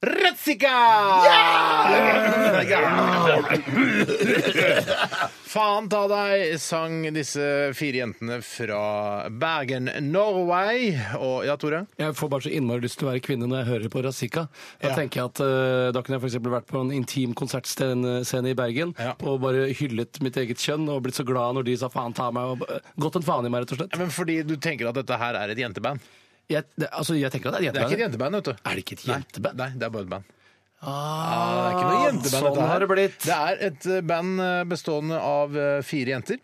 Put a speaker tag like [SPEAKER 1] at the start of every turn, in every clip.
[SPEAKER 1] Retzika! Faen ta deg, sang disse fire jentene fra Bergen, Norway. Og ja, Tore?
[SPEAKER 2] Jeg får bare så innmari lyst til å være kvinne når jeg hører på Razika. Da
[SPEAKER 1] Ja.
[SPEAKER 2] tenker jeg at eh, da kunne jeg for eksempel vært på en intim konsertscene scene i Bergen
[SPEAKER 1] Ja.
[SPEAKER 2] og bare hyllet mitt eget kjønn og blitt så glad når de sa faen ta meg og eh, gått en faen i meg, rett og slett.
[SPEAKER 1] Men fordi du tenker at dette her er et jenteband.
[SPEAKER 2] Jeg, det, altså, jeg tenker at det er et
[SPEAKER 1] Det er ikke et
[SPEAKER 2] jenteband.
[SPEAKER 1] jenteband, vet du.
[SPEAKER 2] Er det ikke et jenteband?
[SPEAKER 1] Nei, det er bare et band.
[SPEAKER 2] Ah,
[SPEAKER 1] Det er ikke noe jenteband.
[SPEAKER 2] Sånn
[SPEAKER 1] dette her.
[SPEAKER 2] har det blitt.
[SPEAKER 1] Det er et eh, band eh, bestående av eh, fire jenter.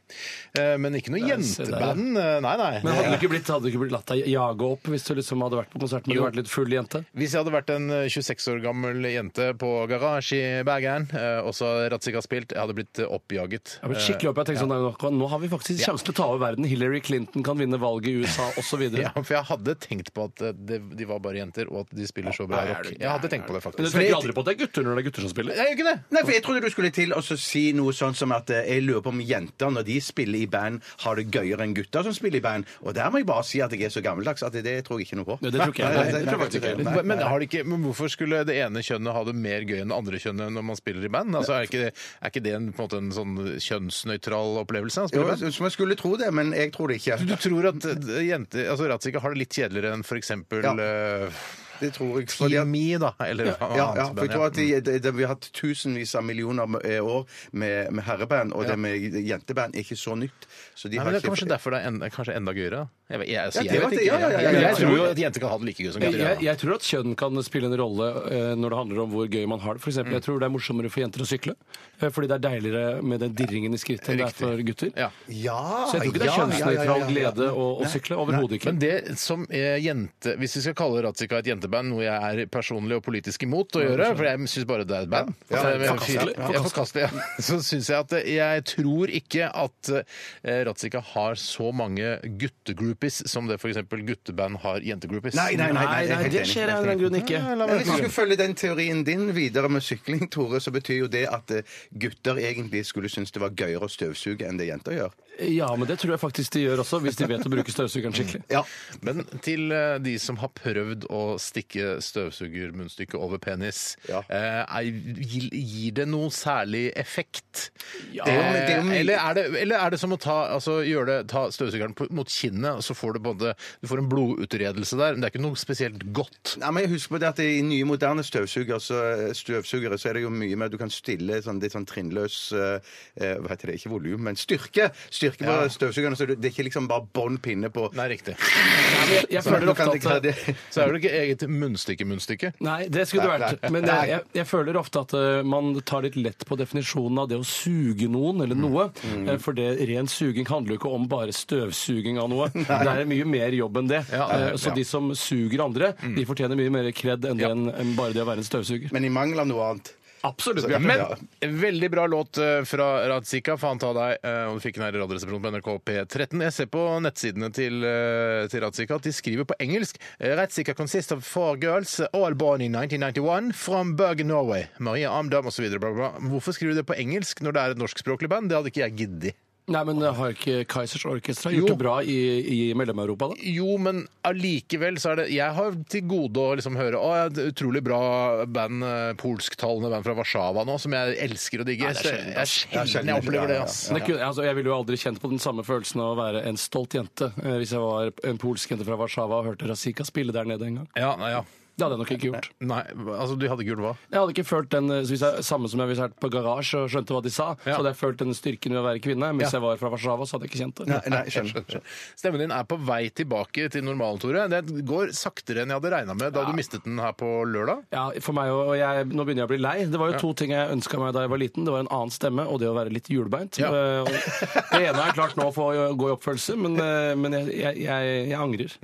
[SPEAKER 1] Eh, Men ikke noe
[SPEAKER 2] Ja, se der, ja.
[SPEAKER 1] jenteband. eh, Nei, nei.
[SPEAKER 2] Men
[SPEAKER 1] Det
[SPEAKER 2] hadde
[SPEAKER 1] er-
[SPEAKER 2] du ikke blitt, hadde du ikke blitt latt deg jage opp hvis du liksom hadde vært på konsert men du
[SPEAKER 1] Jo.
[SPEAKER 2] hadde vært litt full jente?
[SPEAKER 1] Hvis jeg hadde vært en eh, 26 år gammel jente på garasje i Bergeren, eh, og så hadde Ratzika spilt, jeg hadde blitt eh, oppjaget.
[SPEAKER 2] Jeg ble skikkelig opp, jeg tenkte sånn, nei, nå- Nå har vi faktisk
[SPEAKER 1] Ja.
[SPEAKER 2] sjanse til å ta over verden. Hillary Clinton kan vinne valget i USA osv.
[SPEAKER 1] Eh, Ja, for jeg hadde tenkt på at eh, det, de var bare jenter, og at de spiller så bra
[SPEAKER 2] Nei, er du
[SPEAKER 1] rock.
[SPEAKER 2] gæren?
[SPEAKER 1] Jeg hadde tenkt på det,
[SPEAKER 2] Men du
[SPEAKER 1] faktisk.
[SPEAKER 2] tenker aldri på at det er gutter når det er gutter som spiller?
[SPEAKER 1] Jeg gjør ikke det!
[SPEAKER 3] Nei, for Jeg trodde du skulle til å så si noe sånn som at eh, jeg lurer på om jenter når de spiller i band, har det gøyere enn gutter som spiller i band. Og der må jeg bare si at jeg er så gammeldags at det tror jeg ikke noe på.
[SPEAKER 2] Nei, det tror ikke jeg.
[SPEAKER 3] Nei,
[SPEAKER 2] Det
[SPEAKER 3] nei,
[SPEAKER 2] tror jeg
[SPEAKER 3] nei,
[SPEAKER 2] faktisk ikke
[SPEAKER 3] nei,
[SPEAKER 2] heller.
[SPEAKER 3] nei,
[SPEAKER 1] Men,
[SPEAKER 3] nei.
[SPEAKER 1] har det ikke, men hvorfor skulle det ene kjønnet ha det mer gøy enn det andre kjønnet når man spiller i band? Altså, er, ikke det, er ikke det en, på en, måte en sånn kjønnsnøytral opplevelse? å
[SPEAKER 3] Jo,
[SPEAKER 1] spille i band?
[SPEAKER 3] så Man skulle tro det, men jeg tror det ikke.
[SPEAKER 1] Du tror at eh, jenter altså Ratzika har det litt kjedeligere enn f.eks.
[SPEAKER 3] Ja.
[SPEAKER 1] Ja.
[SPEAKER 3] Det tror jeg, fordi at-
[SPEAKER 1] Kimi, da? Eller hva
[SPEAKER 3] Ja,
[SPEAKER 1] annet
[SPEAKER 3] ja, for jeg
[SPEAKER 1] band,
[SPEAKER 3] tror
[SPEAKER 1] ja.
[SPEAKER 3] at de, de, de, vi har hatt tusenvis av millioner med- eh, år med, med herreband, og det med jenteband er ikke så nytt. Så de
[SPEAKER 1] Nei,
[SPEAKER 3] har
[SPEAKER 1] men Det er
[SPEAKER 3] ikke-
[SPEAKER 1] kanskje derfor det er enda, kanskje enda gøyere. da. Jeg, vet- jeg, altså,
[SPEAKER 3] Ja,
[SPEAKER 1] jeg
[SPEAKER 3] det
[SPEAKER 1] vet
[SPEAKER 3] var det.
[SPEAKER 1] ikke.
[SPEAKER 3] Ja, ja, ja,
[SPEAKER 1] Jeg-
[SPEAKER 3] ja, ja.
[SPEAKER 1] Jeg tror jo at jenter kan ha det like gøy som
[SPEAKER 2] Jeg,
[SPEAKER 1] gutter.
[SPEAKER 2] jeg,
[SPEAKER 1] ja.
[SPEAKER 2] jeg tror at kjønn kan spille en rolle eh, når det handler om hvor gøy man har det. For eksempel, jeg tror det er morsommere for jenter å sykle, eh, fordi det er deiligere med den dirringen i skrittet enn det er
[SPEAKER 1] Riktig.
[SPEAKER 2] for gutter.
[SPEAKER 1] Ja.
[SPEAKER 3] Ja,
[SPEAKER 2] Så jeg tror ikke det er
[SPEAKER 3] ja, ja, ja, ja,
[SPEAKER 2] kjønnsnøytral
[SPEAKER 3] ja.
[SPEAKER 2] glede å, å sykle. Overhodet ikke.
[SPEAKER 1] Men det som er jente Hvis vi skal kalle Ratzika et jenteband, noe jeg er personlig og politisk imot å gjøre, for jeg syns bare det er et band
[SPEAKER 3] Ja,
[SPEAKER 1] Altså, jeg-
[SPEAKER 3] forkastelig.
[SPEAKER 1] jeg- jeg- Forkastelig. ja. Så syns jeg at eh, jeg tror ikke at eh, Ratzika har så mange guttegroupies som det f.eks. gutteband har jentegroupies.
[SPEAKER 3] Nei, nei, nei, nei, jeg er helt
[SPEAKER 2] det
[SPEAKER 3] enig.
[SPEAKER 2] skjer av en eller annen grunn ikke. Eh,
[SPEAKER 1] Ja, la meg-
[SPEAKER 3] Men Hvis vi skulle følge den teorien din videre med sykling, Tore, så betyr jo det at eh, gutter egentlig skulle synes det var gøyere å støvsuge enn det jenter gjør.
[SPEAKER 2] Ja, men det tror jeg faktisk de gjør også, hvis de vet å bruke støvsugeren skikkelig.
[SPEAKER 3] Ja.
[SPEAKER 1] Men til eh, de som har prøvd å stikke støvsugermunnstykket over penis,
[SPEAKER 3] Ja.
[SPEAKER 1] eh, er- gir, gir det noe særlig effekt?
[SPEAKER 3] Det er jo- det er
[SPEAKER 1] Eh,
[SPEAKER 3] jo mye-
[SPEAKER 1] eller, er det, eller er det som å ta, altså, gjøre det, ta støvsugeren på, mot kinnet, og så får du, både, du får en blodutredelse der, men det er ikke noe spesielt godt.
[SPEAKER 3] Nei, men jeg husker på det at I nye, moderne støvsugere så, eh, støvsugere så er det jo mye mer Du kan stille sånn, litt sånn trinnløs eh, eh, Hva heter det? Ikke volum, men styrke. Styrke på
[SPEAKER 1] Ja.
[SPEAKER 3] støvsugerne. Så det, det er ikke liksom bare bånn pinne på
[SPEAKER 1] Nei, riktig.
[SPEAKER 2] Jeg, jeg føler
[SPEAKER 3] Du kan
[SPEAKER 2] ofte
[SPEAKER 3] ikke ha
[SPEAKER 2] at
[SPEAKER 3] det.
[SPEAKER 1] Så er det ikke eget munnstykke-munnstykke.
[SPEAKER 2] Nei, det skulle det
[SPEAKER 3] Nei,
[SPEAKER 2] vært. Men jeg, jeg, jeg føler ofte at eh, man tar litt lett på definisjonen av det å suge noen eller noe. eh, For det ren suging handler jo ikke om bare støvsuging av noe. Det er mye mer jobb enn det.
[SPEAKER 1] Ja, det er-
[SPEAKER 2] Eh, Så de som suger andre, de fortjener mye mer kred enn det enn- enn bare det å være en støvsuger.
[SPEAKER 3] Men i mangel av noe annet.
[SPEAKER 2] Absolutt.
[SPEAKER 1] Men en veldig bra låt eh, fra Radzika. Faen ta deg. eh, Og du fikk den her i Radioresepsjonen på NRK P13. Jeg ser på nettsidene til, eh, til Radzika at de skriver på engelsk. Eh, Radzika consists of four girls, eh, all born in 1991, from Bergen, Norway. Maria Amdam osv. Hvorfor skriver du det på engelsk når det er et norskspråklig band? Det hadde ikke jeg giddet.
[SPEAKER 2] Nei, men eh, har ikke Kaizers Orkestra
[SPEAKER 1] Jo.
[SPEAKER 2] gjort det bra i, i Mellom-Europa, da?
[SPEAKER 1] Jo, men allikevel så er det Jeg har til gode å liksom høre Å, ja, det er utrolig bra band, eh, polsktalende band fra Warszawa nå, som jeg elsker å digge.
[SPEAKER 2] Ja, det er
[SPEAKER 1] Så
[SPEAKER 2] sjelden,
[SPEAKER 1] jeg-
[SPEAKER 2] ass.
[SPEAKER 1] jeg er
[SPEAKER 3] Det er
[SPEAKER 1] sjelden jeg
[SPEAKER 3] sjelden, ja,
[SPEAKER 1] opplever det,
[SPEAKER 3] ja,
[SPEAKER 1] ass.
[SPEAKER 3] ja.
[SPEAKER 2] Men det kunne, altså, jeg ville jo aldri kjent på den samme følelsen av å være en stolt jente eh, hvis jeg var en polsk jente fra Warszawa og hørte Razika spille der nede en gang.
[SPEAKER 1] Ja, nei, ja.
[SPEAKER 2] Det hadde jeg nok ikke gjort.
[SPEAKER 1] Nei, altså du hadde ikke gjort hva?
[SPEAKER 2] Jeg hadde ikke følt den eh, hvis jeg, samme som jeg hvis jeg vært på garasje og skjønte hva de sa. Så hadde jeg følt den styrken ved å være kvinne. Men Hvis jeg var fra Warszawa, så hadde jeg ikke kjent det.
[SPEAKER 3] Nei, nei, skjønner.
[SPEAKER 1] Stemmen din er på vei tilbake til normalen, Tore. Det går saktere enn jeg hadde regna med da du mistet den her på lørdag.
[SPEAKER 2] Ja, for meg og og jeg, Nå begynner jeg å bli lei. Det var jo to ting jeg ønska meg da jeg var liten. Det var en annen stemme og det å være litt hjulbeint.
[SPEAKER 1] Ja.
[SPEAKER 2] Eh, og Det ene er klart nå å få gå i oppfølgelse, men, eh, men jeg, jeg, jeg, jeg angrer.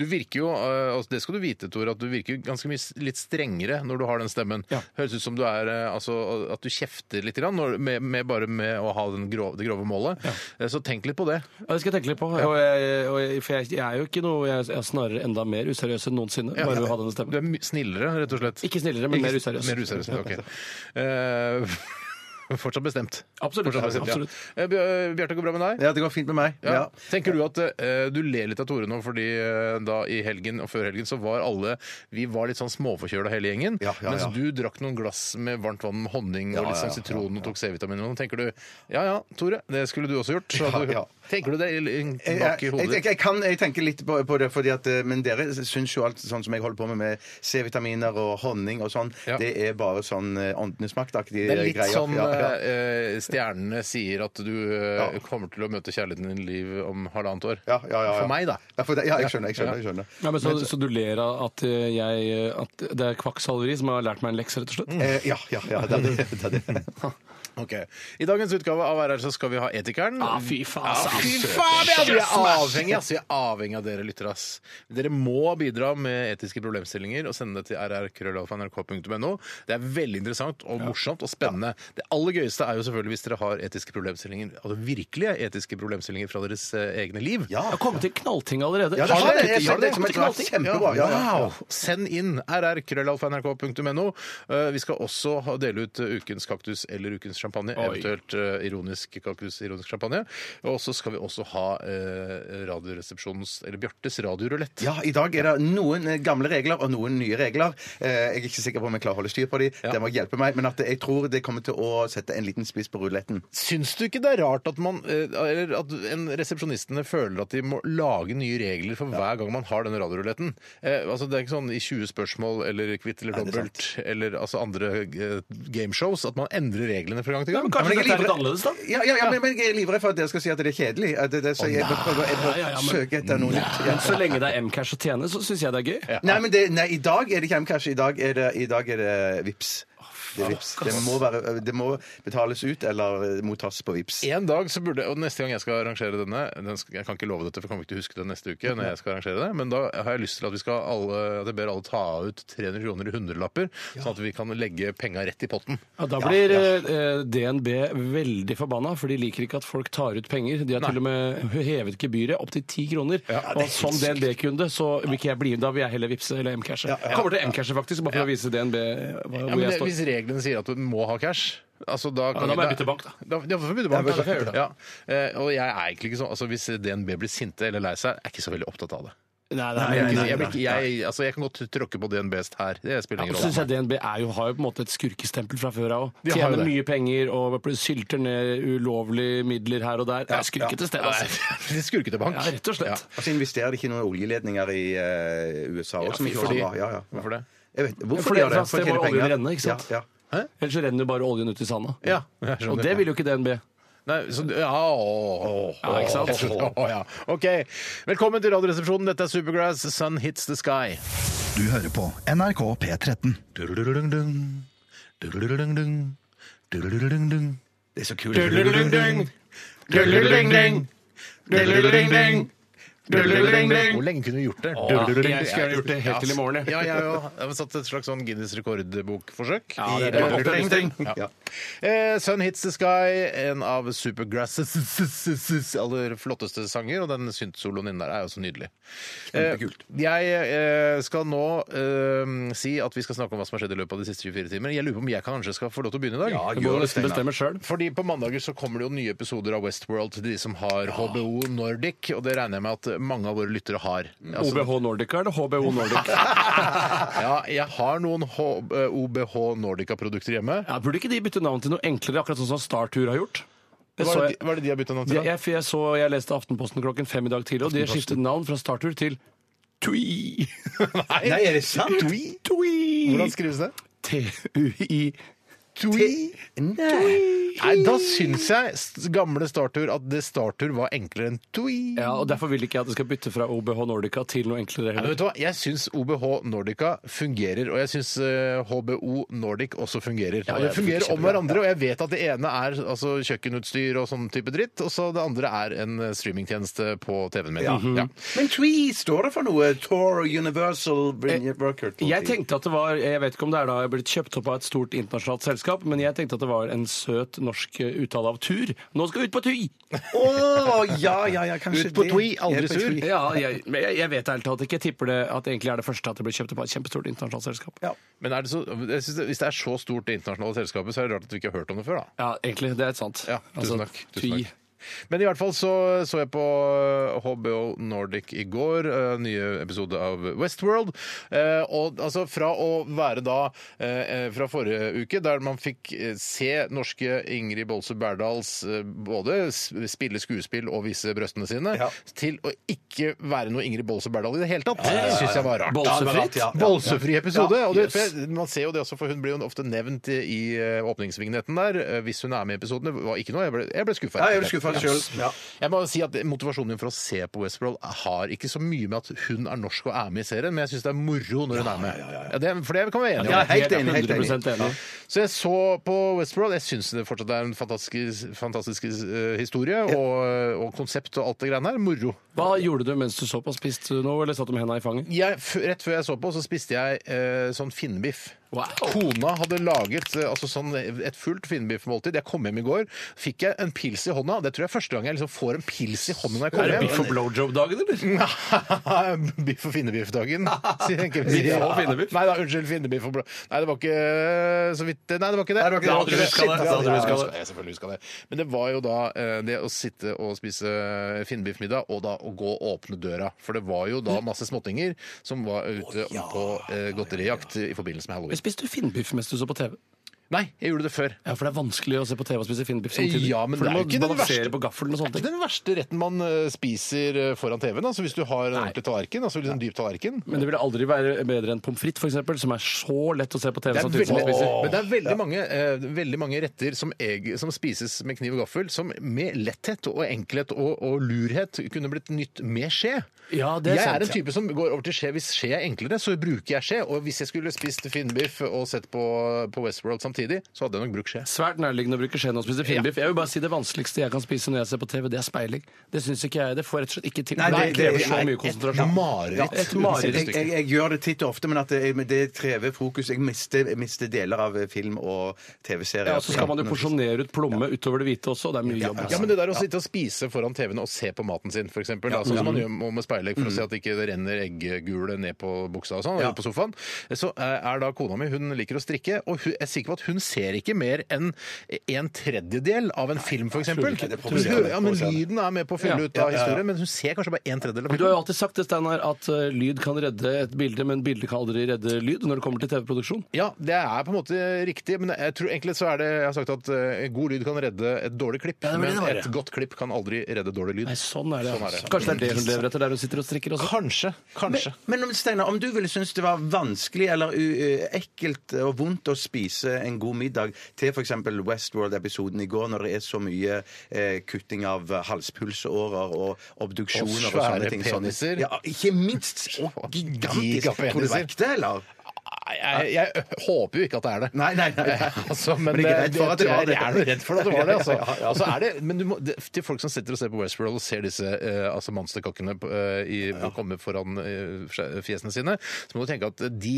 [SPEAKER 1] Du virker jo, eh, altså det skal du vite, Tore, at du virker ganske mye s- litt strengere når du har den stemmen.
[SPEAKER 2] Ja.
[SPEAKER 1] Høres ut som du er eh, altså, at du kjefter litt grann, når, med, med bare med å ha den grov, det grove målet. Eh, Så tenk litt på det.
[SPEAKER 2] Ja, det skal jeg tenke litt på. Og jeg, og jeg, for jeg, jeg er jo ikke noe Jeg er snarere enda mer useriøs enn noensinne. Bare ved å ha denne
[SPEAKER 1] Du
[SPEAKER 2] stemmen.
[SPEAKER 1] er my- snillere, rett og slett.
[SPEAKER 2] Ikke snillere, men mer useriøs.
[SPEAKER 1] Mer useriøs, ok. Eh, Fortsatt bestemt.
[SPEAKER 2] Absolutt.
[SPEAKER 1] Fortsatt bestemt, ja. Eh, Bj- eh, Bjarte, går det bra med deg?
[SPEAKER 3] Ja, det går fint med meg.
[SPEAKER 1] Ja.
[SPEAKER 3] Ja.
[SPEAKER 1] Tenker du at eh, du ler litt av Tore nå, fordi eh, da i helgen og før helgen så var alle Vi var litt sånn småforkjøla hele gjengen.
[SPEAKER 3] Ja, ja,
[SPEAKER 1] mens
[SPEAKER 3] ja.
[SPEAKER 1] du drakk noen glass med varmt vann med honning
[SPEAKER 3] Ja,
[SPEAKER 1] og litt
[SPEAKER 3] ja,
[SPEAKER 1] sånn
[SPEAKER 3] ja,
[SPEAKER 1] sitron og tok C-vitamin og noe. Tenker du ja ja, Tore, det skulle du også gjort. Så
[SPEAKER 3] Ja,
[SPEAKER 1] du,
[SPEAKER 3] ja.
[SPEAKER 1] Tenker du det i- i-
[SPEAKER 3] Jeg,
[SPEAKER 1] bak i
[SPEAKER 3] jeg,
[SPEAKER 1] hodet
[SPEAKER 3] jeg,
[SPEAKER 1] ditt?
[SPEAKER 3] jeg, kan, jeg tenker litt på, på det, fordi at, eh, men dere syns jo alt sånn som jeg holder på med, med C-vitaminer og honning og sånn,
[SPEAKER 1] Ja.
[SPEAKER 3] det er bare sånn eh, åndenes makt-aktige
[SPEAKER 1] Det
[SPEAKER 3] greier.
[SPEAKER 1] er litt sånn
[SPEAKER 3] Ja,
[SPEAKER 1] eh,
[SPEAKER 3] ja.
[SPEAKER 1] eh, stjernene sier at du eh,
[SPEAKER 3] Ja.
[SPEAKER 1] kommer til å møte kjærligheten i din liv om halvannet år.
[SPEAKER 3] Ja, ja, ja, ja.
[SPEAKER 1] For meg, da.
[SPEAKER 3] Ja, for det, ja jeg skjønner. jeg skjønner, jeg skjønner.
[SPEAKER 2] Ja, men så, så du ler av at, eh, jeg, at det er kvakksalveri som har lært meg en lekse, rett og slett?
[SPEAKER 3] Eh, ja, ja, ja, det er det. det, er det.
[SPEAKER 1] Ok. I dagens utgave av RR så skal vi ha Etikeren.
[SPEAKER 2] Ah, fy faen,
[SPEAKER 1] Ah,
[SPEAKER 2] ass.
[SPEAKER 1] fy faen, vi er- vi er avhengig ass. Vi er avhengig av dere lyttere. ass. Dere må bidra med etiske problemstillinger og sende det til rrkrøllalfa.nrk.no. Det er veldig interessant og morsomt og spennende. Det aller gøyeste er jo selvfølgelig hvis dere har etiske problemstillinger, altså virkelige etiske problemstillinger fra deres eh, egne liv.
[SPEAKER 3] Ja.
[SPEAKER 2] Jeg har kommet til knallting allerede.
[SPEAKER 3] Ja, det har
[SPEAKER 2] Har
[SPEAKER 3] det.
[SPEAKER 2] du-
[SPEAKER 3] Jeg har det som et
[SPEAKER 2] Knallting.
[SPEAKER 3] kjempebra. Ja, ja, ja.
[SPEAKER 1] Wow! Send inn rrkrøllalfa.nrk.no. Eh, Vi skal også ha- dele ut eh, ukens kaktus eller ukens champagne,
[SPEAKER 2] Oi.
[SPEAKER 1] eventuelt eh, ironisk kaktus, ironisk champagne. Og så skal vi også ha eh, Radioresepsjonens, eller Bjartes radiorulett.
[SPEAKER 3] Ja, I dag er det noen eh, gamle regler og noen nye regler. Eh, Jeg er ikke sikker på om jeg klarer å holde styr på dem. Det må hjelpe meg. Men at jeg tror det kommer til å sette en liten spiss på ruletten.
[SPEAKER 1] Syns du ikke det er rart at man eh, eller at en resepsjonistene føler at de må lage nye regler for hver gang man har denne radioruletten? Eh, altså det er ikke sånn i 20 spørsmål eller Kvitt eller
[SPEAKER 3] det er sant.
[SPEAKER 1] dobbelt eller altså andre eh, gameshows at man endrer reglene fra gang til
[SPEAKER 2] Ja,
[SPEAKER 1] gang.
[SPEAKER 2] men kanskje
[SPEAKER 3] Ja, men jeg
[SPEAKER 2] dette er litt
[SPEAKER 3] livredd-
[SPEAKER 2] annerledes, da?
[SPEAKER 3] Ja, ja, ja, men, men jeg er livredd for at dere skal si at det er kjedelig. At det, det, så jeg bør prøve
[SPEAKER 2] Ja,
[SPEAKER 3] jeg
[SPEAKER 2] ja,
[SPEAKER 3] bør
[SPEAKER 2] ja, men-
[SPEAKER 3] søke etter noe nytt. Ja.
[SPEAKER 2] Men så lenge det er Mcash å tjene, så syns jeg det er gøy.
[SPEAKER 3] Nei, men det, nei, i dag er det ikke Mcash. I dag er det, i dag er det VIPS. Det, er Vipps. det, må være, det må betales ut eller mottas på VIPS.
[SPEAKER 1] En dag så burde, og Neste gang jeg skal arrangere denne den skal, Jeg kan ikke love dette, for jeg kommer ikke til å huske det neste uke. når jeg skal arrangere det, Men da har jeg lyst til at vi skal alle, at jeg ber alle ta ut 300 kroner i hundrelapper, sånn at vi kan legge penga rett i potten.
[SPEAKER 2] Ja, da blir eh, DNB veldig forbanna, for de liker ikke at folk tar ut penger. De har til og med hevet gebyret opp til ti kroner. og som DNB-kunde så vil ikke jeg bli med, da vil jeg heller vippse eller Mcashe. Kommer til Mcashe, faktisk, bare for å vise DNB hva,
[SPEAKER 1] Ja,
[SPEAKER 2] eh, hvor
[SPEAKER 1] men
[SPEAKER 2] jeg
[SPEAKER 1] det,
[SPEAKER 2] står.
[SPEAKER 1] hvis reglene sier at du må ha cash altså da, kan
[SPEAKER 2] da må
[SPEAKER 1] vi-
[SPEAKER 2] jeg bytte bank, da.
[SPEAKER 1] da ja, får vi bytte bank.
[SPEAKER 2] Ja, da får jeg gjøre det.
[SPEAKER 1] Ja. Eh, Og jeg er egentlig ikke sånn, altså Hvis DNB blir sinte eller lei seg, er jeg ikke så veldig opptatt av det.
[SPEAKER 2] Nei,
[SPEAKER 1] Jeg, er
[SPEAKER 2] nei,
[SPEAKER 1] ikke-
[SPEAKER 2] nei,
[SPEAKER 1] jeg, blir ikke-
[SPEAKER 2] nei.
[SPEAKER 1] jeg, altså, jeg kan godt tråkke på DNBs her. Det spiller
[SPEAKER 2] Ja,
[SPEAKER 1] ingen
[SPEAKER 2] så
[SPEAKER 1] rolle.
[SPEAKER 2] synes jeg DNB er jo, har jo på en måte et skurkestempel fra før av òg.
[SPEAKER 1] De har jo
[SPEAKER 2] Tjener
[SPEAKER 1] det.
[SPEAKER 2] mye penger og sylter ned ulovlige midler her og der. Det er skurkete sted,
[SPEAKER 1] Nei,
[SPEAKER 2] altså.
[SPEAKER 1] det er Skurkete bank.
[SPEAKER 2] Ja, rett og slett.
[SPEAKER 3] Og så investerer de ikke i noen oljeledninger i eh, USA også, som
[SPEAKER 1] fy
[SPEAKER 3] ikke
[SPEAKER 1] fordi-
[SPEAKER 3] var bra. Ja, ja.
[SPEAKER 1] Hvorfor det?
[SPEAKER 3] Jeg vet, hvorfor
[SPEAKER 2] Fordi
[SPEAKER 3] de gjør det?
[SPEAKER 2] et sted
[SPEAKER 3] å tjene
[SPEAKER 2] må oljen
[SPEAKER 3] penger.
[SPEAKER 2] renne, ikke sant?
[SPEAKER 3] Ja, ja.
[SPEAKER 2] Ellers så renner jo bare oljen ut i sanda.
[SPEAKER 1] Ja, jeg skjønner.
[SPEAKER 2] og det vil jo ikke DNB.
[SPEAKER 1] Nei, så, ja, å, å,
[SPEAKER 2] Ja, ikke sant?
[SPEAKER 1] jeg skjønner. Å, ja. OK. Velkommen til Radioresepsjonen. Dette er Supergrass. Sun hits the sky.
[SPEAKER 4] Du hører på NRK P13.
[SPEAKER 1] Dururururungdung. Dururururungdung. Dururururungdung.
[SPEAKER 3] Det er så kult.
[SPEAKER 1] Hvor lenge kunne vi gjort det?
[SPEAKER 2] jeg skulle gjerne gjort det helt til i morgen, jeg.
[SPEAKER 1] Ja, ja, ja. Jeg har satt et slags sånn Guinness rekordbokforsøk.
[SPEAKER 2] Ja, det er
[SPEAKER 1] I-
[SPEAKER 2] bra.
[SPEAKER 3] Ja.
[SPEAKER 1] Eh, Sun Hits The Sky, en av Supergrasses aller flotteste sanger, og den syntsoloen inni der er jo så nydelig. Eh,
[SPEAKER 3] Kjempekult.
[SPEAKER 1] jeg eh, skal nå eh, si at vi skal snakke om hva som har skjedd i løpet av de siste 24 timer. Jeg lurer på om jeg kanskje skal få lov til å begynne i dag?
[SPEAKER 3] Ja,
[SPEAKER 2] Du må
[SPEAKER 3] gjør det,
[SPEAKER 2] nesten
[SPEAKER 3] Steinar.
[SPEAKER 2] bestemme sjøl.
[SPEAKER 1] Fordi på mandager så kommer det jo nye episoder av Westworld til de som har HBO Nordic, og det regner jeg med at mange av våre lyttere har. Altså,
[SPEAKER 2] OBH Nordica eller HBO Nordica?
[SPEAKER 1] ja, jeg har noen H eh, OBH Nordica-produkter hjemme.
[SPEAKER 2] Ja, burde ikke de bytte navn til noe enklere, akkurat sånn som Startur har gjort? Det
[SPEAKER 1] Hva
[SPEAKER 2] så
[SPEAKER 1] er det,
[SPEAKER 2] jeg,
[SPEAKER 1] de- hva er det de har bytta navn til? da?
[SPEAKER 2] jeg, jeg, for jeg, så, jeg leste Aftenposten klokken fem i dag tidlig, og de skiftet navn fra Startur til Tui.
[SPEAKER 3] Nei, er det sant?
[SPEAKER 1] Hvordan
[SPEAKER 2] Tui!
[SPEAKER 1] skrives det?
[SPEAKER 2] T-u-i.
[SPEAKER 1] Tui.
[SPEAKER 3] Nei.
[SPEAKER 1] Nei, da syns jeg s- gamle Startur at det Startur var enklere enn Tui.
[SPEAKER 2] Ja, og Derfor vil ikke jeg at det skal bytte fra OBH Nordica til noe
[SPEAKER 1] Ja,
[SPEAKER 2] enklere heller.
[SPEAKER 1] men vet du hva? Jeg syns OBH Nordica fungerer, og jeg syns eh, HBO Nordic også fungerer.
[SPEAKER 2] Ja,
[SPEAKER 1] Og
[SPEAKER 2] det
[SPEAKER 1] de fungerer
[SPEAKER 2] fungerer
[SPEAKER 1] om hverandre, og jeg vet at det ene er altså, kjøkkenutstyr og sånn type dritt, og så det andre er en eh, streamingtjeneste på TV-en min. Ja.
[SPEAKER 3] Men Tree står det for noe? Tor
[SPEAKER 2] Eh,
[SPEAKER 3] Universal Bring Your Worker.
[SPEAKER 2] Jeg tenkte at det var, jeg vet ikke om det er da jeg har blitt kjøpt opp av et stort internasjonalt galskap, men jeg tenkte at det var en søt norsk eh, uttale av tur. Nå skal vi ut på tui!
[SPEAKER 3] Å, ja, ja, ja, kanskje
[SPEAKER 1] Ut på
[SPEAKER 3] det.
[SPEAKER 1] tui, aldri
[SPEAKER 3] Ut på
[SPEAKER 1] sur.
[SPEAKER 3] tui.
[SPEAKER 2] Ja, jeg, men jeg, jeg vet ærlig talt ikke. Jeg tipper det at det egentlig er det første at det ble kjøpt opp av et kjempestort internasjonalt selskap.
[SPEAKER 3] Ja.
[SPEAKER 1] Men er det så, jeg synes det, hvis det er så stort det internasjonale selskapet, så er det rart at vi ikke har hørt om det før, da.
[SPEAKER 2] Ja, egentlig. Det er sant.
[SPEAKER 1] Ja, tusen
[SPEAKER 2] Altså,
[SPEAKER 1] takk.
[SPEAKER 2] tui.
[SPEAKER 1] Tusen takk. Men i hvert fall så, så jeg på eh, HBO Nordic i går, eh, nye episode av Westworld. Eh, og altså fra å være da eh, eh, fra forrige uke, der man fikk eh, se norske Ingrid Bolse Berdals eh, både s- spille skuespill og vise brøstene sine,
[SPEAKER 3] Ja.
[SPEAKER 1] til å ikke være noe Ingrid Bolse Berdal i det hele tatt, det syns jeg var rart.
[SPEAKER 3] Ja, det var rart,
[SPEAKER 2] Bolsefritt.
[SPEAKER 3] ja, ja.
[SPEAKER 1] Bolsefri episode.
[SPEAKER 2] Ja,
[SPEAKER 1] og det,
[SPEAKER 2] jøss.
[SPEAKER 1] for jeg- man ser jo det også, for hun blir jo ofte nevnt i, i eh, åpningsvignetten der. eh, Hvis hun er med i episoden. Det var ikke noe. Jeg ble, jeg ble skuffa.
[SPEAKER 3] Ja, jeg ble skuffa sjøl. Ja.
[SPEAKER 1] Jeg må si at Motivasjonen min for å se på Westworld har ikke så mye med at hun er norsk og er med i serien, men jeg syns det er moro når hun er med. Ja, det, for det kan vi være enige
[SPEAKER 3] Ja,
[SPEAKER 1] om.
[SPEAKER 3] helt enig, helt enig.
[SPEAKER 2] 100% enig.
[SPEAKER 1] Så jeg så på Westworld. Jeg syns det fortsatt er en fantastisk, fantastisk eh, historie og, og konsept og alt det greiene her. Moro.
[SPEAKER 2] Hva gjorde du mens du så på? Spiste du noe, eller satt du med henda i fanget?
[SPEAKER 1] Jeg, f rett før jeg så på, så spiste jeg eh, sånn finnbiff.
[SPEAKER 2] Wow.
[SPEAKER 1] Kona hadde laget eh, altså sånn et fullt finnbiffmåltid. Jeg kom hjem i går, fikk jeg en pils i hånda. Det tror jeg er første gang jeg liksom får en pils i hånda når jeg
[SPEAKER 2] Er det
[SPEAKER 1] kommer
[SPEAKER 2] biff
[SPEAKER 1] hjem.
[SPEAKER 2] og blowjob-dagen, eller?
[SPEAKER 1] biff og finnebiff-dagen, tenker vi.
[SPEAKER 2] Biff og finnebiff?
[SPEAKER 1] Nei da, unnskyld. Finnebiff og blå... Nei, det var ikke eh, så vidt Nei, det var ikke det.
[SPEAKER 3] Nei, det var ikke
[SPEAKER 1] Nei,
[SPEAKER 3] det. Du husker
[SPEAKER 1] Shit,
[SPEAKER 3] det. Ja, du
[SPEAKER 1] ja, jeg
[SPEAKER 3] husker det.
[SPEAKER 1] husker det. Jeg selvfølgelig husker det. Men det var jo da eh, det å sitte og spise eh, finnebiffmiddag, og da å gå og åpne døra. For det var jo da masse småttinger som var ute på eh, godterijakt i forbindelse med
[SPEAKER 2] Men
[SPEAKER 1] halloween.
[SPEAKER 2] spiste du finnbiff mens du så på TV?
[SPEAKER 1] Nei, jeg gjorde det før.
[SPEAKER 2] Ja, for det er vanskelig å se på TV og spise finnbiff samtidig.
[SPEAKER 1] Ja, men
[SPEAKER 2] for
[SPEAKER 1] det er jo
[SPEAKER 2] du
[SPEAKER 1] ikke
[SPEAKER 2] må
[SPEAKER 1] den
[SPEAKER 2] balansere
[SPEAKER 1] verste-
[SPEAKER 2] på gaffelen
[SPEAKER 1] Det
[SPEAKER 2] og
[SPEAKER 1] er
[SPEAKER 2] sånne
[SPEAKER 1] ikke
[SPEAKER 2] ting.
[SPEAKER 1] den verste retten man eh, spiser eh, foran TV-en. Altså hvis du har en
[SPEAKER 2] Nei.
[SPEAKER 1] ordentlig tallerken, altså liksom dyp tallerken.
[SPEAKER 2] Men det ville aldri være bedre enn pommes frites, for eksempel, som er så lett å se på TV
[SPEAKER 1] Det er
[SPEAKER 2] samtidig
[SPEAKER 1] veldig,
[SPEAKER 2] som du spiser.
[SPEAKER 1] men det er veldig, mange, eh, veldig mange retter som, eg, som spises med kniv og gaffel, som med letthet og enkelhet og, og lurhet kunne blitt nytt med skje.
[SPEAKER 2] Ja, det er
[SPEAKER 1] jeg
[SPEAKER 2] sant,
[SPEAKER 1] er en
[SPEAKER 2] ja.
[SPEAKER 1] type som går over til skje. Hvis skje er enklere, så bruker jeg skje. Og hvis jeg skulle spist finnbiff og sett på, på Westworld samtidig, så hadde jeg nok brukt skje.
[SPEAKER 2] Svært nærliggende å bruke skjeen og spise finnbiff. Jeg vil bare si Det vanskeligste jeg kan spise når jeg ser på TV, det er speiling. Det syns ikke jeg. Det får rett og slett ikke til.
[SPEAKER 3] Nei,
[SPEAKER 2] det,
[SPEAKER 3] det-
[SPEAKER 2] krever
[SPEAKER 3] det er
[SPEAKER 2] så
[SPEAKER 3] et-
[SPEAKER 2] mye konsentrasjon.
[SPEAKER 1] mareritt.
[SPEAKER 2] Ja, et
[SPEAKER 3] Jeg, jeg,
[SPEAKER 2] mareritt.
[SPEAKER 3] jeg, jeg gjør det titt og ofte, men at det, men det krever fokus. Jeg mister, mister deler av eh, film og TV-serier.
[SPEAKER 2] Ja, og så skal man jo porsjonere ut plomme utover det hvite også. og Det er mye jobb. altså.
[SPEAKER 1] Ja, men det der å sitte og spise foran TV-en og se på maten sin, f.eks. eksempel da,
[SPEAKER 2] Mm.
[SPEAKER 1] Sånn som man gjør må med speilegg for å se at det ikke renner eggegule ned på buksa og sånn, eller på sofaen. Så eh, er da kona mi, hun liker å strikke, og hun jeg er sikker på at hun ser ikke mer enn en tredjedel av en film, f.eks.
[SPEAKER 3] ikke. Det provoserer.
[SPEAKER 1] Ja, men lyden er med på å fylle ut av
[SPEAKER 3] Ja, ja, ja.
[SPEAKER 1] historien, men hun ser kanskje bare en tredjedel av
[SPEAKER 2] Du har jo
[SPEAKER 1] filmen.
[SPEAKER 2] alltid sagt det, Steinar, at eh, lyd kan redde et bilde, men bildet kan aldri redde lyd når det kommer til TV-produksjon.
[SPEAKER 1] Ja, det er på en måte riktig, men jeg tror egentlig så er det Jeg har sagt at eh, god lyd kan redde et dårlig klipp,
[SPEAKER 2] det var det
[SPEAKER 1] men
[SPEAKER 2] det var, ja.
[SPEAKER 1] et godt klipp kan aldri redde dårlig lyd.
[SPEAKER 2] Nei, sånn er det.
[SPEAKER 1] Sånn er det.
[SPEAKER 2] Kanskje det er det hun lever etter, der hun sitter og strikker også.
[SPEAKER 1] Kanskje. Kanskje.
[SPEAKER 3] Men om, Steinar, om du ville synes det var vanskelig eller u- ekkelt og vondt å spise en god middag til f.eks. Westworld-episoden i går, når det er så mye eh, kutting av halspulsårer og obduksjoner og,
[SPEAKER 1] Og svære
[SPEAKER 3] sånne ting. sånne-
[SPEAKER 1] peniser.
[SPEAKER 3] Ja, ikke minst! Og gigantisk!
[SPEAKER 1] Gigapeniser.
[SPEAKER 3] Tror du det var ekte, eller?
[SPEAKER 1] Nei, Jeg, jeg håper jo ikke at det er det.
[SPEAKER 3] Nei, nei, nei.
[SPEAKER 1] altså, men
[SPEAKER 3] Men jeg er redd for at det var det.
[SPEAKER 1] Jeg er noe redd for at det var det. Altså.
[SPEAKER 3] Ja, ja, ja.
[SPEAKER 1] Og så er det men du må, det, til folk som sitter og ser på Westworld og ser disse eh, altså monsterkokkene eh, i, komme foran eh, fjesene sine, så må du tenke at de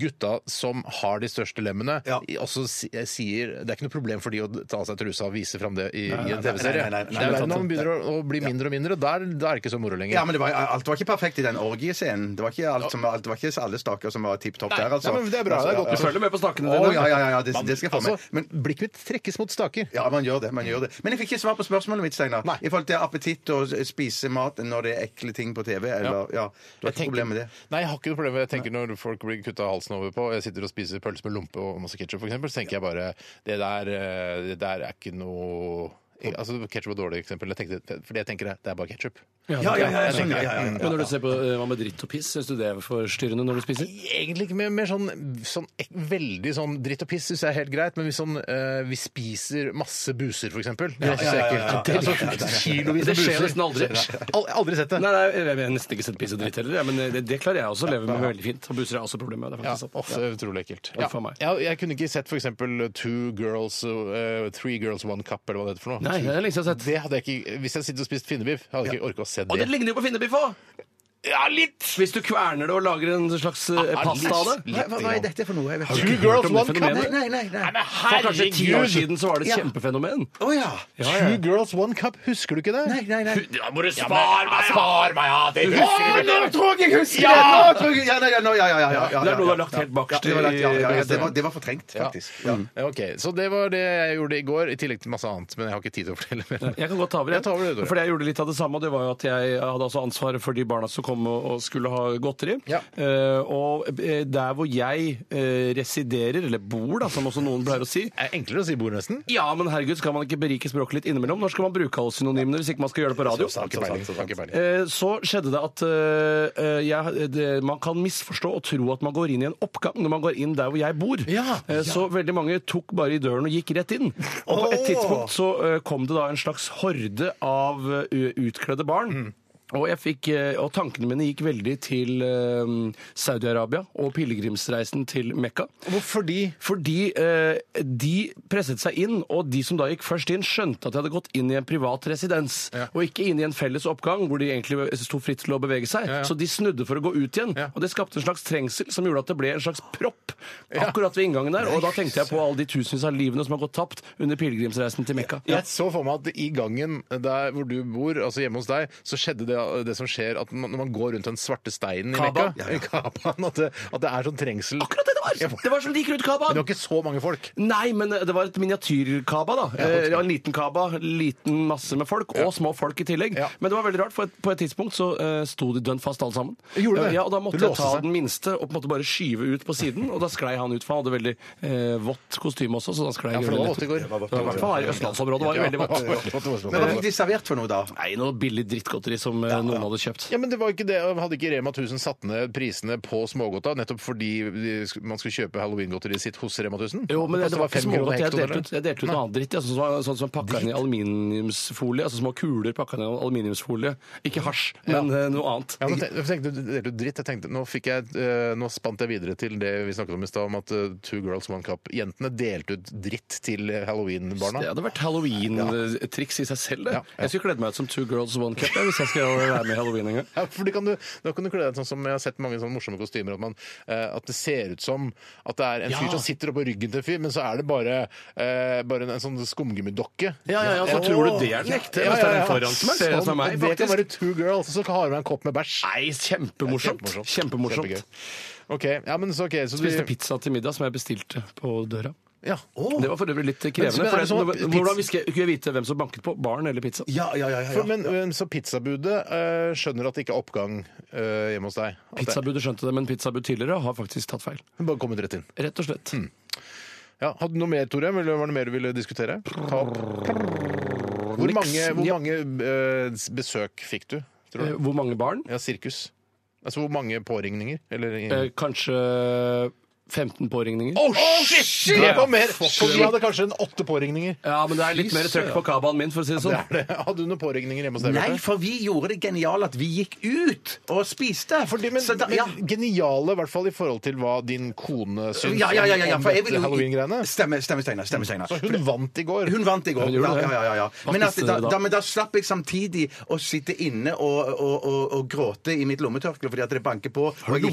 [SPEAKER 1] gutta som har de største lemmene,
[SPEAKER 3] Ja.
[SPEAKER 1] i- også si- eh, sier Det er ikke noe problem for de å ta av seg trusa og vise fram det i, i en
[SPEAKER 3] nei,
[SPEAKER 1] TV-serie.
[SPEAKER 3] nei, nei,
[SPEAKER 1] Det
[SPEAKER 3] nei,
[SPEAKER 1] er
[SPEAKER 3] nei,
[SPEAKER 1] verden
[SPEAKER 3] nei.
[SPEAKER 1] om begynner å, å bli mindre og mindre, og da er da er det ikke så moro lenger.
[SPEAKER 3] Ja, men det var, Alt var ikke perfekt i den orgiescenen. Det var ikke, alt som, alt var ikke alle staker som var tipp topp
[SPEAKER 1] Nei,
[SPEAKER 3] der, altså.
[SPEAKER 1] nei, men det er bra, det er godt.
[SPEAKER 3] Ja,
[SPEAKER 2] Du følger med på snakene
[SPEAKER 3] Å,
[SPEAKER 2] dine.
[SPEAKER 3] ja, ja, ja, ja, det, det skal jeg få
[SPEAKER 1] altså,
[SPEAKER 3] med. Men
[SPEAKER 1] blikket mitt trekkes mot staker.
[SPEAKER 3] Ja, man gjør det. man gjør det. Men jeg fikk ikke svar på spørsmålet mitt, Steinar.
[SPEAKER 1] Nei.
[SPEAKER 3] I forhold til appetitt og s- spise mat når det er ekle ting på TV. Eller, ja. Du
[SPEAKER 1] Jeg
[SPEAKER 3] har ikke
[SPEAKER 1] tenker-
[SPEAKER 3] problem med det?
[SPEAKER 1] Nei, jeg har ikke noe problem med det. Jeg tenker Når folk blir kutta halsen over på, og jeg sitter og spiser pølse med lompe og masse ketsjup f.eks., så tenker jeg bare det der, eh, det der er ikke noe jeg- Altså, Ketsjup var et dårlig eksempel. Jeg tenkte, for det jeg tenker er, det er bare ketsjup.
[SPEAKER 3] Ja, ja, ja, jeg skjønner, ja, ja,
[SPEAKER 2] Men når du ser på eh, hva med dritt og piss, syns du det er forstyrrende når du spiser?
[SPEAKER 1] Egentlig ikke mer, mer sånn, sånn ek- veldig sånn dritt og piss syns jeg er helt greit, men hvis sånn eh, vi spiser masse buser, f.eks. Det syns jeg
[SPEAKER 3] ja,
[SPEAKER 1] er
[SPEAKER 3] ja, ja.
[SPEAKER 1] ekkelt. Altså, kilovis
[SPEAKER 2] Det
[SPEAKER 1] av
[SPEAKER 2] skjer
[SPEAKER 1] buser.
[SPEAKER 2] nesten aldri.
[SPEAKER 1] Al- Aldri sett det.
[SPEAKER 2] Nei, nei, jeg har nesten ikke sett piss og dritt heller, jeg, men det, det klarer jeg også å leve med veldig fint. Og busser er også problemet med det.
[SPEAKER 1] Ja,
[SPEAKER 2] faktisk.
[SPEAKER 1] uff, det er utrolig ekkelt.
[SPEAKER 2] Ja, for meg.
[SPEAKER 1] Jeg, jeg kunne ikke sett f.eks. Two Girls eh, Three Girls One Cup, eller hva det heter for noe.
[SPEAKER 2] Nei, det er lenge siden jeg har sett.
[SPEAKER 1] Det hadde jeg ikke, Hvis jeg hadde sittet og spist finnebiff, hadde jeg ikke orket å se
[SPEAKER 2] Og det
[SPEAKER 1] det.
[SPEAKER 2] ligner jo på finnebiff òg!
[SPEAKER 1] Ja, litt!
[SPEAKER 2] Hvis du kverner det og lager en slags eh,
[SPEAKER 1] Ah,
[SPEAKER 2] pasta av det?
[SPEAKER 3] Nei, hva, hva er dette for noe? Jeg vet
[SPEAKER 1] Two
[SPEAKER 3] ikke.
[SPEAKER 1] girls,
[SPEAKER 2] om det
[SPEAKER 1] one cup.
[SPEAKER 2] fenomenet?
[SPEAKER 3] Nei, nei, nei. nei.
[SPEAKER 1] Nei, men
[SPEAKER 2] For kanskje ti år
[SPEAKER 1] herregud!
[SPEAKER 2] siden så var det et
[SPEAKER 3] Ja.
[SPEAKER 2] kjempefenomen.
[SPEAKER 3] Å ja.
[SPEAKER 1] Two girls, one cup. Husker du ikke det?
[SPEAKER 3] Nei, nei, nei.
[SPEAKER 1] Da må du spare meg! Spar meg, ja! Det
[SPEAKER 3] Å, nå tror jeg jeg husker
[SPEAKER 1] Ja!
[SPEAKER 3] det! Nå tror jeg, ja, nei, ja, nå, ja, ja, ja, ja, ja,
[SPEAKER 2] Det er noe du har lagt
[SPEAKER 3] ja.
[SPEAKER 2] helt bakerst
[SPEAKER 3] Ja, det var lagt- ja, ja, ja,
[SPEAKER 2] i
[SPEAKER 3] det, var, det var fortrengt, faktisk. Ja.
[SPEAKER 1] Ok, Så det var det jeg gjorde i går, i tillegg til masse annet. Men jeg har ikke tid til å fortelle mer.
[SPEAKER 2] Jeg kan godt ta over,
[SPEAKER 1] Jeg tar over det, Tore.
[SPEAKER 2] Fordi jeg gjorde litt av det samme. og Det var jo at jeg hadde altså ansvaret for de barna som kom og og skulle ha godteri.
[SPEAKER 3] Ja.
[SPEAKER 2] Eh, og eh, der hvor jeg eh, residerer, eller bor, da, som også noen pleier å si
[SPEAKER 1] Det er enklere å si bord, nesten.
[SPEAKER 2] ja, men herregud, skal man ikke berike språket litt innimellom? Når skal man bruke alle synonymene hvis ikke man skal gjøre det på radio?
[SPEAKER 3] sant, så sant, så sant.
[SPEAKER 1] Ikke peiling.
[SPEAKER 2] Eh, Så skjedde det at eh, eh, jeg, det, man kan misforstå og tro at man går inn i en oppgang når man går inn der hvor jeg bor.
[SPEAKER 1] Ja,
[SPEAKER 2] Eh, Så veldig mange tok bare i døren og gikk rett inn. Og på et tidspunkt så eh, kom det da en slags horde av eh, utkledde barn.
[SPEAKER 1] Mm.
[SPEAKER 2] Og, jeg fikk, eh, og tankene mine gikk veldig til eh, Saudi-Arabia og pilegrimsreisen til Mekka.
[SPEAKER 1] Eh, Hvorfor de?
[SPEAKER 2] Fordi eh, de presset seg inn, og de som da gikk først inn, skjønte at de hadde gått inn i en privat residens,
[SPEAKER 1] Ja.
[SPEAKER 2] og ikke inn i en felles oppgang hvor de egentlig sto fritt til å bevege seg.
[SPEAKER 1] Ja, ja.
[SPEAKER 2] Så de snudde for å gå ut igjen,
[SPEAKER 1] Ja.
[SPEAKER 2] og det skapte en slags trengsel som gjorde at det ble en slags propp akkurat ved inngangen der. Og da tenkte jeg på alle de tusenvis av livene som har gått tapt under pilegrimsreisen til Mekka.
[SPEAKER 1] Jeg så for meg at i gangen der hvor du bor, altså hjemme hos deg, så skjedde det, det som skjer at man, når man går rundt den svarte steinen i Mekka,
[SPEAKER 2] Kaaba.
[SPEAKER 1] Kaabaen, at, det, at det er sånn trengsel.
[SPEAKER 2] Akkurat det det var!
[SPEAKER 1] Jeg-
[SPEAKER 2] Det var som de gikk rundt
[SPEAKER 1] Det
[SPEAKER 2] Kabaen!
[SPEAKER 1] var ikke så mange folk.
[SPEAKER 2] Nei, men eh, det var et miniatyrkaba, da. Eh, ja, en liten kaba, liten masse med folk, og små folk i tillegg.
[SPEAKER 1] Ja.
[SPEAKER 2] Men det var veldig rart, for et, på et tidspunkt så eh, sto de dønn fast alle sammen.
[SPEAKER 1] Gjorde det?
[SPEAKER 2] Eh, Ja, og da måtte
[SPEAKER 1] Det
[SPEAKER 2] jeg ta
[SPEAKER 1] låste seg.
[SPEAKER 2] den minste og på en måte bare skyve ut på siden, og da sklei han ut, for han hadde veldig eh, vått kostyme også, så da sklei
[SPEAKER 1] Ja, for det var
[SPEAKER 2] grunnen
[SPEAKER 1] vått i
[SPEAKER 2] litt.
[SPEAKER 1] går.
[SPEAKER 2] Det var I hvert fall her i østlandsområdet var det veldig vått.
[SPEAKER 3] Men hva fikk de servert for noe, da?
[SPEAKER 2] Nei, noe billig drittgodteri som eh, noen hadde kjøpt.
[SPEAKER 1] Ja, men det var ikke det. Hadde ikke Rema 1000 satt ned prisene på smågodta nettopp fordi de sk- man skulle kjøpe halloweengodteriet sitt hos Rema 1000?
[SPEAKER 2] Jo, men det,
[SPEAKER 1] kostet
[SPEAKER 2] det var
[SPEAKER 1] fem
[SPEAKER 2] ikke
[SPEAKER 1] kroner
[SPEAKER 2] smågodt. Jeg
[SPEAKER 1] hektoen,
[SPEAKER 2] delte ut,
[SPEAKER 1] eller?
[SPEAKER 2] jeg delte ut noe annet dritt. Ja, sånn, som var- sånn som pakka inn i aluminiumsfolie. Altså små kuler pakka inn i aluminiumsfolie. Ikke hasj, men eh, noe annet.
[SPEAKER 1] Ja, nå tenkte, jeg tenkte, du delte ut dritt. Jeg tenkte, nå, fikk jeg, eh, nå spant jeg videre til det vi snakket om i stad, om at eh, Two Girls One Cup Jentene delte ut dritt til eh,
[SPEAKER 2] Det
[SPEAKER 1] halloween-barna.
[SPEAKER 2] hadde vært halloween-triks i seg selv. Det.
[SPEAKER 1] Ja, ja.
[SPEAKER 2] Jeg skulle kledd meg ut som Two Girls One Cup jeg, hvis jeg skal være med i halloween en gang.
[SPEAKER 1] Ja, for de kan du, Da kan du kle deg ut sånn som jeg har sett mange sånne morsomme kostymer. At, man, eh, at det ser ut som at det er en fyr som sitter oppå ryggen til en fyr, men så er det bare, eh, bare en, en sånn skumgummidokke.
[SPEAKER 2] så tror du det er den ekte? Ja, ja, ja. Sånn,
[SPEAKER 1] Sånn,
[SPEAKER 2] det som er meg,
[SPEAKER 1] det kan være
[SPEAKER 2] faktisk.
[SPEAKER 1] two girls, og så har du med en kopp med bæsj.
[SPEAKER 2] Nei, kjempemorsomt. Kjempemorsomt.
[SPEAKER 1] Kjempegøy. OK. Ja, men så, ok, så du-
[SPEAKER 2] Spiste pizza til middag som jeg bestilte på døra.
[SPEAKER 1] Ja.
[SPEAKER 2] Det var for øvrig litt
[SPEAKER 1] Men-
[SPEAKER 2] krevende.
[SPEAKER 1] men er
[SPEAKER 2] For
[SPEAKER 1] det
[SPEAKER 2] det,
[SPEAKER 1] sånn at pizza-
[SPEAKER 2] hvordan visker, kunne jeg vite hvem som banket på? Barn eller pizza?
[SPEAKER 3] Ja, ja, ja. ja,
[SPEAKER 1] For,
[SPEAKER 3] ja.
[SPEAKER 1] men, men Så pizzabudet eh, skjønner at det ikke er oppgang eh, hjemme hos deg? At det-
[SPEAKER 2] Pizzabudet skjønte det, men pizzabud tidligere har faktisk tatt feil.
[SPEAKER 1] Hun Bare kommet rett inn.
[SPEAKER 2] Rett og slett.
[SPEAKER 1] Hmm, Ja, hadde du noe mer, Tore? Eller Var det mer du ville diskutere? Ta opp. Hvor
[SPEAKER 2] Niks.
[SPEAKER 1] mange, hvor
[SPEAKER 2] Ja.
[SPEAKER 1] mange eh, besøk fikk du? Tror
[SPEAKER 2] Eh,
[SPEAKER 1] du?
[SPEAKER 2] Hvor mange barn?
[SPEAKER 1] Ja, sirkus. Altså hvor mange påringninger? Eller
[SPEAKER 2] Eh, Kanskje 15 påringninger.
[SPEAKER 1] Oh, shit! Det var mer! For vi hadde kanskje en åtte påringninger.
[SPEAKER 2] Ja, men det er litt mer trøkk på kabaen min, for å si
[SPEAKER 1] Det
[SPEAKER 2] det sånn.
[SPEAKER 1] er det. Hadde du noen påringninger hjemme hos deg?
[SPEAKER 3] Nei,
[SPEAKER 1] Bjarte?
[SPEAKER 3] for vi gjorde det geniale at vi gikk ut og spiste.
[SPEAKER 1] Fordi, men,
[SPEAKER 3] Så da- ja.
[SPEAKER 1] men geniale, i hvert fall i forhold til hva din kone syns
[SPEAKER 3] Ja, ja, ja, ja, ja,
[SPEAKER 1] om
[SPEAKER 3] for jeg vil
[SPEAKER 1] dette
[SPEAKER 3] jo-
[SPEAKER 1] halloween-greiene.
[SPEAKER 3] Stemme, stemme, Steinar. Stemme, Steinar.
[SPEAKER 1] Så hun vant i går.
[SPEAKER 3] Hun vant i går.
[SPEAKER 2] Hun gjorde
[SPEAKER 3] Ja,
[SPEAKER 2] det.
[SPEAKER 3] ja, ja, ja.
[SPEAKER 2] Hva
[SPEAKER 3] Men, at,
[SPEAKER 2] spiste
[SPEAKER 3] da,
[SPEAKER 2] dere da?
[SPEAKER 3] da, men da slapp jeg samtidig å sitte inne og, og, og, og gråte i mitt lommetørkle fordi at det banker på. Har
[SPEAKER 2] du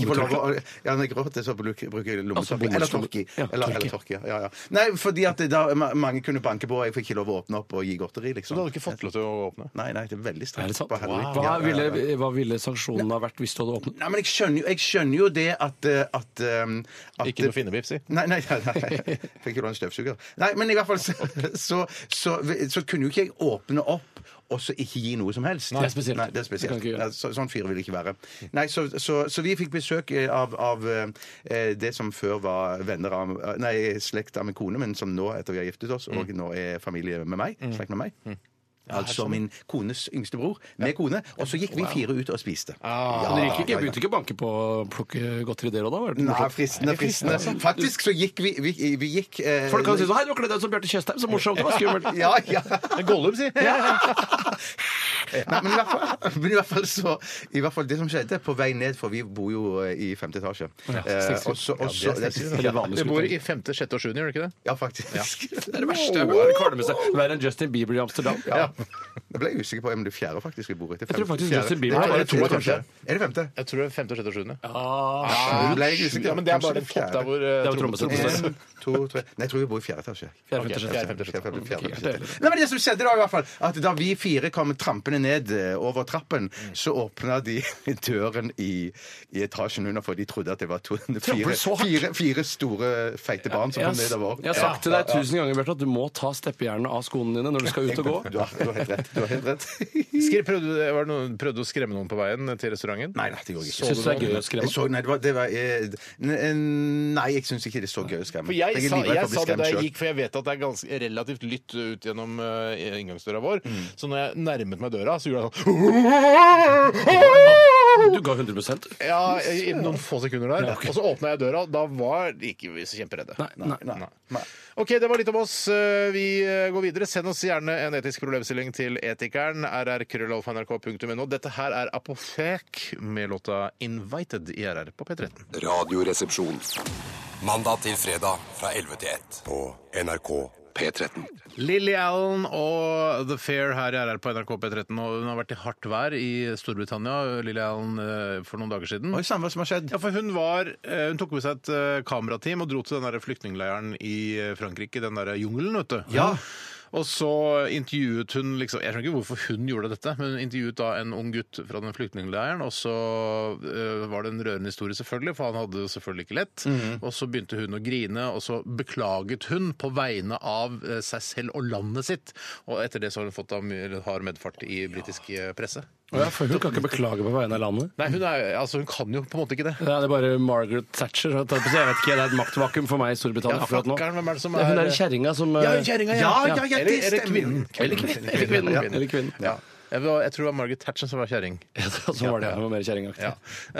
[SPEAKER 3] Ja, når jeg gråter, så bruk- bruker jeg
[SPEAKER 2] Altså,
[SPEAKER 3] lommetørkle. Eller tørke.
[SPEAKER 2] Ja,
[SPEAKER 3] Eller,
[SPEAKER 2] tørke.
[SPEAKER 3] eller tørke, ja, ja, ja. Nei, fordi at da, ma- mange kunne banke på, og jeg fikk ikke lov å åpne opp og gi godteri,
[SPEAKER 1] Så du
[SPEAKER 3] liksom.
[SPEAKER 1] hadde ikke fått lov til å åpne?
[SPEAKER 3] Nei, nei, det er veldig
[SPEAKER 2] Er det
[SPEAKER 3] strengt
[SPEAKER 2] sant?
[SPEAKER 3] på halloween.
[SPEAKER 2] Hva,
[SPEAKER 3] Ja, ja, ja,
[SPEAKER 2] ville,
[SPEAKER 3] ja.
[SPEAKER 2] hva ville sanksjonene ha vært hvis du hadde åpnet?
[SPEAKER 3] Nei, men jeg skjønner jo, jeg skjønner jo det at, eh, at, um, at
[SPEAKER 1] Ikke noe finnebips i?
[SPEAKER 3] Nei, nei, nei, nei. Fikk ikke du en støvsuger? Nei, men i hvert fall så, så, så, så kunne jo ikke jeg åpne opp og så ikke gi noe som helst.
[SPEAKER 2] Nei, det er spesielt.
[SPEAKER 3] Nei, det er
[SPEAKER 2] Det kan
[SPEAKER 3] spesielt.
[SPEAKER 2] ikke gjøre.
[SPEAKER 3] Nei, så, sånn fyr vil jeg ikke være. Nei, så, så, så vi fikk besøk eh, av, av eh, det som før var venner av Nei, slekt av min kone, men som nå, etter vi har giftet oss,
[SPEAKER 2] Mm.
[SPEAKER 3] og nå er familie med meg. Slekt med meg. Altså min kones yngste bror med kone. Og så gikk vi fire ut og spiste.
[SPEAKER 2] Ja, Ah, dere gikk ikke, begynte ikke å banke på å plukke godteri der og da? var det
[SPEAKER 3] Nei,
[SPEAKER 2] morsomt?
[SPEAKER 3] fristende, fristende. Faktisk så gikk vi Vi, vi gikk eh,
[SPEAKER 2] Folk kan si sånn Hei, du har kledd deg ut som Bjarte Tjøstheim, så morsomt! Det var skummelt!
[SPEAKER 3] Ja, ja.
[SPEAKER 1] Gollum, si!
[SPEAKER 3] ja. Nei, men i hvert fall, men i hvert fall så I hvert fall det som skjedde på vei ned, for vi bor jo eh, i femte etasje.
[SPEAKER 2] Ja,
[SPEAKER 3] Eh, og så- og så-
[SPEAKER 2] Eller
[SPEAKER 3] ja,
[SPEAKER 2] vanlig
[SPEAKER 1] Vi bor i
[SPEAKER 2] skuter.
[SPEAKER 1] femte, sjette og sjuende, gjør det ikke det?
[SPEAKER 3] ja, faktisk.
[SPEAKER 2] Det er det verste. Bare kvalme seg. Verre enn Justin Bieber i Amsterdam.
[SPEAKER 3] Ja. Jeg ble usikker på om det fjerde faktisk vi bor i. Det
[SPEAKER 2] Jeg tror
[SPEAKER 3] femte-
[SPEAKER 2] faktisk
[SPEAKER 3] fjerde.
[SPEAKER 2] Justin Bieber
[SPEAKER 3] Nei,
[SPEAKER 2] var
[SPEAKER 3] er det
[SPEAKER 1] det
[SPEAKER 3] femte?
[SPEAKER 1] to, kanskje.
[SPEAKER 3] Er det femte?
[SPEAKER 1] Jeg tror det er femte, sjette og sjuende.
[SPEAKER 2] Ah,
[SPEAKER 3] Jeg ble litt usikker.
[SPEAKER 1] Ja, men det er
[SPEAKER 3] Kanskje
[SPEAKER 1] bare en topp der hvor eh,
[SPEAKER 2] Det er jo
[SPEAKER 1] trommesett-
[SPEAKER 2] trommesett.
[SPEAKER 3] En, to, tre Nei, jeg tror vi bor i fjerde etasje.
[SPEAKER 1] Ok,
[SPEAKER 2] fjerde, femte, sjette.
[SPEAKER 1] fjerde, femte, sjette.
[SPEAKER 3] Fjerde, fjerde, fjerde. Nei, men det som skjedde da i hvert fall, at da vi fire kom trampende ned eh, over trappen, så åpna de døren i, i etasjen under, for de trodde at det var to, fire,
[SPEAKER 2] så hardt?
[SPEAKER 3] fire, fire store, feite barn som
[SPEAKER 2] Jeg har,
[SPEAKER 3] kom nedover.
[SPEAKER 2] jeg har sagt til deg tusen ganger Bjørte, at du må ta steppejernene av skoene dine når du skal ut og gå.
[SPEAKER 3] Du har, du har helt rett. Du har helt rett.
[SPEAKER 1] Skri- Prøvde, var det noen, prøvde du å skremme noen på veien til restauranten?
[SPEAKER 3] Nei, nei, det gjorde jeg ikke.
[SPEAKER 2] Syns du det er gøy å
[SPEAKER 3] Jeg
[SPEAKER 2] skremme?
[SPEAKER 3] så, nei, det var, det var, eh, n- nei, jeg syns ikke det er så gøy å skremme.
[SPEAKER 1] For jeg,
[SPEAKER 3] er
[SPEAKER 1] sa,
[SPEAKER 3] livredd for å
[SPEAKER 1] jeg
[SPEAKER 3] bli
[SPEAKER 1] sa det da
[SPEAKER 3] skremt selv.
[SPEAKER 1] jeg gikk, for jeg vet at det er ganske, relativt lytt ut gjennom eh, inngangsdøra vår. Så når jeg nærmet meg døra, så gjorde jeg sånn
[SPEAKER 2] Du ga 100 du.
[SPEAKER 1] ja, i noen få sekunder der. Og så åpna jeg døra, og da var ikke vi så kjemperedde.
[SPEAKER 2] Nei, nei,
[SPEAKER 1] Nei. OK, det var litt om oss. Eh, Vi eh, går videre. Send oss gjerne en etisk problemstilling til etikeren. rrkrøllalfa.nrk.no. Dette her er Apotek med låta 'Invited' i RR på P13.
[SPEAKER 5] Radioresepsjon. Mandag til fredag fra 11 til 1 på NRK P13.
[SPEAKER 1] Lily Allen og The Fair her i RR på NRK P13. Og hun har vært i hardt vær i Storbritannia, Lily Allen, eh, for noen dager siden.
[SPEAKER 3] Oi sann, hva som har skjedd?
[SPEAKER 1] Ja, for hun, var, eh, hun tok med seg et eh, kamerateam og dro til den der flyktningleiren i eh, Frankrike, den der jungelen, vet du.
[SPEAKER 3] Ja.
[SPEAKER 1] Og så intervjuet hun liksom, Jeg skjønner ikke hvorfor hun gjorde dette, men hun intervjuet da en ung gutt fra den flyktningleiren. Og så eh, var det en rørende historie, selvfølgelig, for han hadde det selvfølgelig ikke lett. Og så begynte hun å grine, og så beklaget hun på vegne av eh, seg selv og landet sitt. Og etter det så har hun fått da mye hard medfart i britisk eh, presse.
[SPEAKER 2] Å ja, for hun kan ikke beklage på vegne av landet.
[SPEAKER 1] Nei, hun, er, altså, hun kan jo på en måte ikke det.
[SPEAKER 2] Nei, det er bare Margaret Thatcher. Jeg tar på seg- jeg vet ikke, Det er et maktvakuum for meg i Storbritannia
[SPEAKER 1] Ja,
[SPEAKER 2] akkurat nå.
[SPEAKER 1] fakkeren, hvem er det som
[SPEAKER 2] Ja, Hun
[SPEAKER 1] er-
[SPEAKER 2] er kjerringa som eh,
[SPEAKER 3] Ja, ja, ja,
[SPEAKER 1] Eller,
[SPEAKER 3] det
[SPEAKER 1] eller
[SPEAKER 3] stemmer.
[SPEAKER 1] kvinnen.
[SPEAKER 2] Eller kvinnen. Eller kvinnen.
[SPEAKER 1] Ja.
[SPEAKER 2] Eller kvinnen.
[SPEAKER 1] Ja. Jeg, var, jeg tror det var Margaret Thatcher som var kjerring.
[SPEAKER 2] Så var det hun var mer kjerringaktig.
[SPEAKER 1] Ja.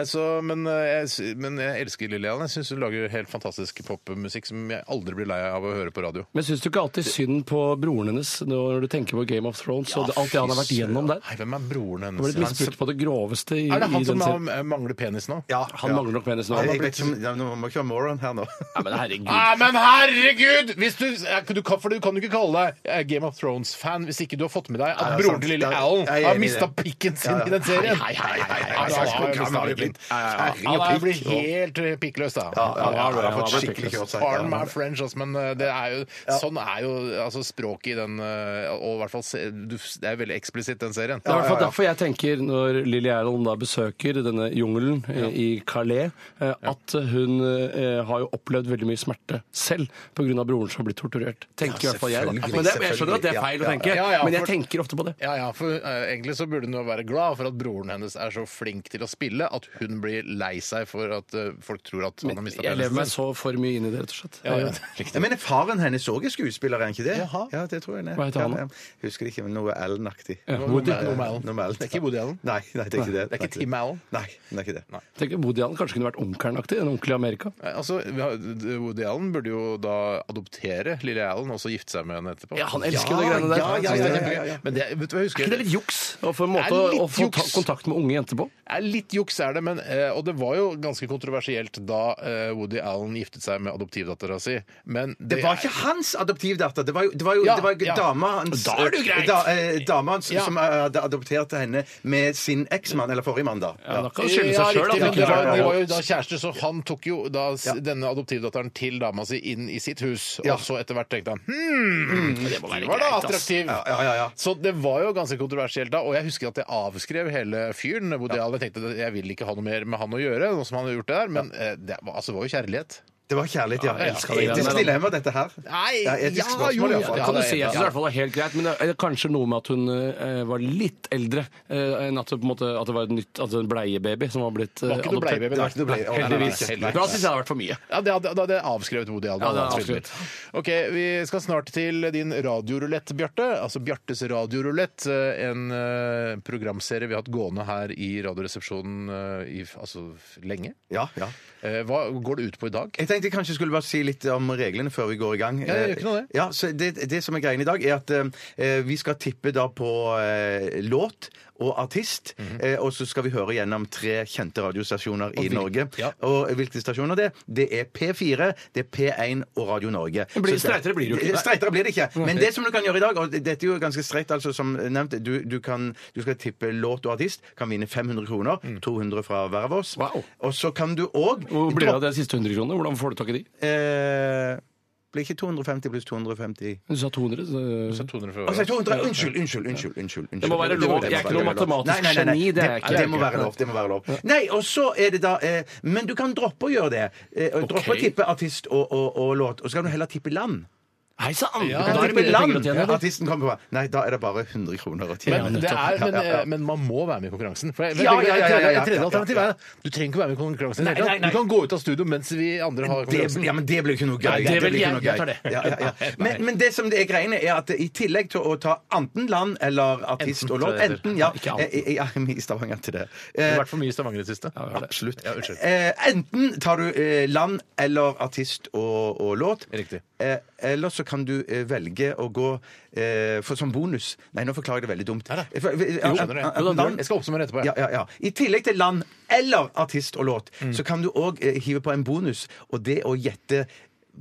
[SPEAKER 1] Altså, men, eh, jeg, sy- men jeg elsker Lillian. Jeg syns hun lager helt fantastisk popmusikk som jeg aldri blir lei av å høre på radio.
[SPEAKER 2] Men syns du ikke alltid synd på broren hennes når du tenker på Game of Thrones og det- alt det han har vært gjennom der?
[SPEAKER 1] Nei, hvem er broren
[SPEAKER 2] Han
[SPEAKER 1] hennes?
[SPEAKER 2] ble misbrukt på det groveste i,
[SPEAKER 1] er det
[SPEAKER 2] i
[SPEAKER 1] han som
[SPEAKER 2] den serien.
[SPEAKER 1] har- eh, mangler penis nå?
[SPEAKER 3] Ja,
[SPEAKER 2] Han mangler nok penis nå.
[SPEAKER 3] Jeg, jeg vet ikke, om- ja, nå må ikke være moron her nå.
[SPEAKER 2] Ja, men herregud.
[SPEAKER 1] Ah, men herregud! Hvis du, eh, du, kan, for du kan jo ikke kalle deg eh, Game of Thrones-fan hvis ikke du har fått med deg
[SPEAKER 3] Nei,
[SPEAKER 1] at
[SPEAKER 3] det er
[SPEAKER 1] broren
[SPEAKER 3] sant.
[SPEAKER 1] til lille
[SPEAKER 3] Det er-
[SPEAKER 1] Allen
[SPEAKER 3] jeg er
[SPEAKER 1] har
[SPEAKER 3] enig i
[SPEAKER 1] mista
[SPEAKER 3] det.
[SPEAKER 1] pikken sin i den serien. Altså, Hei, hei, hei,
[SPEAKER 3] hei, hei, hei, hei,
[SPEAKER 1] Han blir helt eh, pikkløs, da.
[SPEAKER 3] Ja, ja, jeg har
[SPEAKER 2] han
[SPEAKER 3] fått
[SPEAKER 2] var
[SPEAKER 3] skikkelig kjørt seg.
[SPEAKER 1] Pardon my French, altså, men eh, det er jo, sånn er jo altså, språket i den eh, Og i hvert fall se- du- Det er veldig eksplisitt, den serien.
[SPEAKER 2] Det er i hvert fall derfor jeg tenker, når Lily Allen da besøker denne jungelen eh, i Calais, eh, at hun eh, har jo opplevd veldig mye smerte selv pga. broren som har blitt torturert. Tenker i hvert fall jeg, da.
[SPEAKER 3] selvfølgelig,
[SPEAKER 2] Men det, jeg skjønner at det er
[SPEAKER 3] selvfølgelig.
[SPEAKER 2] feil å
[SPEAKER 3] Ja, ja.
[SPEAKER 2] tenke,
[SPEAKER 1] Ja, ja,
[SPEAKER 2] men
[SPEAKER 1] for-
[SPEAKER 2] jeg tenker ofte på det.
[SPEAKER 1] Ja, ja, for eh, Egentlig så burde hun jo være glad for at broren hennes er så flink til å spille at hun blir lei seg for at eh, folk tror at han har mista
[SPEAKER 2] Jeg lever meg så for mye inn i det, rett og slett.
[SPEAKER 1] Ja, ja.
[SPEAKER 3] Jeg mener, faren hennes òg er skuespiller, er han ikke det?
[SPEAKER 1] Jaha.
[SPEAKER 3] Ja, det tror jeg han er.
[SPEAKER 2] Hva heter han da?
[SPEAKER 3] Ja, jeg Husker ikke, men noe Allen-aktig.
[SPEAKER 2] Woody.
[SPEAKER 3] Ja,
[SPEAKER 1] Noe med Allen.
[SPEAKER 3] noe med Allen.
[SPEAKER 1] Det er ikke Woody Allen.
[SPEAKER 3] Nei, nei, det er ikke det.
[SPEAKER 1] Det er ikke Tim Allen.
[SPEAKER 3] Nei, det er ikke det.
[SPEAKER 2] Tenk, Woody Allen kanskje kunne vært onkelen-aktig, en onkel i Amerika.
[SPEAKER 1] Eh, Altså, vi har- Woody Allen burde jo da adoptere lille Allen og så gifte seg med henne etterpå.
[SPEAKER 2] Ja, han elsker jo det greiene der.
[SPEAKER 3] ja, ja, ja, ja, ja, ja.
[SPEAKER 1] Men det, vet du hva jeg
[SPEAKER 2] Er
[SPEAKER 1] husker?
[SPEAKER 2] ikke det litt juks å få en
[SPEAKER 1] Det
[SPEAKER 2] måte
[SPEAKER 1] er
[SPEAKER 2] å- å
[SPEAKER 1] litt
[SPEAKER 2] få ta
[SPEAKER 1] juks.
[SPEAKER 2] kontakt med unge jenter på?
[SPEAKER 1] er litt juks er det, men, eh, og det var jo ganske kontroversielt da eh, Woody Allen giftet seg med adoptivdattera si, men det,
[SPEAKER 3] Det var
[SPEAKER 1] er-
[SPEAKER 3] ikke hans adoptivdatter. Det var jo, det var jo
[SPEAKER 1] Ja,
[SPEAKER 3] det var
[SPEAKER 1] ja.
[SPEAKER 3] dama hans,
[SPEAKER 2] Da er det jo greit.
[SPEAKER 3] Da, eh, dama hans
[SPEAKER 1] Ja.
[SPEAKER 3] som hadde adoptert henne med sin eksmann, eller forrige mann, da.
[SPEAKER 2] Ja, da kan han skylde
[SPEAKER 1] ja,
[SPEAKER 2] seg sjøl.
[SPEAKER 1] riktig, men det var,
[SPEAKER 3] klarte
[SPEAKER 1] det
[SPEAKER 3] det.
[SPEAKER 1] var jo da kjæreste, så han tok jo da s- denne adoptivdatteren til dama si inn i sitt hus.
[SPEAKER 3] Ja.
[SPEAKER 1] Og så etter hvert tenkte han hm, du var da
[SPEAKER 2] greit, ass.
[SPEAKER 1] attraktiv.
[SPEAKER 3] Ja, ja, ja, ja.
[SPEAKER 1] Så det var jo ganske kontroversielt da, og jeg husker at jeg avskrev hele fyren. Woody Allen Jeg tenkte at jeg vil ikke ha noe mer med han å gjøre, nå som han har gjort det der. Men eh, det var, altså, det var jo kjærlighet.
[SPEAKER 3] Det var kjærlighet, ja.
[SPEAKER 1] jeg elsker det.
[SPEAKER 3] Etisk dilemma, dette her.
[SPEAKER 1] Nei,
[SPEAKER 3] Det er etisk
[SPEAKER 1] ja,
[SPEAKER 3] spørsmål,
[SPEAKER 1] jo,
[SPEAKER 3] i hvert
[SPEAKER 1] ja,
[SPEAKER 3] fall.
[SPEAKER 1] det
[SPEAKER 2] kan du
[SPEAKER 1] er
[SPEAKER 2] si, altså. jeg
[SPEAKER 1] etisk.
[SPEAKER 2] synes i hvert fall det er helt greit, men det er kanskje noe med at hun eh, var litt eldre eh, enn at, det på en måte, at det var et nytt, at det var en bleiebaby som var blitt eh,
[SPEAKER 1] Var ikke noe
[SPEAKER 2] adoptert.
[SPEAKER 1] bleiebaby,
[SPEAKER 3] Det var ikke noe blei- Å, nei, nei, nei,
[SPEAKER 2] Heldigvis.
[SPEAKER 3] heldigvis.
[SPEAKER 2] Da syns jeg det har vært for mye.
[SPEAKER 1] Ja, det hadde, det hadde avskrevet Woody Allen.
[SPEAKER 2] Ja, det hadde
[SPEAKER 1] hadde
[SPEAKER 2] avskrevet.
[SPEAKER 1] avskrevet. Ok, Vi skal snart til din radiorulett, Bjarte. Altså Bjartes radiorulett. eh, En eh, programserie vi har hatt gående her i Radioresepsjonen eh, i f- altså, f- lenge.
[SPEAKER 3] Ja, ja.
[SPEAKER 1] Eh, Hva går det ut på i dag?
[SPEAKER 3] Jeg tenkte tenkte jeg kanskje skulle bare si litt om reglene før vi går i gang. Eh,
[SPEAKER 1] Ja, det gjør ikke noe, det.
[SPEAKER 3] Ja, så det, det som er greien i dag, er at eh, vi skal tippe da på eh, låt og artist,
[SPEAKER 2] Mhm.
[SPEAKER 3] eh, og så skal vi høre gjennom tre kjente radiostasjoner i Norge.
[SPEAKER 1] ja.
[SPEAKER 3] Og hvilke stasjoner det er? Det er P4, det er P1 og Radio Norge.
[SPEAKER 2] Det blir-
[SPEAKER 3] Så det-
[SPEAKER 2] streitere blir det jo ikke.
[SPEAKER 3] Det- Streitere blir det ikke. Men det som du kan gjøre i dag, og det- dette er jo ganske streit, altså som nevnt, du, du, kan, du skal tippe låt og artist, kan vinne 500 kroner, 200 fra hver av oss.
[SPEAKER 2] Mm. Wow.
[SPEAKER 3] Og så kan du òg
[SPEAKER 2] Hvor blir det av de siste 100 kronene? Hvordan får du tak i de?
[SPEAKER 3] Eh, blir ikke 250 pluss 250
[SPEAKER 2] Du sa 200. Så...
[SPEAKER 1] 200 for-
[SPEAKER 3] Å, sa jeg 200? Unnskyld, unnskyld, unnskyld. unnskyld, unnskyld.
[SPEAKER 2] Det må være lov. Jeg er ikke noe
[SPEAKER 3] være lov.
[SPEAKER 2] matematisk
[SPEAKER 3] Nei, nei, nei, nei.
[SPEAKER 2] geni, det er jeg ikke.
[SPEAKER 3] Det må være lov. det må være lov. Nei, og så er det da eh, Men du kan droppe å gjøre det. Eh, og droppe å tippe artist og, og, og låt. Og så kan du heller tippe land.
[SPEAKER 2] Hei sann!
[SPEAKER 1] Ja,
[SPEAKER 3] Du
[SPEAKER 2] da er
[SPEAKER 3] kan
[SPEAKER 2] det
[SPEAKER 3] tippe
[SPEAKER 2] mye penger å
[SPEAKER 3] land.
[SPEAKER 2] tjene. eller?
[SPEAKER 3] Artisten kommer på Nei, da er det bare 100 kroner å tjene.
[SPEAKER 1] Men, det er, men, eh,
[SPEAKER 3] Ja, ja,
[SPEAKER 2] eh,
[SPEAKER 3] ja.
[SPEAKER 1] men man må være med i konkurransen. For jeg,
[SPEAKER 3] Ja, ja, ja, ja, ja, ja,
[SPEAKER 1] Et tredje
[SPEAKER 3] ja, ja.
[SPEAKER 1] alternativ er du trenger ikke være med i konkurransen. i det hele
[SPEAKER 3] Nei, nei,
[SPEAKER 1] tatt.
[SPEAKER 3] nei.
[SPEAKER 1] Du kan gå ut av studio mens vi andre har
[SPEAKER 3] det,
[SPEAKER 1] konkurransen.
[SPEAKER 3] ja, men det blir jo ikke noe gøy.
[SPEAKER 2] Nei, det
[SPEAKER 3] blir
[SPEAKER 2] vil
[SPEAKER 3] ikke
[SPEAKER 2] jeg-
[SPEAKER 3] noe
[SPEAKER 2] jeg
[SPEAKER 3] gøy.
[SPEAKER 2] tar det.
[SPEAKER 3] Ja, ja, ja. Men, men det som det er greiene, er at i tillegg til å ta enten land eller artist
[SPEAKER 1] Enten,
[SPEAKER 3] og
[SPEAKER 1] tror
[SPEAKER 3] låt
[SPEAKER 1] jeg det heter.
[SPEAKER 3] Enten, ja.
[SPEAKER 2] Ikke
[SPEAKER 3] Jeg,
[SPEAKER 2] anten.
[SPEAKER 3] jeg, jeg er med i Stavanger til det.
[SPEAKER 1] Det
[SPEAKER 3] Eh,
[SPEAKER 1] har vært for mye i Stavanger i det siste.
[SPEAKER 2] det er det.
[SPEAKER 1] Absolutt. Ja, unnskyld.
[SPEAKER 3] eh, enten tar du eh, land eller artist og, og låt.
[SPEAKER 1] Riktig.
[SPEAKER 3] Eh, eller så kan du eh, velge å gå eh, for, som bonus Nei, nå forklarer jeg det veldig dumt. Eh,
[SPEAKER 1] Neida.
[SPEAKER 3] For-
[SPEAKER 1] Jo, skjønner det.
[SPEAKER 3] Enten land-
[SPEAKER 1] Jeg skal oppsummere etterpå.
[SPEAKER 3] ja,
[SPEAKER 1] jeg.
[SPEAKER 3] ja, ja. I tillegg til land eller artist og låt,
[SPEAKER 2] Mm.
[SPEAKER 3] så kan du òg eh, hive på en bonus, og det å gjette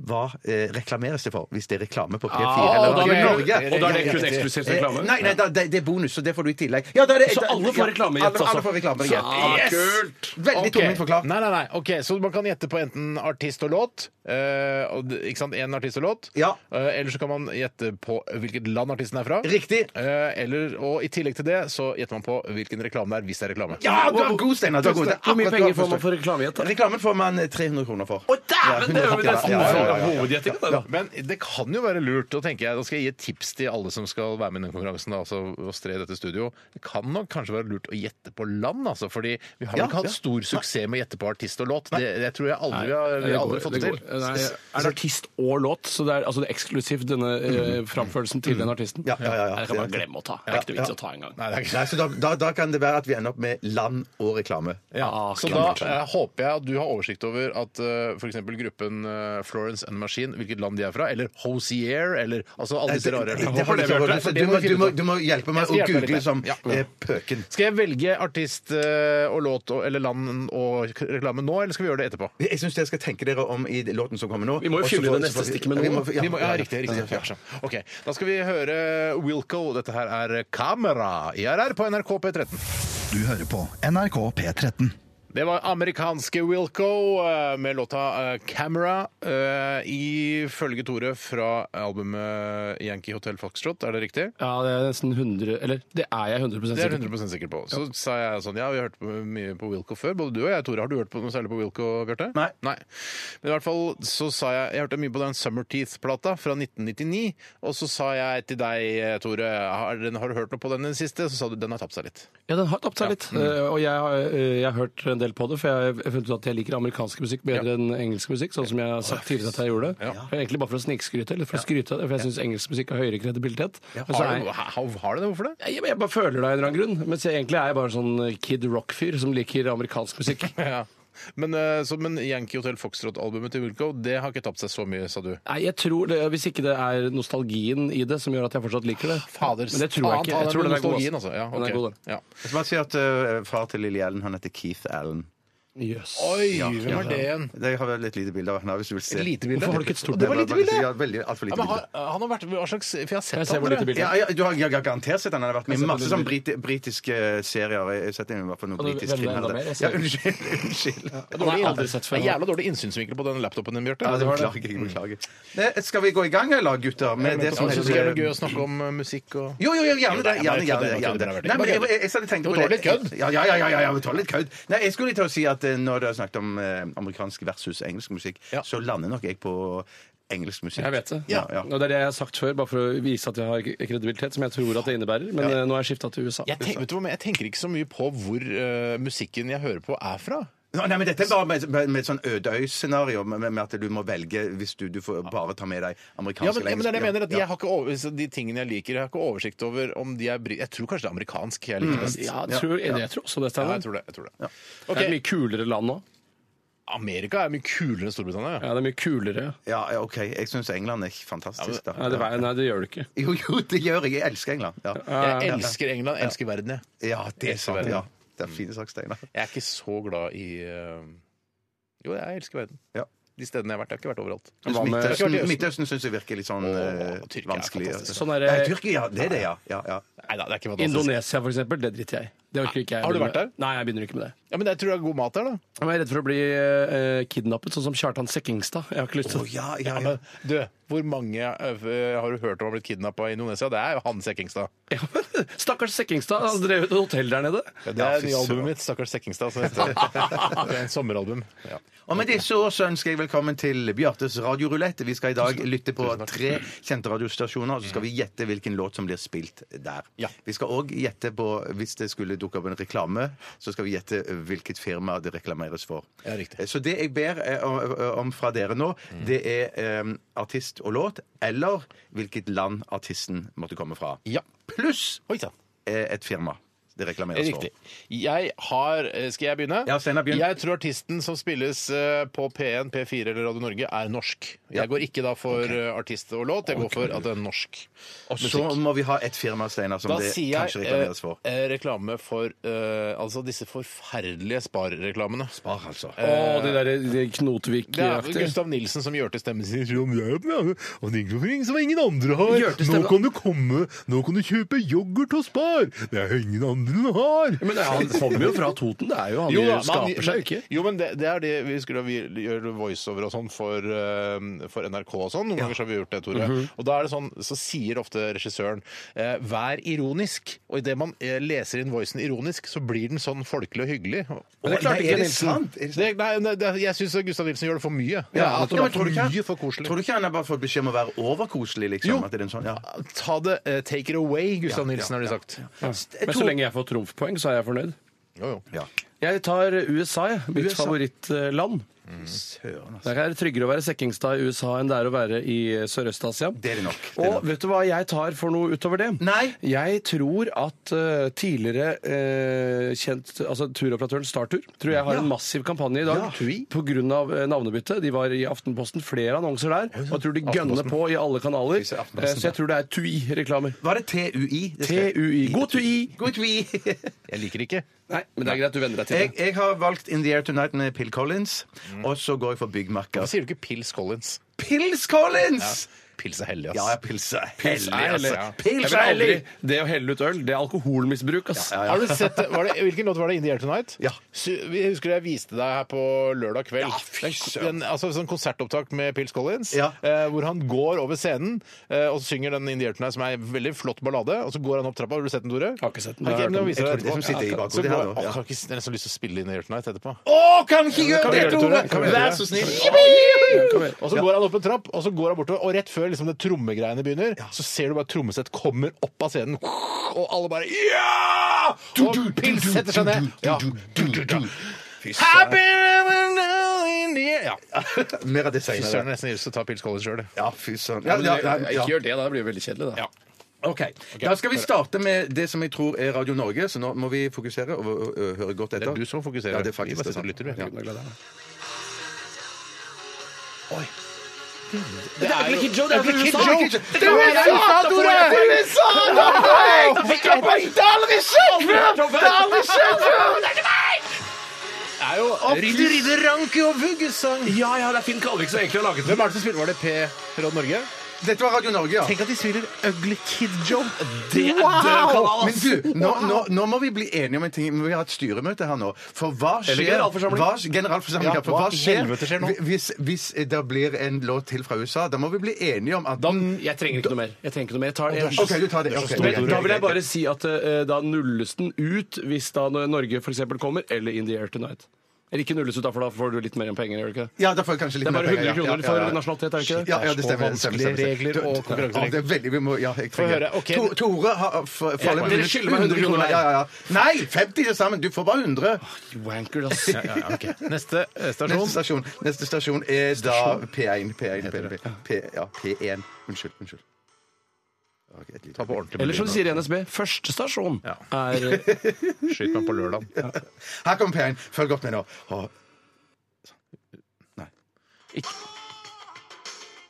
[SPEAKER 3] hva eh, reklameres det for, hvis det er reklame på P4
[SPEAKER 2] Ah,
[SPEAKER 3] eller
[SPEAKER 2] da er det-
[SPEAKER 3] Radio Norge?
[SPEAKER 2] og da er det kun eksklusivt reklame?
[SPEAKER 3] Eh, Nei, nei da, det, det er bonus, så det får du i tillegg. Ja, da er det,
[SPEAKER 2] Så alle får
[SPEAKER 3] ja,
[SPEAKER 2] reklamegjett,
[SPEAKER 3] alle-
[SPEAKER 2] altså?
[SPEAKER 3] Alle får reklamegjett.
[SPEAKER 2] Ja,
[SPEAKER 3] kult! Veldig
[SPEAKER 1] Ok.
[SPEAKER 3] tungvint forklart.
[SPEAKER 1] Nei, nei, nei. Ok, Så man kan gjette på enten artist og låt. eh, og d- ikke sant, Én artist og låt.
[SPEAKER 3] Ja.
[SPEAKER 1] Eh, eller så kan man gjette på hvilket land artisten er fra.
[SPEAKER 3] Riktig.
[SPEAKER 1] Eh, eller, og i tillegg til det så gjetter man på hvilken reklame det er, hvis det er reklame.
[SPEAKER 3] Ja, du er god, Steinar. du er god. Det er
[SPEAKER 2] Hvor mye
[SPEAKER 3] akkurat du
[SPEAKER 2] penger
[SPEAKER 3] har
[SPEAKER 2] får man for
[SPEAKER 3] forstått.
[SPEAKER 2] reklamegjett? da?
[SPEAKER 3] Reklamen får man 300 kroner for.
[SPEAKER 2] Å, dæven! Det er jo
[SPEAKER 3] 150,
[SPEAKER 2] nesten
[SPEAKER 3] ja, ja, ja, ja, ja.
[SPEAKER 2] hovedgjettinga, det, da.
[SPEAKER 1] Men det kan jo være lurt. Da tenker jeg, da skal jeg gi et tips til alle som skal være med i den konkurransen. Da, altså å stre i dette studio. Det kan nok kanskje være lurt å gjette på land, altså. fordi vi har
[SPEAKER 3] Ja,
[SPEAKER 1] nok hatt
[SPEAKER 3] ja.
[SPEAKER 1] stor suksess med å gjette på artist og låt. Det, det tror jeg aldri vi har, vi har aldri fått det til.
[SPEAKER 2] Nei, er det artist og låt, så det er, altså, det er eksklusivt denne eh, framførelsen til den artisten?
[SPEAKER 3] Ja, ja, ja, ja.
[SPEAKER 2] Nei, Det kan man glemme å ta. Det er ikke noe vits å ta engang.
[SPEAKER 1] Nei, det er ikke
[SPEAKER 3] Nei, så da, da, da kan det være at vi ender opp med land og reklame.
[SPEAKER 1] Ja,
[SPEAKER 2] Ah,
[SPEAKER 1] så da
[SPEAKER 2] skummelt.
[SPEAKER 1] eh, håper jeg at du har oversikt over at uh, f.eks. gruppen eh, Florence and the Machine, hvilket land de er fra, eller Hosier, eller altså alle disse rare
[SPEAKER 3] Det- det har du ikke hørt, så du, må, du, må, du må hjelpe
[SPEAKER 1] Jeg
[SPEAKER 3] meg
[SPEAKER 1] skal
[SPEAKER 3] å
[SPEAKER 1] hjelpe deg
[SPEAKER 3] google
[SPEAKER 1] litt.
[SPEAKER 3] som
[SPEAKER 1] Ja.
[SPEAKER 3] eh, pøken.
[SPEAKER 1] Skal jeg velge artist eh, og låt og, eller land og k- reklame nå, eller skal vi gjøre det etterpå?
[SPEAKER 3] Jeg syns dere skal tenke dere om i låten som kommer nå.
[SPEAKER 2] Vi må jo
[SPEAKER 3] og så
[SPEAKER 2] fylle
[SPEAKER 3] får-
[SPEAKER 2] det neste
[SPEAKER 3] så får-
[SPEAKER 2] stikket med noe.
[SPEAKER 3] Vi må-
[SPEAKER 1] Vi må, ja, riktig. riktig. Ja, sånn. Ok, Da skal vi høre Wilco. Dette her er Kamera i RR på NRK P13.
[SPEAKER 4] Du hører på NRK P13.
[SPEAKER 1] Det var amerikanske Wilco eh, med låta eh, 'Camera'. eh, Ifølge Tore fra albumet Yankee Hotel Foxtrot, er det riktig?
[SPEAKER 2] Ja, det er nesten 100 Eller det er jeg 100
[SPEAKER 1] Det er
[SPEAKER 2] sikker
[SPEAKER 1] jeg 100 sikker på. Så sa jeg sånn Ja, vi har hørt på- mye på Wilco før. Både du og jeg, Tore. Har du hørt på noe særlig på Wilco, Bjarte?
[SPEAKER 3] Nei.
[SPEAKER 1] Men i hvert fall så sa jeg Jeg hørte mye på den Summer Teeth-plata fra 1999. Og så sa jeg til deg, Tore, har, den- har du hørt noe på den i det siste? Så sa du den har tapt seg litt.
[SPEAKER 2] Ja, den har tapt seg litt. Eh, Og jeg har, eh, jeg har hørt en del på det, for jeg har funnet ut at jeg liker amerikansk musikk bedre enn engelsk musikk, sånn som jeg har sagt tidligere at jeg gjorde det.
[SPEAKER 1] Ja.
[SPEAKER 2] Egentlig bare for å snikskryte, eller for å skryte av det, for jeg syns engelsk musikk har høyere kredibilitet. Men så
[SPEAKER 1] Har,
[SPEAKER 2] er-
[SPEAKER 1] du- har, har du det? Hvorfor det?
[SPEAKER 2] Nei, Jeg, jeg bare føler det av en eller annen grunn, mens jeg egentlig er jeg bare sånn kid rock-fyr som liker amerikansk musikk.
[SPEAKER 1] Ja. Men, eh, så, men Yankee Hotel Foxtrot-albumet til Wilco det har ikke tapt seg så mye, sa du.
[SPEAKER 2] Nei, jeg tror det, Hvis ikke det er nostalgien i det som gjør at jeg fortsatt liker det.
[SPEAKER 1] Fader,
[SPEAKER 2] Men det tror jeg ikke.
[SPEAKER 1] faen,
[SPEAKER 2] Jeg tror den er god.
[SPEAKER 1] nostalgien, altså. Ja,
[SPEAKER 2] Den er
[SPEAKER 1] ok.
[SPEAKER 2] god, den.
[SPEAKER 1] Ja.
[SPEAKER 3] Jeg skal bare si at eh, far til Lilly Allen, han heter Keith Allen.
[SPEAKER 2] Jøs.
[SPEAKER 1] Oi, hvem er det igjen?
[SPEAKER 3] Det har vel et lite bilde av han her, hvis du vil se.
[SPEAKER 1] Et lite bilde?
[SPEAKER 2] Hvorfor har du ikke et stort
[SPEAKER 1] Det var lite bilde!
[SPEAKER 3] Ja, veldig, alt for
[SPEAKER 1] Ja,
[SPEAKER 3] lite
[SPEAKER 1] men
[SPEAKER 3] bilde.
[SPEAKER 1] har, han har vært Hva slags For jeg har sett
[SPEAKER 2] Jeg ser hvor
[SPEAKER 1] tror
[SPEAKER 2] lite
[SPEAKER 1] jeg.
[SPEAKER 2] bilde.
[SPEAKER 3] Ja, ja, du har jeg har garantert sett den. Han har vært med
[SPEAKER 2] Jeg
[SPEAKER 3] i
[SPEAKER 2] ser på
[SPEAKER 3] masse
[SPEAKER 2] det
[SPEAKER 3] sånn
[SPEAKER 2] bildet.
[SPEAKER 3] briti britiske eh, serier. Jeg har sett den i hvert fall noe
[SPEAKER 2] Og du
[SPEAKER 3] britisk
[SPEAKER 2] velger
[SPEAKER 3] krim.
[SPEAKER 2] enda
[SPEAKER 3] eller-
[SPEAKER 2] mer, jeg
[SPEAKER 3] Ja,
[SPEAKER 2] ser-
[SPEAKER 3] unnskyld. unnskyld. Ja,
[SPEAKER 2] Den har jeg aldri sett
[SPEAKER 1] Det
[SPEAKER 2] før.
[SPEAKER 1] er jævla dårlig innsynsvinkel på den laptopen din, Bjarte.
[SPEAKER 3] det beklager jeg. beklager. Nei, Skal vi gå i gang, eller, gutter? Med det
[SPEAKER 1] Jeg
[SPEAKER 3] som
[SPEAKER 1] synes det er noe gøy
[SPEAKER 3] heter
[SPEAKER 1] å snakke om eh, musikk og
[SPEAKER 3] jo, jo, jo, gjerne det.
[SPEAKER 1] Ja, men jeg
[SPEAKER 3] Gjerne, gjerne,
[SPEAKER 1] kødder, jeg
[SPEAKER 3] gjerne det.
[SPEAKER 1] kødder, jeg
[SPEAKER 3] Nei, men jeg,
[SPEAKER 1] kødder.
[SPEAKER 3] jeg, jeg, satt og tenkte
[SPEAKER 1] Du
[SPEAKER 3] på
[SPEAKER 1] tåler
[SPEAKER 3] det.
[SPEAKER 1] litt kødd?
[SPEAKER 3] Ja, ja, ja. ja, ja, ja vi tåler litt kødd. Nei, jeg skulle til å si at eh, når du har snakket om eh, amerikansk versus engelsk musikk,
[SPEAKER 1] Ja.
[SPEAKER 3] så lander nok jeg på engelsk musikk.
[SPEAKER 2] Jeg vet det.
[SPEAKER 3] Ja, ja.
[SPEAKER 2] Og det er det jeg har sagt før, bare for å vise at jeg har kredibilitet, som jeg tror at det innebærer. Men eh, nå har jeg skifta til USA.
[SPEAKER 1] jeg, tenk, vet du, hva, men jeg tenker ikke så mye på hvor eh, musikken jeg hører på, er fra.
[SPEAKER 3] Nå, Nei, men Dette er bare med, med, med et sånn ødeøy-scenario, med, med at du må velge hvis du, du får bare ta med deg amerikansk
[SPEAKER 1] Ja, men, ja, men det er det jeg mener, at
[SPEAKER 3] Ja.
[SPEAKER 1] jeg har ikke over, så De tingene jeg liker, jeg har ikke oversikt over om de er bri... Jeg tror kanskje det er amerikansk
[SPEAKER 3] Mm.
[SPEAKER 1] jeg liker best.
[SPEAKER 2] Ja, jeg tror, jeg, tror også
[SPEAKER 1] Ja,
[SPEAKER 2] det,
[SPEAKER 1] jeg
[SPEAKER 2] Steinar.
[SPEAKER 1] tror det. Jeg tror det.
[SPEAKER 2] Det er
[SPEAKER 1] Ok.
[SPEAKER 2] et mye kulere land nå.
[SPEAKER 1] Amerika er mye kulere enn Storbritannia.
[SPEAKER 2] Ja, det er mye kulere.
[SPEAKER 3] Ja, ja, OK. Jeg syns England er fantastisk, da.
[SPEAKER 2] Nei, det, var- nei, det gjør det ikke.
[SPEAKER 3] Jo, jo, det gjør jeg. Jeg elsker England. Ja,
[SPEAKER 1] Jeg elsker England, jeg elsker verden, jeg.
[SPEAKER 3] ja det er sant.
[SPEAKER 1] verden.
[SPEAKER 3] Ja. Det er fine saksteiner.
[SPEAKER 1] Jeg er ikke så glad i eh, Jo, jeg elsker verden.
[SPEAKER 3] Ja.
[SPEAKER 1] De stedene jeg har vært. Jeg har ikke vært overalt.
[SPEAKER 2] Hva med-
[SPEAKER 3] Midtøsten, Midtøsten syns jeg virker litt sånn
[SPEAKER 1] Åh,
[SPEAKER 3] eh,
[SPEAKER 1] Tyrkia er
[SPEAKER 3] vanskelig.
[SPEAKER 1] fantastisk.
[SPEAKER 2] Sånn er
[SPEAKER 3] Ja,
[SPEAKER 2] det-
[SPEAKER 3] Tyrkia, ja. Det er det, ja. ja, ja.
[SPEAKER 1] Neida, det er ikke fantastisk.
[SPEAKER 2] Indonesia, for eksempel, det driter jeg i. Det orker ikke jeg.
[SPEAKER 1] Har du
[SPEAKER 2] begynne
[SPEAKER 1] vært
[SPEAKER 2] med. Nei, jeg begynner ikke med det.
[SPEAKER 1] Ja, men jeg tror det er god mat der, da.
[SPEAKER 2] Jeg er redd for å bli eh, kidnappet, sånn som Kjartan Sekkingstad. Jeg har ikke lyst til
[SPEAKER 3] Å, ja, ja,
[SPEAKER 1] Ja,
[SPEAKER 3] ja.
[SPEAKER 1] men du, hvor mange eh, har du hørt om har blitt kidnappa i Indonesia? Det er jo han Sekkingstad.
[SPEAKER 2] Ja, men Stakkars Sekkingstad, han drev et hotell der nede.
[SPEAKER 1] det
[SPEAKER 3] Ja,
[SPEAKER 1] er
[SPEAKER 3] fy
[SPEAKER 1] nye
[SPEAKER 3] søren.
[SPEAKER 1] albumet mitt, Stakkars Sekkingstad. som heter det. Det er en sommeralbum. Ja.
[SPEAKER 3] Og med disse ord så ønsker jeg velkommen til Bjartes radiorulett. Vi skal i dag lytte på tre kjente radiostasjoner, og så skal vi gjette hvilken låt som blir spilt der.
[SPEAKER 1] Ja.
[SPEAKER 3] Vi skal òg gjette på, hvis det skulle dukke opp en reklame, så skal vi gjette hvilket firma det reklameres for.
[SPEAKER 1] Ja, riktig. Mm.
[SPEAKER 3] Så det jeg ber eh, om- om fra dere nå, det er eh, artist og låt, eller hvilket land artisten måtte komme fra.
[SPEAKER 1] ja.
[SPEAKER 3] Pluss
[SPEAKER 1] Oi sann.
[SPEAKER 3] eh, et firma det reklameres
[SPEAKER 1] Riktig. Jeg har eh, Skal jeg begynne?
[SPEAKER 3] Ja, Steinar, begynn.
[SPEAKER 1] Jeg tror artisten som spilles eh, på P1, P4 eller Radio Norge, er norsk. Jeg går ikke da for eh, artist og låt, jeg går for at det er norsk.
[SPEAKER 3] for. Og så må vi ha et firma, Steinar, som
[SPEAKER 1] Da
[SPEAKER 3] det
[SPEAKER 1] sier
[SPEAKER 3] kanskje
[SPEAKER 1] jeg
[SPEAKER 3] reklameres for.
[SPEAKER 1] eh, eh, reklame for eh, altså disse forferdelige Spar-reklamene.
[SPEAKER 3] Spar,
[SPEAKER 1] eh,
[SPEAKER 3] altså.
[SPEAKER 2] Å, det derre de
[SPEAKER 1] Det er
[SPEAKER 2] Knotvik-aktig.
[SPEAKER 1] Gustav Nilsen som gjør til stemmen sin som jeg er, og det er ingenting som ingen andre har.
[SPEAKER 2] Gjør til
[SPEAKER 1] Nå
[SPEAKER 2] stemmen-
[SPEAKER 1] kan du komme, nå kan du kjøpe yoghurt og spar. Det er ingen andre har.
[SPEAKER 2] Men det er- han kommer jo fra Toten, det er jo han
[SPEAKER 1] Jo, da, men han-
[SPEAKER 2] skaper seg jo ikke.
[SPEAKER 1] Jo, men det, det er det vi skulle vi gjøre voiceover og sånn for, eh, for NRK og sånn. Noen ganger så har vi gjort det, Tore. Og da er det sånn, så sier ofte regissøren eh, 'vær ironisk'. Og idet man eh, leser inn voicen ironisk, så blir den sånn folkelig og hyggelig.
[SPEAKER 2] Men det
[SPEAKER 3] Nei,
[SPEAKER 2] klarte ikke
[SPEAKER 3] er det
[SPEAKER 2] Nilsen.
[SPEAKER 3] sant? Er det sant?
[SPEAKER 1] Det, nei, nei, det, jeg syns Gustav Nilsen gjør det for mye.
[SPEAKER 3] Ja,
[SPEAKER 1] at det
[SPEAKER 3] ja,
[SPEAKER 1] var
[SPEAKER 3] men tror
[SPEAKER 1] for
[SPEAKER 3] du ikke-
[SPEAKER 1] mye for koselig.
[SPEAKER 3] Tror du ikke han har bare fått beskjed om å være overkoselig, liksom?
[SPEAKER 1] Jo.
[SPEAKER 3] At det er en sånn, ja.
[SPEAKER 1] Ta det eh, take it away, Gustav Nilsen, har de sagt.
[SPEAKER 2] Men så lenge jeg får trumfpoeng, så er jeg fornøyd.
[SPEAKER 1] Jo, jo.
[SPEAKER 3] Ja.
[SPEAKER 2] Jeg tar USA, jeg. mitt
[SPEAKER 3] USA.
[SPEAKER 2] favorittland.
[SPEAKER 3] Søren, altså.
[SPEAKER 2] Det er tryggere å være Sekkingstad i USA enn det er å være i eh, Sørøst-Asia.
[SPEAKER 3] Det er det nok. Det er
[SPEAKER 2] Og vet du hva jeg tar for noe utover det?
[SPEAKER 3] Nei.
[SPEAKER 2] Jeg tror at eh, tidligere eh, kjent altså turoperatøren Startur tror jeg har en massiv kampanje i dag
[SPEAKER 3] Ja.
[SPEAKER 2] Tui. på grunn av eh, navnebyttet. De var i Aftenposten, flere annonser der. Og jeg tror de gønner på i alle kanaler.
[SPEAKER 3] Hvis det er Aftenposten,
[SPEAKER 2] Eh, så jeg tror det er Tui-reklamer.
[SPEAKER 3] Var det TUI? Det skal-
[SPEAKER 2] TUI. God Tui!
[SPEAKER 3] Good we.
[SPEAKER 1] Jeg liker det ikke.
[SPEAKER 2] Nei, men det er greit, du venner deg til
[SPEAKER 3] Jeg,
[SPEAKER 2] det.
[SPEAKER 3] jeg har valgt In The Air Tonight med Pill Collins, og så går jeg for Big Macca.
[SPEAKER 1] Hvorfor sier du ikke Pils Collins?
[SPEAKER 3] Pils Collins!
[SPEAKER 1] Pils er hellig,
[SPEAKER 3] Ja,
[SPEAKER 1] ass.
[SPEAKER 3] jeg pilser hellig,
[SPEAKER 1] er hellig,
[SPEAKER 3] altså.
[SPEAKER 1] ja.
[SPEAKER 2] Jeg
[SPEAKER 3] Pils
[SPEAKER 2] vil
[SPEAKER 3] er hellig!
[SPEAKER 2] aldri- Det å helle ut øl, det er alkoholmisbruk, ass.
[SPEAKER 3] Ja, ja.
[SPEAKER 1] Har du sett, det- var det, hvilken låt var det? In the Air Tonight?
[SPEAKER 3] Ja.
[SPEAKER 1] Sy- vi husker jeg viste deg her på lørdag kveld.
[SPEAKER 3] Ja, fy
[SPEAKER 1] Den-
[SPEAKER 3] søren.
[SPEAKER 1] den- altså sånn konsertopptak med Pils Collins,
[SPEAKER 3] Ja.
[SPEAKER 1] eh, hvor han går over scenen eh, og synger den In the Air Tonight, som er en veldig flott ballade, og så går han opp trappa. Har du sett den, Tore?
[SPEAKER 2] Har ikke sett den.
[SPEAKER 1] Ok, men da viser
[SPEAKER 3] Jeg tror
[SPEAKER 1] jeg deg
[SPEAKER 3] det er det som sitter i
[SPEAKER 1] etterpå.
[SPEAKER 3] bakhodet
[SPEAKER 1] Så går-
[SPEAKER 3] her nå,
[SPEAKER 1] Åh,
[SPEAKER 3] ja.
[SPEAKER 1] Jeg har ikke jeg har nesten lyst til å spille In the Air Tonight etterpå.
[SPEAKER 3] Å, kan vi ikke gjøre
[SPEAKER 1] Kan vi
[SPEAKER 3] det,
[SPEAKER 1] gjøre det,
[SPEAKER 3] Tore?
[SPEAKER 1] Tore? Kan vi
[SPEAKER 3] Vær
[SPEAKER 1] gjøre
[SPEAKER 3] så
[SPEAKER 1] det?
[SPEAKER 3] snill.
[SPEAKER 1] Og så går han opp en trapp, og så går han bortover, og rett før liksom, det trommegreiene begynner, så ser du bare et trommesett kommer opp av scenen, og alle bare Ja! Og pils setter seg ned. Ja. Happy Ja.
[SPEAKER 3] Mer av det
[SPEAKER 1] Fy søren,
[SPEAKER 3] senere.
[SPEAKER 1] nesten lyst til å ta Pils College sjøl, du.
[SPEAKER 3] Ja, fy søren. Ja, ja, ja, ja.
[SPEAKER 2] Ikke gjør det, da. Det blir jo veldig kjedelig, da.
[SPEAKER 1] Ja.
[SPEAKER 3] Ok, Da skal vi starte med det som jeg tror er Radio Norge, så nå må vi fokusere og ø, ø, høre godt etter.
[SPEAKER 1] Det er du som fokuserer.
[SPEAKER 3] Ja, det er faktisk
[SPEAKER 1] Vi bare
[SPEAKER 3] det. sant.
[SPEAKER 1] sitter og lytter, vi.
[SPEAKER 3] Ja.
[SPEAKER 1] Det er jo
[SPEAKER 2] Joe, det er
[SPEAKER 1] Kid
[SPEAKER 2] USA!
[SPEAKER 1] Joe! Det er jo USA, Tore! Det er jo
[SPEAKER 3] Ridde, ridde, ranke og vuggesang.
[SPEAKER 2] Ja, ja, det er Finn Kalvik som egentlig har laget
[SPEAKER 1] Hvem er det som spiller? Var det P. Råd Norge?
[SPEAKER 3] Dette var Radio Norge, ja.
[SPEAKER 1] Tenk at de spiller Ugly Kid Joe.
[SPEAKER 2] Det er død kanal,
[SPEAKER 3] Men
[SPEAKER 2] ass!
[SPEAKER 3] du, nå, nå, nå må vi bli enige om en ting. Vi har et styremøte her nå. For hva skjer
[SPEAKER 2] generalforsamling.
[SPEAKER 3] Hva, generalforsamling,
[SPEAKER 1] Ja,
[SPEAKER 3] ja, for hva
[SPEAKER 1] hva i
[SPEAKER 3] skjer,
[SPEAKER 1] helvete skjer nå?
[SPEAKER 3] hvi- hvis, hvis det blir en låt til fra USA? Da må vi bli enige om at
[SPEAKER 2] Jeg trenger ikke noe mer. Jeg trenger ikke noe mer. Jeg tar en.
[SPEAKER 3] OK, du tar det. ok.
[SPEAKER 2] Du vet, Da vil jeg bare si at eh, da nulles den ut hvis da Norge f.eks. kommer, eller In the Air Tonight. Eller ikke nulles ut, da, for da får du litt mer enn penger. gjør du ikke? det?
[SPEAKER 3] Ja, da får jeg kanskje litt
[SPEAKER 2] Det er bare
[SPEAKER 3] mer penger,
[SPEAKER 2] 100 kroner liksom. for
[SPEAKER 3] ja, ja, ja.
[SPEAKER 2] nasjonalitet, er det ikke det?
[SPEAKER 3] Ja, ja, det stemmer. det stemmer,
[SPEAKER 1] vanskelige
[SPEAKER 3] stemmer, stemmer.
[SPEAKER 1] regler og
[SPEAKER 3] Du- du-
[SPEAKER 1] konkurranseregler.
[SPEAKER 3] Ja, det er veldig, vi må, ja, jeg
[SPEAKER 1] Få
[SPEAKER 3] trenger
[SPEAKER 1] høre, ok.
[SPEAKER 3] To- Tore har for, for,
[SPEAKER 2] men dere skylder meg 100 kroner.
[SPEAKER 3] Ja, ja, ja. Nei, 50 til sammen! Du får bare 100.
[SPEAKER 2] Wanker, ass.
[SPEAKER 1] Neste eh,
[SPEAKER 3] Neste
[SPEAKER 1] stasjon.
[SPEAKER 3] stasjon, neste stasjon er da P1. P1, P1, P1, P1, ja, P1. Unnskyld. unnskyld. Ok, et lite-
[SPEAKER 1] Ta på ordentlig
[SPEAKER 2] Eller som de sier i NSB, første stasjon
[SPEAKER 1] Ja.
[SPEAKER 2] er eh,
[SPEAKER 1] Skyt meg på lørdag.
[SPEAKER 3] Her kommer P1. Følg godt med nå. Å.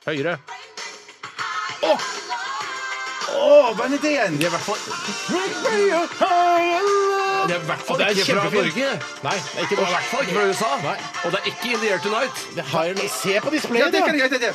[SPEAKER 1] Høyere.
[SPEAKER 3] Å, hva er det igjen?
[SPEAKER 2] Det er i hvert fall- det er i hvert
[SPEAKER 1] Og
[SPEAKER 2] fall
[SPEAKER 1] det er
[SPEAKER 2] ikke fra
[SPEAKER 1] kjempefint.
[SPEAKER 2] Norge.
[SPEAKER 1] Nei, det er ikke det. I hvert fall ikke fra USA. Nei.
[SPEAKER 2] Og det er ikke In the Air Tonight.
[SPEAKER 1] Det har jeg Se på
[SPEAKER 3] Ja,
[SPEAKER 1] displayet,
[SPEAKER 3] det kan
[SPEAKER 1] da!
[SPEAKER 3] jeg, det, det.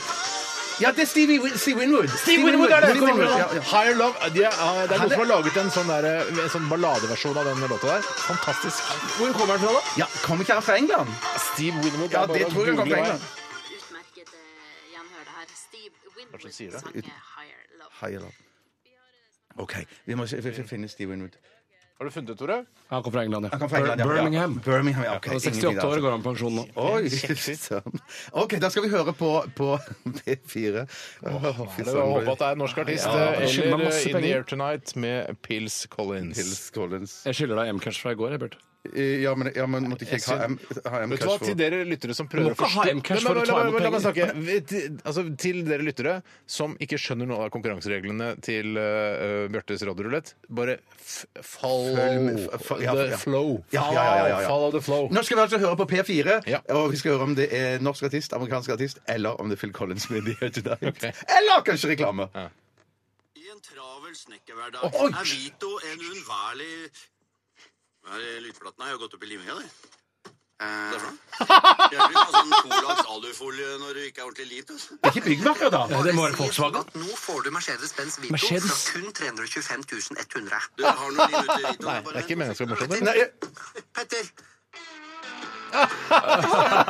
[SPEAKER 3] ja, det er Stevie, Win- Steve Winwood.
[SPEAKER 1] Steve Winwood er det!
[SPEAKER 3] Steve Winwood, ja, ja.
[SPEAKER 1] Higher Love. De er, det er noen som har laget en sånn, der, en sånn balladeversjon av den låta der. Fantastisk.
[SPEAKER 2] Hvor kommer den fra, da?
[SPEAKER 3] Ja, Kommer ikke han fra England?
[SPEAKER 1] Steve Winwood.
[SPEAKER 3] Ja,
[SPEAKER 1] er bare
[SPEAKER 3] det
[SPEAKER 1] å
[SPEAKER 3] tror jeg han kommer
[SPEAKER 1] google
[SPEAKER 3] fra
[SPEAKER 1] hva
[SPEAKER 3] England.
[SPEAKER 6] utmerket eh, gjenhør det her. Steve Winwood sang eh, Higher Love.
[SPEAKER 3] Higher Love. OK, vi må se- vi får finne Steve Winwood.
[SPEAKER 1] er. Har du funnet det, Tore?
[SPEAKER 2] Han kommer fra England,
[SPEAKER 3] Han
[SPEAKER 2] ja.
[SPEAKER 3] kom fra England, ja.
[SPEAKER 2] Birmingham.
[SPEAKER 3] Ja, Birmingham, ja, ok.
[SPEAKER 2] Han er
[SPEAKER 3] Ingen
[SPEAKER 2] 68 år
[SPEAKER 3] videre. altså.
[SPEAKER 2] og går av med pensjon nå.
[SPEAKER 3] Oi, søren. OK, da skal vi høre på, på P4. Åh,
[SPEAKER 1] Det er
[SPEAKER 3] fy
[SPEAKER 1] å
[SPEAKER 3] søren.
[SPEAKER 1] håpe at det er en norsk artist. eh,
[SPEAKER 2] Ja, det skylder meg
[SPEAKER 1] eller
[SPEAKER 2] masse
[SPEAKER 1] In the
[SPEAKER 2] penger.
[SPEAKER 1] Air Tonight med Pils Collins.
[SPEAKER 3] Hills Collins.
[SPEAKER 2] Jeg skylder deg M-cash fra i går, jeg, Bjarte.
[SPEAKER 3] Eh, Ja, men, ja, men måtte ikke jeg ha M- ha
[SPEAKER 1] Vet du hva,
[SPEAKER 3] M-cash
[SPEAKER 1] Til
[SPEAKER 3] for
[SPEAKER 1] dere lyttere som prøver
[SPEAKER 2] Du må ikke ha M-cash
[SPEAKER 1] Nei, men-
[SPEAKER 2] for å ta
[SPEAKER 1] men-
[SPEAKER 2] imot
[SPEAKER 1] men- La meg snakke. Vi- til- Altså, til dere lyttere som ikke skjønner noe av konkurransereglene til uh, Bjørtes radiorulett, bare f follow
[SPEAKER 3] Følg med- f- f- ja, ja.
[SPEAKER 1] the flow.
[SPEAKER 3] Ja, ja, ja, ja, ja, ja.
[SPEAKER 1] Follow the flow.
[SPEAKER 3] Nå skal vi altså høre på P4,
[SPEAKER 1] Ja.
[SPEAKER 3] og vi skal høre om det er norsk artist, amerikansk artist, eller om det er Phil Collins med The Air Tonight.
[SPEAKER 1] Ok.
[SPEAKER 3] Eller kanskje reklame.
[SPEAKER 7] I en travel snekkerhverdag
[SPEAKER 3] Oi!
[SPEAKER 7] er Vito en uunnværlig Hva er det lydplaten her? Jeg har gått opp i liminga, det. Hva er det for noe? Jeg vil ha sånn Colax alufolie når det ikke er ordentlig liv. Altså.
[SPEAKER 3] Det er ikke byggmerker, da.
[SPEAKER 2] Det må være Volkswagen.
[SPEAKER 8] At nå får du Mercedes-Benz Vito
[SPEAKER 2] Mercedes?
[SPEAKER 8] fra kun 325 100.
[SPEAKER 7] Du har noe liv ute i Vito.
[SPEAKER 1] Nei, det er ikke meningen å være morsomt.
[SPEAKER 3] Nei,
[SPEAKER 8] Petter!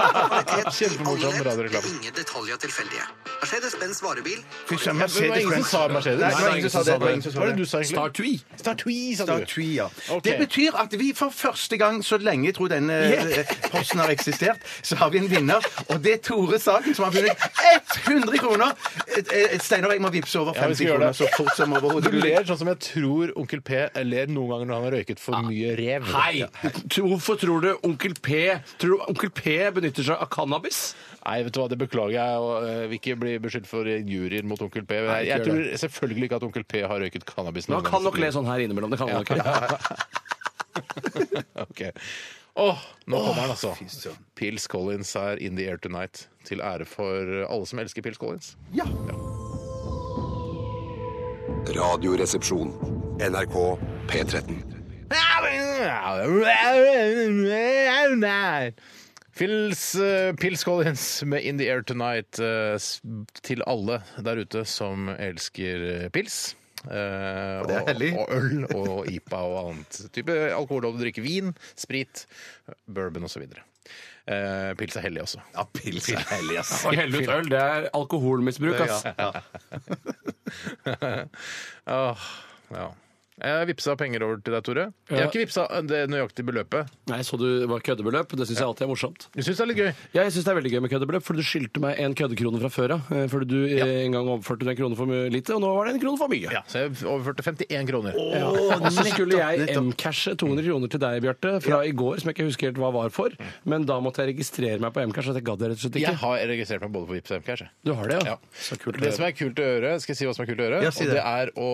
[SPEAKER 1] Kjempemorsom radioreklame.
[SPEAKER 8] Ingen detaljer tilfeldige. Mercedes-Benz varebil.
[SPEAKER 3] fy søren,
[SPEAKER 1] Det var ingen som
[SPEAKER 3] Mercedes-Benz.
[SPEAKER 1] sa Mercedes.
[SPEAKER 3] Nei, det var ingen som sa det. det var ingen som
[SPEAKER 1] Hva
[SPEAKER 3] sa
[SPEAKER 1] var
[SPEAKER 3] det.
[SPEAKER 1] det du sa egentlig?
[SPEAKER 2] Startui.
[SPEAKER 1] Statui, sa du.
[SPEAKER 3] Statue, ja.
[SPEAKER 1] Ok.
[SPEAKER 3] Det betyr at vi for første gang, så lenge jeg tror denne eh, posten har eksistert, så har vi en vinner. Og det er Tore Sagen som har vunnet 100 kroner! Eh, eh, Steinar, jeg må vippse over
[SPEAKER 1] Ja, vi
[SPEAKER 3] 50
[SPEAKER 1] skal gjøre
[SPEAKER 3] kroner
[SPEAKER 1] det.
[SPEAKER 3] så fort som
[SPEAKER 1] Du
[SPEAKER 3] overhodet mulig.
[SPEAKER 1] ler sånn som jeg tror Onkel P ler noen ganger når han har røyket for mye rev.
[SPEAKER 2] Hei! Hvorfor tror du onkel P Tror du onkel P benytter seg av cannabis?
[SPEAKER 1] Nei, vet du hva, det beklager jeg. Og eh, vil ikke bli beskyldt for juryer mot Onkel P. Jeg,
[SPEAKER 2] gjør
[SPEAKER 1] jeg tror selvfølgelig ikke at Onkel P har røyket cannabis.
[SPEAKER 2] Men
[SPEAKER 1] noen
[SPEAKER 2] han kan
[SPEAKER 1] gang i
[SPEAKER 2] nok
[SPEAKER 1] sitt
[SPEAKER 2] le
[SPEAKER 1] liv.
[SPEAKER 2] sånn her innimellom. Det kan han nok.
[SPEAKER 1] Ok. Åh, nå kommer han altså. Pils Collins er In The Air Tonight. Til ære for alle som elsker Pils Collins.
[SPEAKER 5] Radioresepsjon. NRK P13.
[SPEAKER 1] Pils, eh, Pils Collins med In The Air Tonight eh, s- til alle der ute som elsker eh, pils. eh,
[SPEAKER 3] det er hellig.
[SPEAKER 1] og øl og IPA og annet type alkohol. Og du drikker vin, sprit, bourbon osv. Uh, pils er hellig også.
[SPEAKER 3] Ja, pils er hellig, ass.
[SPEAKER 2] Og helle ut øl, det er alkoholmisbruk, ass.
[SPEAKER 1] Åh, ja. Jeg vippsa penger over til deg, Tore. Jeg har
[SPEAKER 2] Ja.
[SPEAKER 1] ikke vippsa det nøyaktige beløpet.
[SPEAKER 2] Nei, så du var køddebeløp? Det syns jeg alltid er morsomt.
[SPEAKER 1] Du syns det er litt gøy?
[SPEAKER 2] Ja, jeg syns det er veldig gøy med køddebeløp, for du skyldte meg en køddekrone fra før av. eh, Fordi du eh, en gang overførte en krone for mye- lite, og nå var det en krone for mye.
[SPEAKER 1] Ja, så jeg overførte 51 kroner.
[SPEAKER 2] Ja. Og så skulle jeg Mcashe 200 kroner til deg, Bjarte, fra i går, som jeg ikke husker helt hva var for. Men da måtte jeg registrere meg på Mcash, at jeg gadd det rett og slett
[SPEAKER 1] Jeg
[SPEAKER 2] ikke.
[SPEAKER 1] har registrert meg både på Vipps og MK. kanskje.
[SPEAKER 2] Du har det,
[SPEAKER 1] Ja.
[SPEAKER 2] ja? Så kult. å
[SPEAKER 1] Det
[SPEAKER 2] høre.
[SPEAKER 1] som er kult å gjøre, skal jeg si hva som er kult å gjøre?
[SPEAKER 3] Ja, si
[SPEAKER 1] Og
[SPEAKER 3] det.
[SPEAKER 1] det er å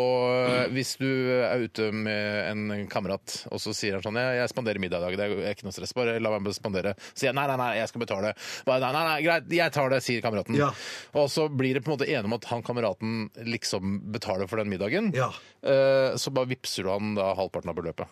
[SPEAKER 1] Hvis du er ute med en kamerat, og så sier han sånn Jeg, jeg spanderer middag i dag, det er- er ikke noe stress, bare la meg spandere. Så sier jeg nei, nei, nei, jeg skal betale. Bare, nei, nei, nei, greit, jeg tar det, sier kameraten.
[SPEAKER 3] Ja.
[SPEAKER 1] Og så blir det på en måte enig om at han kameraten liksom betaler for den middagen.
[SPEAKER 3] Ja.
[SPEAKER 1] Eh, Så bare vippser du han da halvparten av beløpet.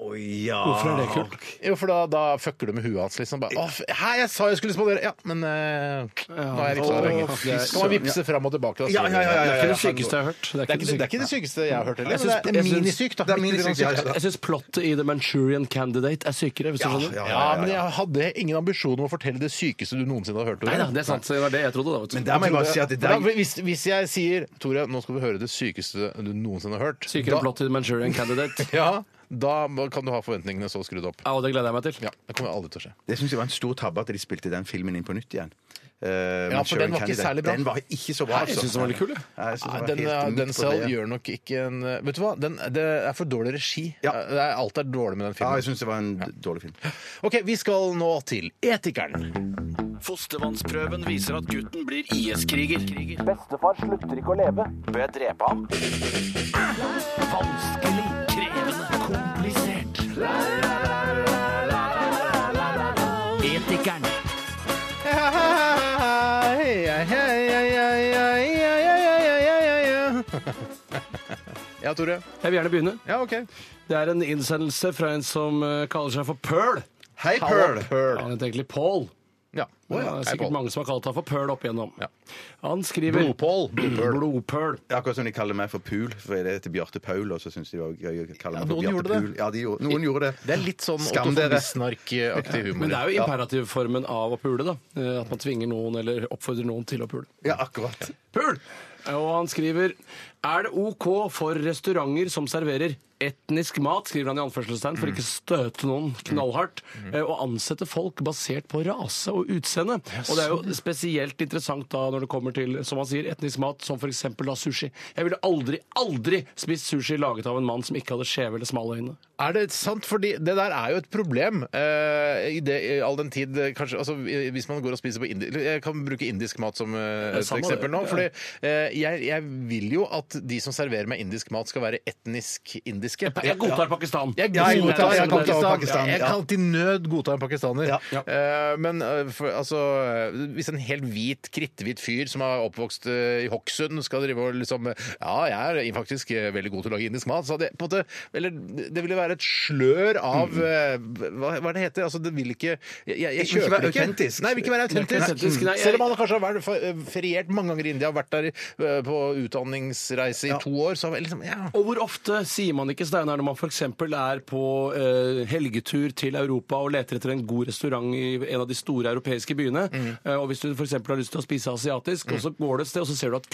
[SPEAKER 3] Å ja.
[SPEAKER 2] Hvorfor er det kult?
[SPEAKER 1] Jo, for da, da fucker du med huet hans, liksom. Bare, Åh, hei, jeg sa jeg skulle spandere! Ja, men eh, nå har jeg vippsa
[SPEAKER 3] Åh,
[SPEAKER 1] deg lenge. Så
[SPEAKER 3] fy
[SPEAKER 1] kan man
[SPEAKER 3] søren,
[SPEAKER 1] vippse fram og tilbake. Da,
[SPEAKER 3] Ja, ja, ja, ja,
[SPEAKER 2] Det er ikke
[SPEAKER 3] ja,
[SPEAKER 2] det sykeste jeg har hørt.
[SPEAKER 1] Det, er ikke, det er ikke det sykeste jeg har hørt heller.
[SPEAKER 2] Jeg
[SPEAKER 1] men
[SPEAKER 2] syns-
[SPEAKER 1] det er
[SPEAKER 2] jeg syns-
[SPEAKER 1] minisykt, da.
[SPEAKER 3] Det er minisykt, ja, ja.
[SPEAKER 2] Jeg syns plottet i The Manchurian Candidate er sykere, hvis du skjønner.
[SPEAKER 3] ja,
[SPEAKER 1] Ja, men jeg hadde ingen ambisjon om å fortelle det sykeste du noensinne har hørt. Tore.
[SPEAKER 2] Nei da, det er sant. så Det var det jeg trodde, da. Vet du.
[SPEAKER 3] Men der må jeg bare si at det der
[SPEAKER 1] For da, hvis, hvis jeg sier Tore, nå skal vi høre det sykeste du noensinne har hørt
[SPEAKER 2] Sykere
[SPEAKER 1] da,
[SPEAKER 2] plott i The Manchurian Candidate.
[SPEAKER 1] Ja, da kan du ha forventningene så skrudd opp.
[SPEAKER 2] Ja, og det gleder jeg meg til.
[SPEAKER 1] Ja, Det kommer aldri til å skje.
[SPEAKER 3] Det syns jeg var en stor tabbe at de spilte den filmen inn på nytt igjen.
[SPEAKER 1] den
[SPEAKER 3] Eh, men Sharon
[SPEAKER 1] var ikke
[SPEAKER 3] Kennedy,
[SPEAKER 1] særlig bra.
[SPEAKER 3] Den var ikke så bra,
[SPEAKER 2] Nei, jeg synes den var litt kul, jeg.
[SPEAKER 3] Ja, jeg synes
[SPEAKER 1] Nei,
[SPEAKER 3] var
[SPEAKER 1] den, eh,
[SPEAKER 3] helt midt
[SPEAKER 1] den
[SPEAKER 3] på
[SPEAKER 1] selv
[SPEAKER 3] treet.
[SPEAKER 1] gjør nok ikke en Vet du hva, den, det er for dårlig regi.
[SPEAKER 3] Ja.
[SPEAKER 1] Det er, alt er dårlig med den
[SPEAKER 3] Ja,
[SPEAKER 1] filmen.
[SPEAKER 3] jeg syns det var en dårlig film.
[SPEAKER 1] OK, vi skal nå til Etikeren.
[SPEAKER 9] Fostervannsprøven viser at gutten blir IS-kriger.
[SPEAKER 10] Bestefar slutter ikke å leve. Bør jeg drepe ham?
[SPEAKER 9] Vanskelig, krevende, komplisert.
[SPEAKER 11] Etikeren.
[SPEAKER 1] Ja, Tore?
[SPEAKER 2] Jeg vil gjerne begynne.
[SPEAKER 1] Ja, ok.
[SPEAKER 2] Det er en innsendelse fra en som eh, kaller seg for Pearl.
[SPEAKER 1] Hei,
[SPEAKER 2] Halla,
[SPEAKER 1] Pearl. Pearl.
[SPEAKER 2] Han heter egentlig Paul.
[SPEAKER 1] Ja.
[SPEAKER 2] Men Det er
[SPEAKER 1] Hei,
[SPEAKER 2] sikkert
[SPEAKER 1] Pål.
[SPEAKER 2] mange som har kalt ham for Pearl opp igjennom. Han skriver
[SPEAKER 3] Blodpål.
[SPEAKER 2] Blodpøl.
[SPEAKER 3] Det er Akkurat som de kaller meg for Pul, for jeg heter Bjarte Paul. Og så syns de var gøy å
[SPEAKER 1] Ja,
[SPEAKER 3] kalle meg for
[SPEAKER 1] noen gjorde
[SPEAKER 3] Bjarte
[SPEAKER 1] det.
[SPEAKER 3] Pul. Ja, de gjorde, noen gjorde det.
[SPEAKER 1] Det er litt sånn
[SPEAKER 3] Skam dere.
[SPEAKER 1] Snark-aktig humor.
[SPEAKER 2] Men det er jo
[SPEAKER 1] Ja.
[SPEAKER 2] imperativformen av å pule, da. Eh, At man tvinger noen eller oppfordrer noen til å pule.
[SPEAKER 3] Ja, akkurat.
[SPEAKER 2] Pul! Og han skriver Er det OK for restauranter som serverer etnisk mat, skriver han i anførselstegn, for ikke støte noen knallhardt,
[SPEAKER 3] Mm.
[SPEAKER 2] eh, å ansette folk basert på rase og utseende? Og det er jo spesielt interessant da når det kommer til, som han sier, etnisk mat, som f.eks. da sushi. Jeg ville aldri, aldri spist sushi laget av en mann som ikke hadde skjeve eller smale øyne.
[SPEAKER 1] Er det sant? Fordi det der er jo et problem. eh, i det, i all den tid eh, kanskje, altså, i- Hvis man går og spiser på indisk Jeg kan bruke indisk mat som eh,
[SPEAKER 2] Det er
[SPEAKER 1] et
[SPEAKER 2] samme
[SPEAKER 1] eksempel
[SPEAKER 2] det.
[SPEAKER 1] nå.
[SPEAKER 2] Ja.
[SPEAKER 1] fordi eh, jeg, jeg vil jo at de som serverer meg indisk mat, skal være etnisk indiske.
[SPEAKER 2] Jeg godtar Pakistan.
[SPEAKER 1] Jeg
[SPEAKER 3] Ja, jeg
[SPEAKER 1] godtar jeg
[SPEAKER 3] godtar
[SPEAKER 1] Pakistan.
[SPEAKER 3] Pakistan,
[SPEAKER 1] Jeg
[SPEAKER 3] ja.
[SPEAKER 1] kan til nød godta en pakistaner.
[SPEAKER 3] Ja.
[SPEAKER 1] Eh, men eh, for, altså, eh, hvis en helt hvit, kritthvit fyr som har oppvokst eh, i Hokksund, skal drive og liksom eh, Ja, jeg er faktisk eh, veldig god til å lage indisk mat, så det, på en måte, eller, det ville være et slør av eh, hva, hva er det heter? Altså, det vil ikke Jeg, jeg, jeg
[SPEAKER 3] Det vil ikke
[SPEAKER 1] kjøper
[SPEAKER 3] være
[SPEAKER 1] det
[SPEAKER 3] autentisk.
[SPEAKER 1] Nei, det vil ikke være
[SPEAKER 2] Det er ikke
[SPEAKER 1] autentisk.
[SPEAKER 2] autentisk, nei, jeg-
[SPEAKER 1] Selv om han har kanskje har vært eh, feriert mange ganger i India, vært der eh, på utdanningsreise i to år, så har jeg liksom Ja.
[SPEAKER 2] Og hvor ofte sier man ikke, Steinar, når man f.eks. er på eh, helgetur til Europa og leter etter en god restaurant i en av de store europeiske byene,
[SPEAKER 1] Mhm.
[SPEAKER 2] eh, og hvis du f.eks. har lyst til å spise asiatisk, og så går du et sted, og så ser du at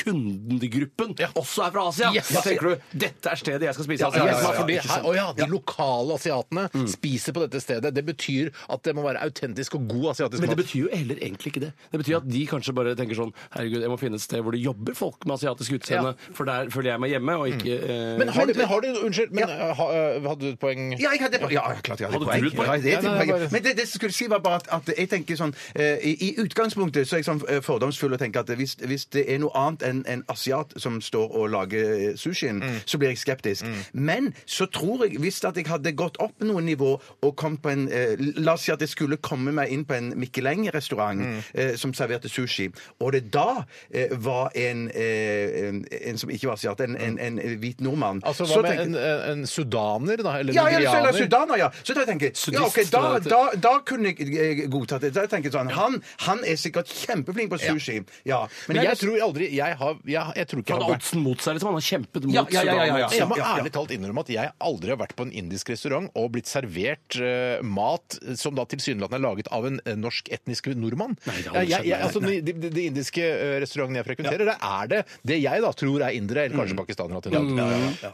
[SPEAKER 2] kundegruppen også er fra Asia,
[SPEAKER 1] Yes.
[SPEAKER 2] da tenker du dette er stedet jeg skal spise
[SPEAKER 1] Ja, ja,
[SPEAKER 2] asiatisk.
[SPEAKER 1] ja, ja,
[SPEAKER 2] Fordi
[SPEAKER 1] ikke sant.
[SPEAKER 2] her-
[SPEAKER 1] Å ja, de lokale asiatene spiser på dette stedet. Det betyr at det må være autentisk og god asiatisk
[SPEAKER 2] Men det
[SPEAKER 1] mat.
[SPEAKER 2] betyr jo heller egentlig ikke det. Det betyr at de kanskje bare tenker sånn Herregud, jeg må finne et sted hvor det jobber folk med asiatisk utseende, for der føler jeg meg hjemme, og ikke eh,
[SPEAKER 1] Mm. Men har, du, men har du Unnskyld, men eh, ha, hadde du et poeng?
[SPEAKER 3] Ja, jeg hadde, ja, klart jeg hadde
[SPEAKER 2] Hadde
[SPEAKER 3] poeng.
[SPEAKER 2] du et poeng?
[SPEAKER 3] Ja, det er et
[SPEAKER 1] Nei, nei,
[SPEAKER 3] poeng.
[SPEAKER 1] bare-
[SPEAKER 3] Men det, det jeg skulle si var bare at, at jeg tenker sånn eh, i, I utgangspunktet så er jeg sånn eh, fordomsfull og tenker at hvis, hvis det er noe annet enn en asiat som står og lager eh, sushien,
[SPEAKER 1] Mm.
[SPEAKER 3] så blir jeg skeptisk. Men så tror jeg, hvis at jeg hadde gått opp noen nivå og kom på en eh, La oss si at jeg skulle komme meg inn på en Michelin-restaurant
[SPEAKER 1] Mm.
[SPEAKER 3] eh, som serverte sushi, og det da eh, var en, eh, en, en som ikke var asiat, en, en, en hvit nordmann
[SPEAKER 1] Altså,
[SPEAKER 3] så
[SPEAKER 1] Hva med en,
[SPEAKER 3] tenker-
[SPEAKER 1] en, en sudaner, da? Eller
[SPEAKER 3] ja, ja,
[SPEAKER 1] nigerianer?
[SPEAKER 3] eller sudaner, ja. Så da tenker jeg ja, ok,
[SPEAKER 2] Sudist,
[SPEAKER 3] da,
[SPEAKER 2] tror jeg det
[SPEAKER 3] da, da kunne jeg eh, godtatt det. Da tenker jeg sånn, han, han er sikkert kjempeflink på sushi. Ja.
[SPEAKER 1] Men jeg tror aldri Jeg, har, jeg, jeg tror ikke jeg har
[SPEAKER 2] Han har
[SPEAKER 1] vært
[SPEAKER 2] oddsen mot seg, liksom. Han har kjempet mot
[SPEAKER 3] Ja, ja, ja, ja, ja, ja.
[SPEAKER 2] Sudan.
[SPEAKER 1] Jeg må
[SPEAKER 3] ja, ja.
[SPEAKER 1] ærlig talt innrømme at jeg aldri har vært på en indisk restaurant og blitt servert eh, mat som da tilsynelatende er laget av en eh, norsk etnisk nordmann.
[SPEAKER 2] det
[SPEAKER 1] Ja,
[SPEAKER 2] har aldri
[SPEAKER 1] jeg,
[SPEAKER 2] skjedd,
[SPEAKER 1] jeg, altså, de, de, de indiske eh, restaurantene jeg frekventerer, der er det det jeg da tror er indere, eller kanskje pakistanere til dag.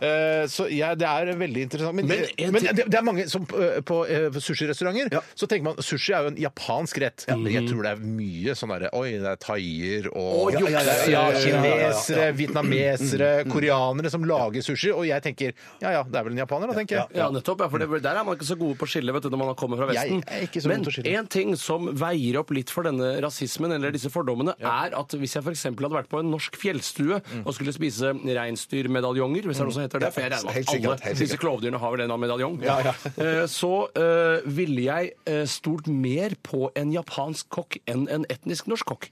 [SPEAKER 1] Eh, så jeg- det er veldig interessant. Men, eh,
[SPEAKER 2] Men
[SPEAKER 1] men,
[SPEAKER 2] en ting-
[SPEAKER 1] det, det er mange som eh, på eh, sushirestauranter
[SPEAKER 3] Ja.
[SPEAKER 1] så tenker man sushi er jo en japansk rett. Men jeg tror det er mye sånn derre Oi, det er thaier
[SPEAKER 2] Og
[SPEAKER 1] og
[SPEAKER 2] jukse.
[SPEAKER 1] Ja, ja,
[SPEAKER 3] ja, ja, ja, ja.
[SPEAKER 1] kinesere, vietnamesere, koreanere som lager sushi, og jeg tenker ja ja, det er vel en japaner da, tenker jeg.
[SPEAKER 2] Ja, nettopp. Ja, for det, der er man ikke så gode på å skille vet du, når man kommer fra
[SPEAKER 1] Jeg
[SPEAKER 2] Vesten.
[SPEAKER 1] er ikke så god
[SPEAKER 2] Men
[SPEAKER 1] til å skille.
[SPEAKER 2] en ting som veier opp litt for denne rasismen eller disse fordommene, er at hvis jeg f.eks. hadde vært på en norsk fjellstue
[SPEAKER 3] Mm.
[SPEAKER 2] og skulle spise reinsdyrmedaljonger, hvis det er noe som heter det, for jeg regner med
[SPEAKER 3] Helt
[SPEAKER 2] at
[SPEAKER 3] sikkert,
[SPEAKER 2] alle
[SPEAKER 3] helt sikkert.
[SPEAKER 2] disse klovdyrene har vel en eller annen medaljong,
[SPEAKER 3] Ja, ja.
[SPEAKER 2] Eh, så eh, ville jeg eh, stolt mer på en japansk kokk enn en etnisk norsk kokk.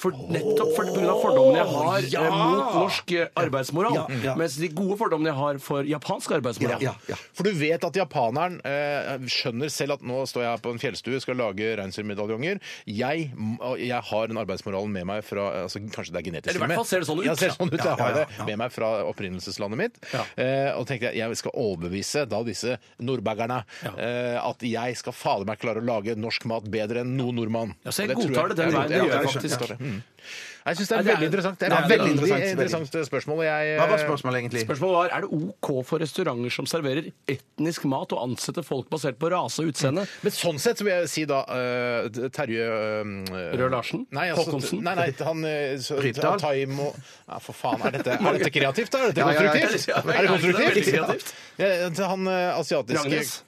[SPEAKER 2] For nettopp for, på grunn av fordommene jeg har eh,
[SPEAKER 3] ja!
[SPEAKER 2] mot norsk eh, arbeidsmoral,
[SPEAKER 3] Ja, ja.
[SPEAKER 2] mens de gode fordommene jeg har for japansk
[SPEAKER 3] Ja,
[SPEAKER 2] arbeidsmoral
[SPEAKER 3] ja, ja.
[SPEAKER 1] For du vet at japaneren eh, skjønner selv at nå står jeg her på en fjellstue skal lage reinsdyrmedaljonger. Jeg, m- og jeg har den arbeidsmoralen med meg fra eh, altså, Kanskje det er genetisk.
[SPEAKER 2] Eller i hvert
[SPEAKER 1] med meg.
[SPEAKER 2] fall ser det sånn ut.
[SPEAKER 1] Ja, ser sånn ut.
[SPEAKER 3] Ja,
[SPEAKER 1] Jeg har
[SPEAKER 3] ja, ja, ja.
[SPEAKER 1] det med meg fra opprinnelseslandet mitt.
[SPEAKER 2] Ja.
[SPEAKER 1] Eh, og tenkte jeg jeg skal overbevise da disse nordbergerne
[SPEAKER 2] Ja.
[SPEAKER 1] eh, at jeg skal fader meg klare å lage norsk mat bedre enn noen nordmann.
[SPEAKER 2] Ja, så jeg
[SPEAKER 1] Og tror
[SPEAKER 2] godtar det den
[SPEAKER 1] jeg-
[SPEAKER 2] veien. Det
[SPEAKER 1] ja,
[SPEAKER 2] gjør jeg
[SPEAKER 1] skjønner,
[SPEAKER 2] faktisk.
[SPEAKER 1] skjønner det. Mm. Jeg syns det er
[SPEAKER 2] Nei, det er-
[SPEAKER 1] veldig interessant. Det er,
[SPEAKER 2] det er
[SPEAKER 1] et
[SPEAKER 2] veldig
[SPEAKER 1] veldig interessant,
[SPEAKER 3] interessant,
[SPEAKER 1] spørsmål. og Jeg, eh,
[SPEAKER 3] Hva var spørsmålet egentlig?
[SPEAKER 2] Spørsmålet var, Er det OK for restauranter som serverer etnisk mat, å ansette folk basert på rase og utseende?
[SPEAKER 1] Men sånn sett så vil jeg si da eh, Terje eh,
[SPEAKER 2] Røe Larsen?
[SPEAKER 1] Nei, altså,
[SPEAKER 2] Håkonsen?
[SPEAKER 1] Nei, nei, han eh, så-
[SPEAKER 3] Rypdal?
[SPEAKER 1] Taimo ja, For faen, er dette, er dette kreativt, da? Er dette
[SPEAKER 3] Ja, ja, ja,
[SPEAKER 1] konstruktivt?
[SPEAKER 2] ja,
[SPEAKER 1] er
[SPEAKER 2] ja, ja,
[SPEAKER 1] det
[SPEAKER 2] det er veldig
[SPEAKER 1] konstruktivt?
[SPEAKER 2] kreativt.
[SPEAKER 1] Ja, til han eh, asiatiske
[SPEAKER 2] Rangnes?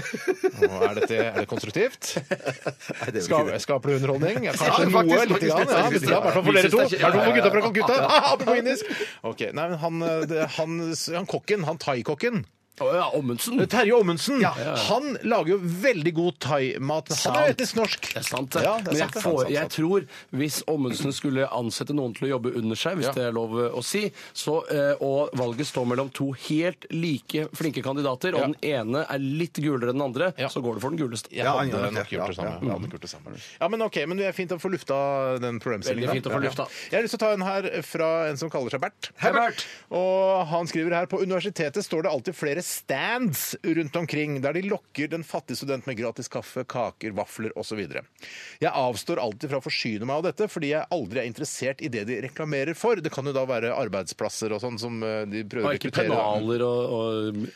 [SPEAKER 1] Å, er, dette, er det konstruktivt?
[SPEAKER 3] Nei, det er jo
[SPEAKER 1] Ska,
[SPEAKER 3] ikke det.
[SPEAKER 1] skaper det underholdning? Ja,
[SPEAKER 3] Ja,
[SPEAKER 1] kanskje
[SPEAKER 3] faktisk,
[SPEAKER 1] noe,
[SPEAKER 3] faktisk,
[SPEAKER 1] litt grann. Ja,
[SPEAKER 3] faktisk,
[SPEAKER 1] litt grann, I
[SPEAKER 3] ja.
[SPEAKER 1] hvert fall for dere to.
[SPEAKER 2] Vi
[SPEAKER 1] I
[SPEAKER 2] synes det er
[SPEAKER 1] hvert fall for
[SPEAKER 2] kjempe-
[SPEAKER 1] gutta fra Calcutta. Apropos indisk. Ok, nei, men han, eh, det- han, han kokken, han thaikokken
[SPEAKER 2] Å ja, Ommundsen.
[SPEAKER 1] Terje Ommundsen.
[SPEAKER 2] Ja. Ja.
[SPEAKER 1] Han lager jo veldig god thaimat. Han er jo etnisk norsk.
[SPEAKER 2] Det er sant, det.
[SPEAKER 1] Ja, det er
[SPEAKER 2] Men jeg,
[SPEAKER 1] sant, det.
[SPEAKER 2] får,
[SPEAKER 1] Sant, sant,
[SPEAKER 2] jeg tror hvis Ommundsen skulle ansette noen til å jobbe under seg, hvis
[SPEAKER 1] Ja.
[SPEAKER 2] det er lov å si, så, eh, og valget står mellom to helt like flinke kandidater, og den ene er litt gulere enn den andre, så går det for den guleste.
[SPEAKER 1] Jeg
[SPEAKER 3] Ja, han
[SPEAKER 1] hadde
[SPEAKER 3] gjør det.
[SPEAKER 1] nok gjort det
[SPEAKER 3] Ja,
[SPEAKER 1] samme.
[SPEAKER 3] Mm. ja.
[SPEAKER 1] Jeg hadde nok gjort det samme. Ja, men ok, men det er fint å få lufta den problemstillingen.
[SPEAKER 2] Veldig fint å få
[SPEAKER 1] Ja.
[SPEAKER 2] lufta.
[SPEAKER 1] Jeg har lyst til å ta en her fra en som kaller seg Bert.
[SPEAKER 2] Hei, Bert.
[SPEAKER 1] Og han skriver her på universitetet står det alltid flere stands rundt omkring, der de lokker den fattige student med gratis kaffe, kaker, vafler osv. Jeg avstår alltid fra å forsyne meg av dette, fordi jeg aldri er interessert i det de reklamerer for. Det kan jo da være arbeidsplasser og sånn som eh, de prøver å
[SPEAKER 2] Og ikke
[SPEAKER 1] rekruttere.
[SPEAKER 2] pennaler og, og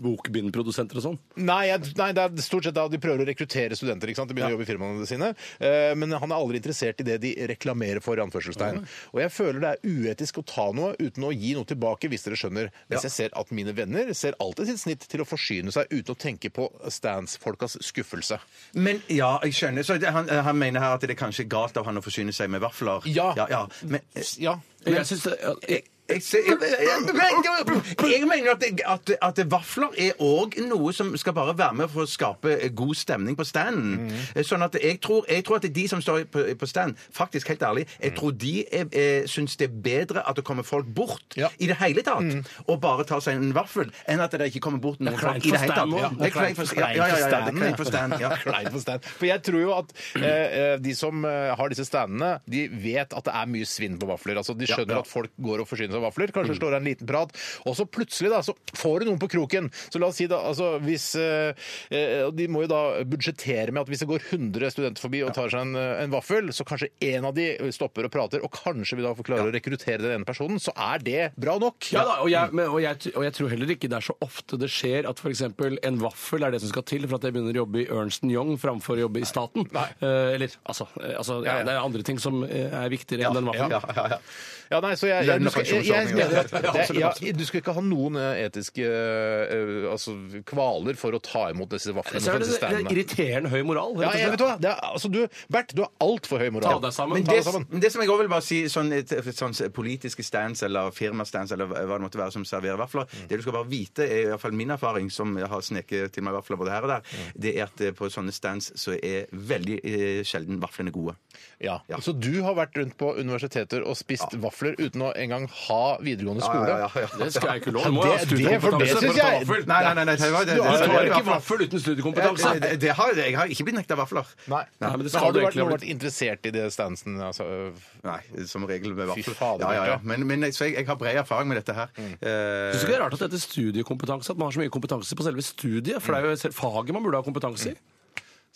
[SPEAKER 2] bokbindprodusenter og sånn.
[SPEAKER 1] Nei, jeg, nei, det er stort sett da de prøver å rekruttere studenter. ikke sant? De begynner å jobbe i firmaene sine. Eh, men han er aldri interessert i det de reklamerer for. i anførselstegn. Og jeg føler det er uetisk å ta noe uten å gi noe tilbake, hvis dere skjønner. Hvis jeg ser at mine venner ser alltid sitt snitt til å forsyne seg uten å tenke på stands-folkas skuffelse.
[SPEAKER 3] Men ja, jeg skjønner. Så det, han, han mener her at det er kanskje galt av han å forsyne seg med vafler.
[SPEAKER 1] Ja.
[SPEAKER 3] ja, Men,
[SPEAKER 1] Ja.
[SPEAKER 2] Jeg synes det, jeg,
[SPEAKER 3] jeg, ser- jeg, jeg, men- jeg mener at, det- at, at vafler er òg noe som skal bare være med for å skape god stemning på standen. Sånn at jeg tror, jeg tror at de som står på, på stand, faktisk helt ærlig, jeg tror de er- er- syns det er bedre at det kommer folk bort
[SPEAKER 1] Ja.
[SPEAKER 3] i det hele tatt og bare tar seg en vaffel, enn at det ikke kommer bort noen
[SPEAKER 2] Det er kleint
[SPEAKER 3] folk i det
[SPEAKER 2] for
[SPEAKER 3] hele
[SPEAKER 2] standen
[SPEAKER 3] tatt.
[SPEAKER 2] også.
[SPEAKER 3] Det er kleint for ja, ja, ja, ja, det er kleint for standen. Ja.
[SPEAKER 1] Klein for stand. For jeg tror jo at eh, eh, de som eh, har disse standene, de vet at det er mye svinn på vafler. Altså, De skjønner at folk går og forsyner seg av vafler.
[SPEAKER 3] Mm.
[SPEAKER 1] Kanskje slår av en liten prat. Og så plutselig da, så får du noen på kroken. Så la oss si da, altså hvis eh, eh, og De må jo da budsjettere med at hvis det går 100 studenter forbi og tar seg en, eh, en vaffel, så kanskje en av de stopper og prater, og kanskje vi da får klare å rekruttere den ene personen, så er det bra nok.
[SPEAKER 2] Ja da, og
[SPEAKER 1] Mm.
[SPEAKER 2] jeg, men, og, jeg, og jeg tror heller ikke det er så ofte det skjer at f.eks. en vaffel er det som skal til for at jeg begynner å jobbe i Ernst Young framfor å jobbe i staten. Eh, eller altså, eh, altså ja,
[SPEAKER 1] Ja, ja.
[SPEAKER 2] Det er andre ting som eh, er viktigere enn den vaffelen.
[SPEAKER 3] Ja, ja, ja.
[SPEAKER 1] Ja, nei, så jeg, jeg,
[SPEAKER 3] Lønn
[SPEAKER 1] du
[SPEAKER 3] og
[SPEAKER 1] skal, jeg, jeg
[SPEAKER 3] pensjonsordninger.
[SPEAKER 1] mener at
[SPEAKER 3] Ja,
[SPEAKER 1] det,
[SPEAKER 3] absolutt,
[SPEAKER 1] ja,
[SPEAKER 3] absolutt.
[SPEAKER 1] Du skal ikke ha noen eh, etiske eh, altså, kvaler for å ta imot disse vaflene
[SPEAKER 2] Så
[SPEAKER 1] fra
[SPEAKER 2] er det,
[SPEAKER 1] disse
[SPEAKER 2] det er
[SPEAKER 1] standene.
[SPEAKER 2] irriterende høy moral.
[SPEAKER 1] Ja, jeg vet hva, det er, altså, du, Bert, du har altfor høy moral.
[SPEAKER 2] Ta deg sammen.
[SPEAKER 3] Men
[SPEAKER 1] Ta
[SPEAKER 3] det,
[SPEAKER 1] deg sammen.
[SPEAKER 3] men det som jeg også vil bare si, sånn, et- et sånn politiske stands eller firmastands eller hva det måtte være som serverer vafler, det du skal bare vite, er i hvert fall min erfaring, som jeg har sneket til meg vafler både her og der, det er at eh, på sånne stands så er veldig eh, sjelden vaflene gode.
[SPEAKER 1] Ja.
[SPEAKER 3] Ja.
[SPEAKER 1] Så du har vært rundt på universiteter og spist vafler uten å engang ha videregående skole?
[SPEAKER 2] Det skal jeg ikke love.
[SPEAKER 1] Ja,
[SPEAKER 2] Må jeg ha
[SPEAKER 1] det- det- for det synes
[SPEAKER 2] studiekompetanse for å ta
[SPEAKER 1] jeg-
[SPEAKER 2] vaffel?
[SPEAKER 3] Nei, nei, nei, nei, det var- det-
[SPEAKER 2] Du
[SPEAKER 3] det- det-
[SPEAKER 2] tar
[SPEAKER 3] det-
[SPEAKER 2] ikke vaffel uten studiekompetanse.
[SPEAKER 3] Det, det, det har, jeg har ikke blitt nekta vafler.
[SPEAKER 1] Nei.
[SPEAKER 2] Nei, men det
[SPEAKER 1] men
[SPEAKER 2] skal
[SPEAKER 1] har du
[SPEAKER 2] du
[SPEAKER 1] vært,
[SPEAKER 2] egentlig ha
[SPEAKER 1] noen
[SPEAKER 2] blitt.
[SPEAKER 1] vært interessert i det standsen? Altså, øh,
[SPEAKER 3] Nei, som regel med
[SPEAKER 1] Fy
[SPEAKER 3] vafler.
[SPEAKER 1] fader,
[SPEAKER 3] Ja, ja, ja.
[SPEAKER 1] Bjarte.
[SPEAKER 3] Men, men jeg, så jeg, jeg har bred erfaring med dette her.
[SPEAKER 2] Syns
[SPEAKER 3] Eh,
[SPEAKER 2] du ikke det er rart at det heter studiekompetanse? At man har så mye kompetanse på selve studiet? For det er jo selv- faget man burde ha kompetanse i.
[SPEAKER 1] Mm.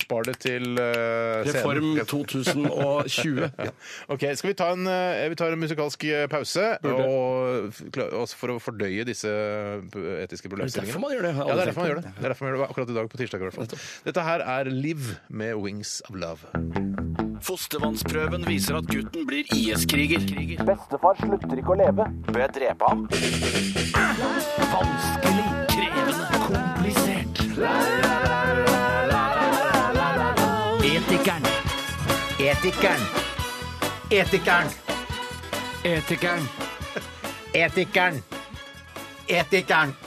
[SPEAKER 1] spar det til øh, scenen.
[SPEAKER 2] Reform 2020.
[SPEAKER 1] Ok, skal vi ta en, eh, vi tar en musikalsk eh, pause og, kla- og for å fordøye disse eh, etiske problemstillingene?
[SPEAKER 2] Er det derfor man gjør det? Jeg har
[SPEAKER 1] Ja, det er
[SPEAKER 2] aldri
[SPEAKER 1] derfor man
[SPEAKER 2] tenkt
[SPEAKER 1] gjør det. Det er derfor man gjør det akkurat i dag på tirsdag i hvert fall. Dette her er Liv med Wings of Love.
[SPEAKER 9] Fostervannsprøven viser at gutten blir IS-kriger.
[SPEAKER 10] Bestefar slutter ikke å leve. Bør jeg drepe ham?
[SPEAKER 9] Vanskelig, krevende, komplisert. Etikeren.
[SPEAKER 11] Etikeren. Etikeren.
[SPEAKER 2] Etikeren.
[SPEAKER 11] Etikeren. Etikeren.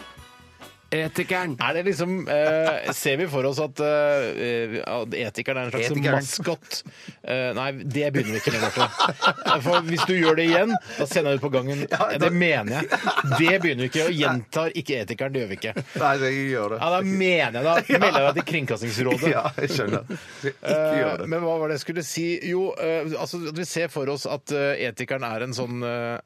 [SPEAKER 2] Etikeren.
[SPEAKER 1] Er det liksom, eh, Ser vi for oss at eh, at etikeren er en slags
[SPEAKER 3] Etikeren.
[SPEAKER 1] maskott? Eh, nei, det begynner vi ikke med. Bjarte. For hvis du gjør det igjen, da sender jeg deg ut på gangen. Ja, det mener jeg. Det begynner vi ikke. Og gjentar ikke etikeren. Det gjør vi ikke.
[SPEAKER 3] Nei, jeg gjør det.
[SPEAKER 1] Ja, Da mener jeg da. Melder jeg deg til Kringkastingsrådet.
[SPEAKER 3] Ja, jeg skjønner. Så jeg Ikke gjør
[SPEAKER 1] Eh,
[SPEAKER 3] det.
[SPEAKER 1] Men hva var det jeg skulle si? Jo, eh, altså at vi ser for oss at eh, etikeren er en sånn eh,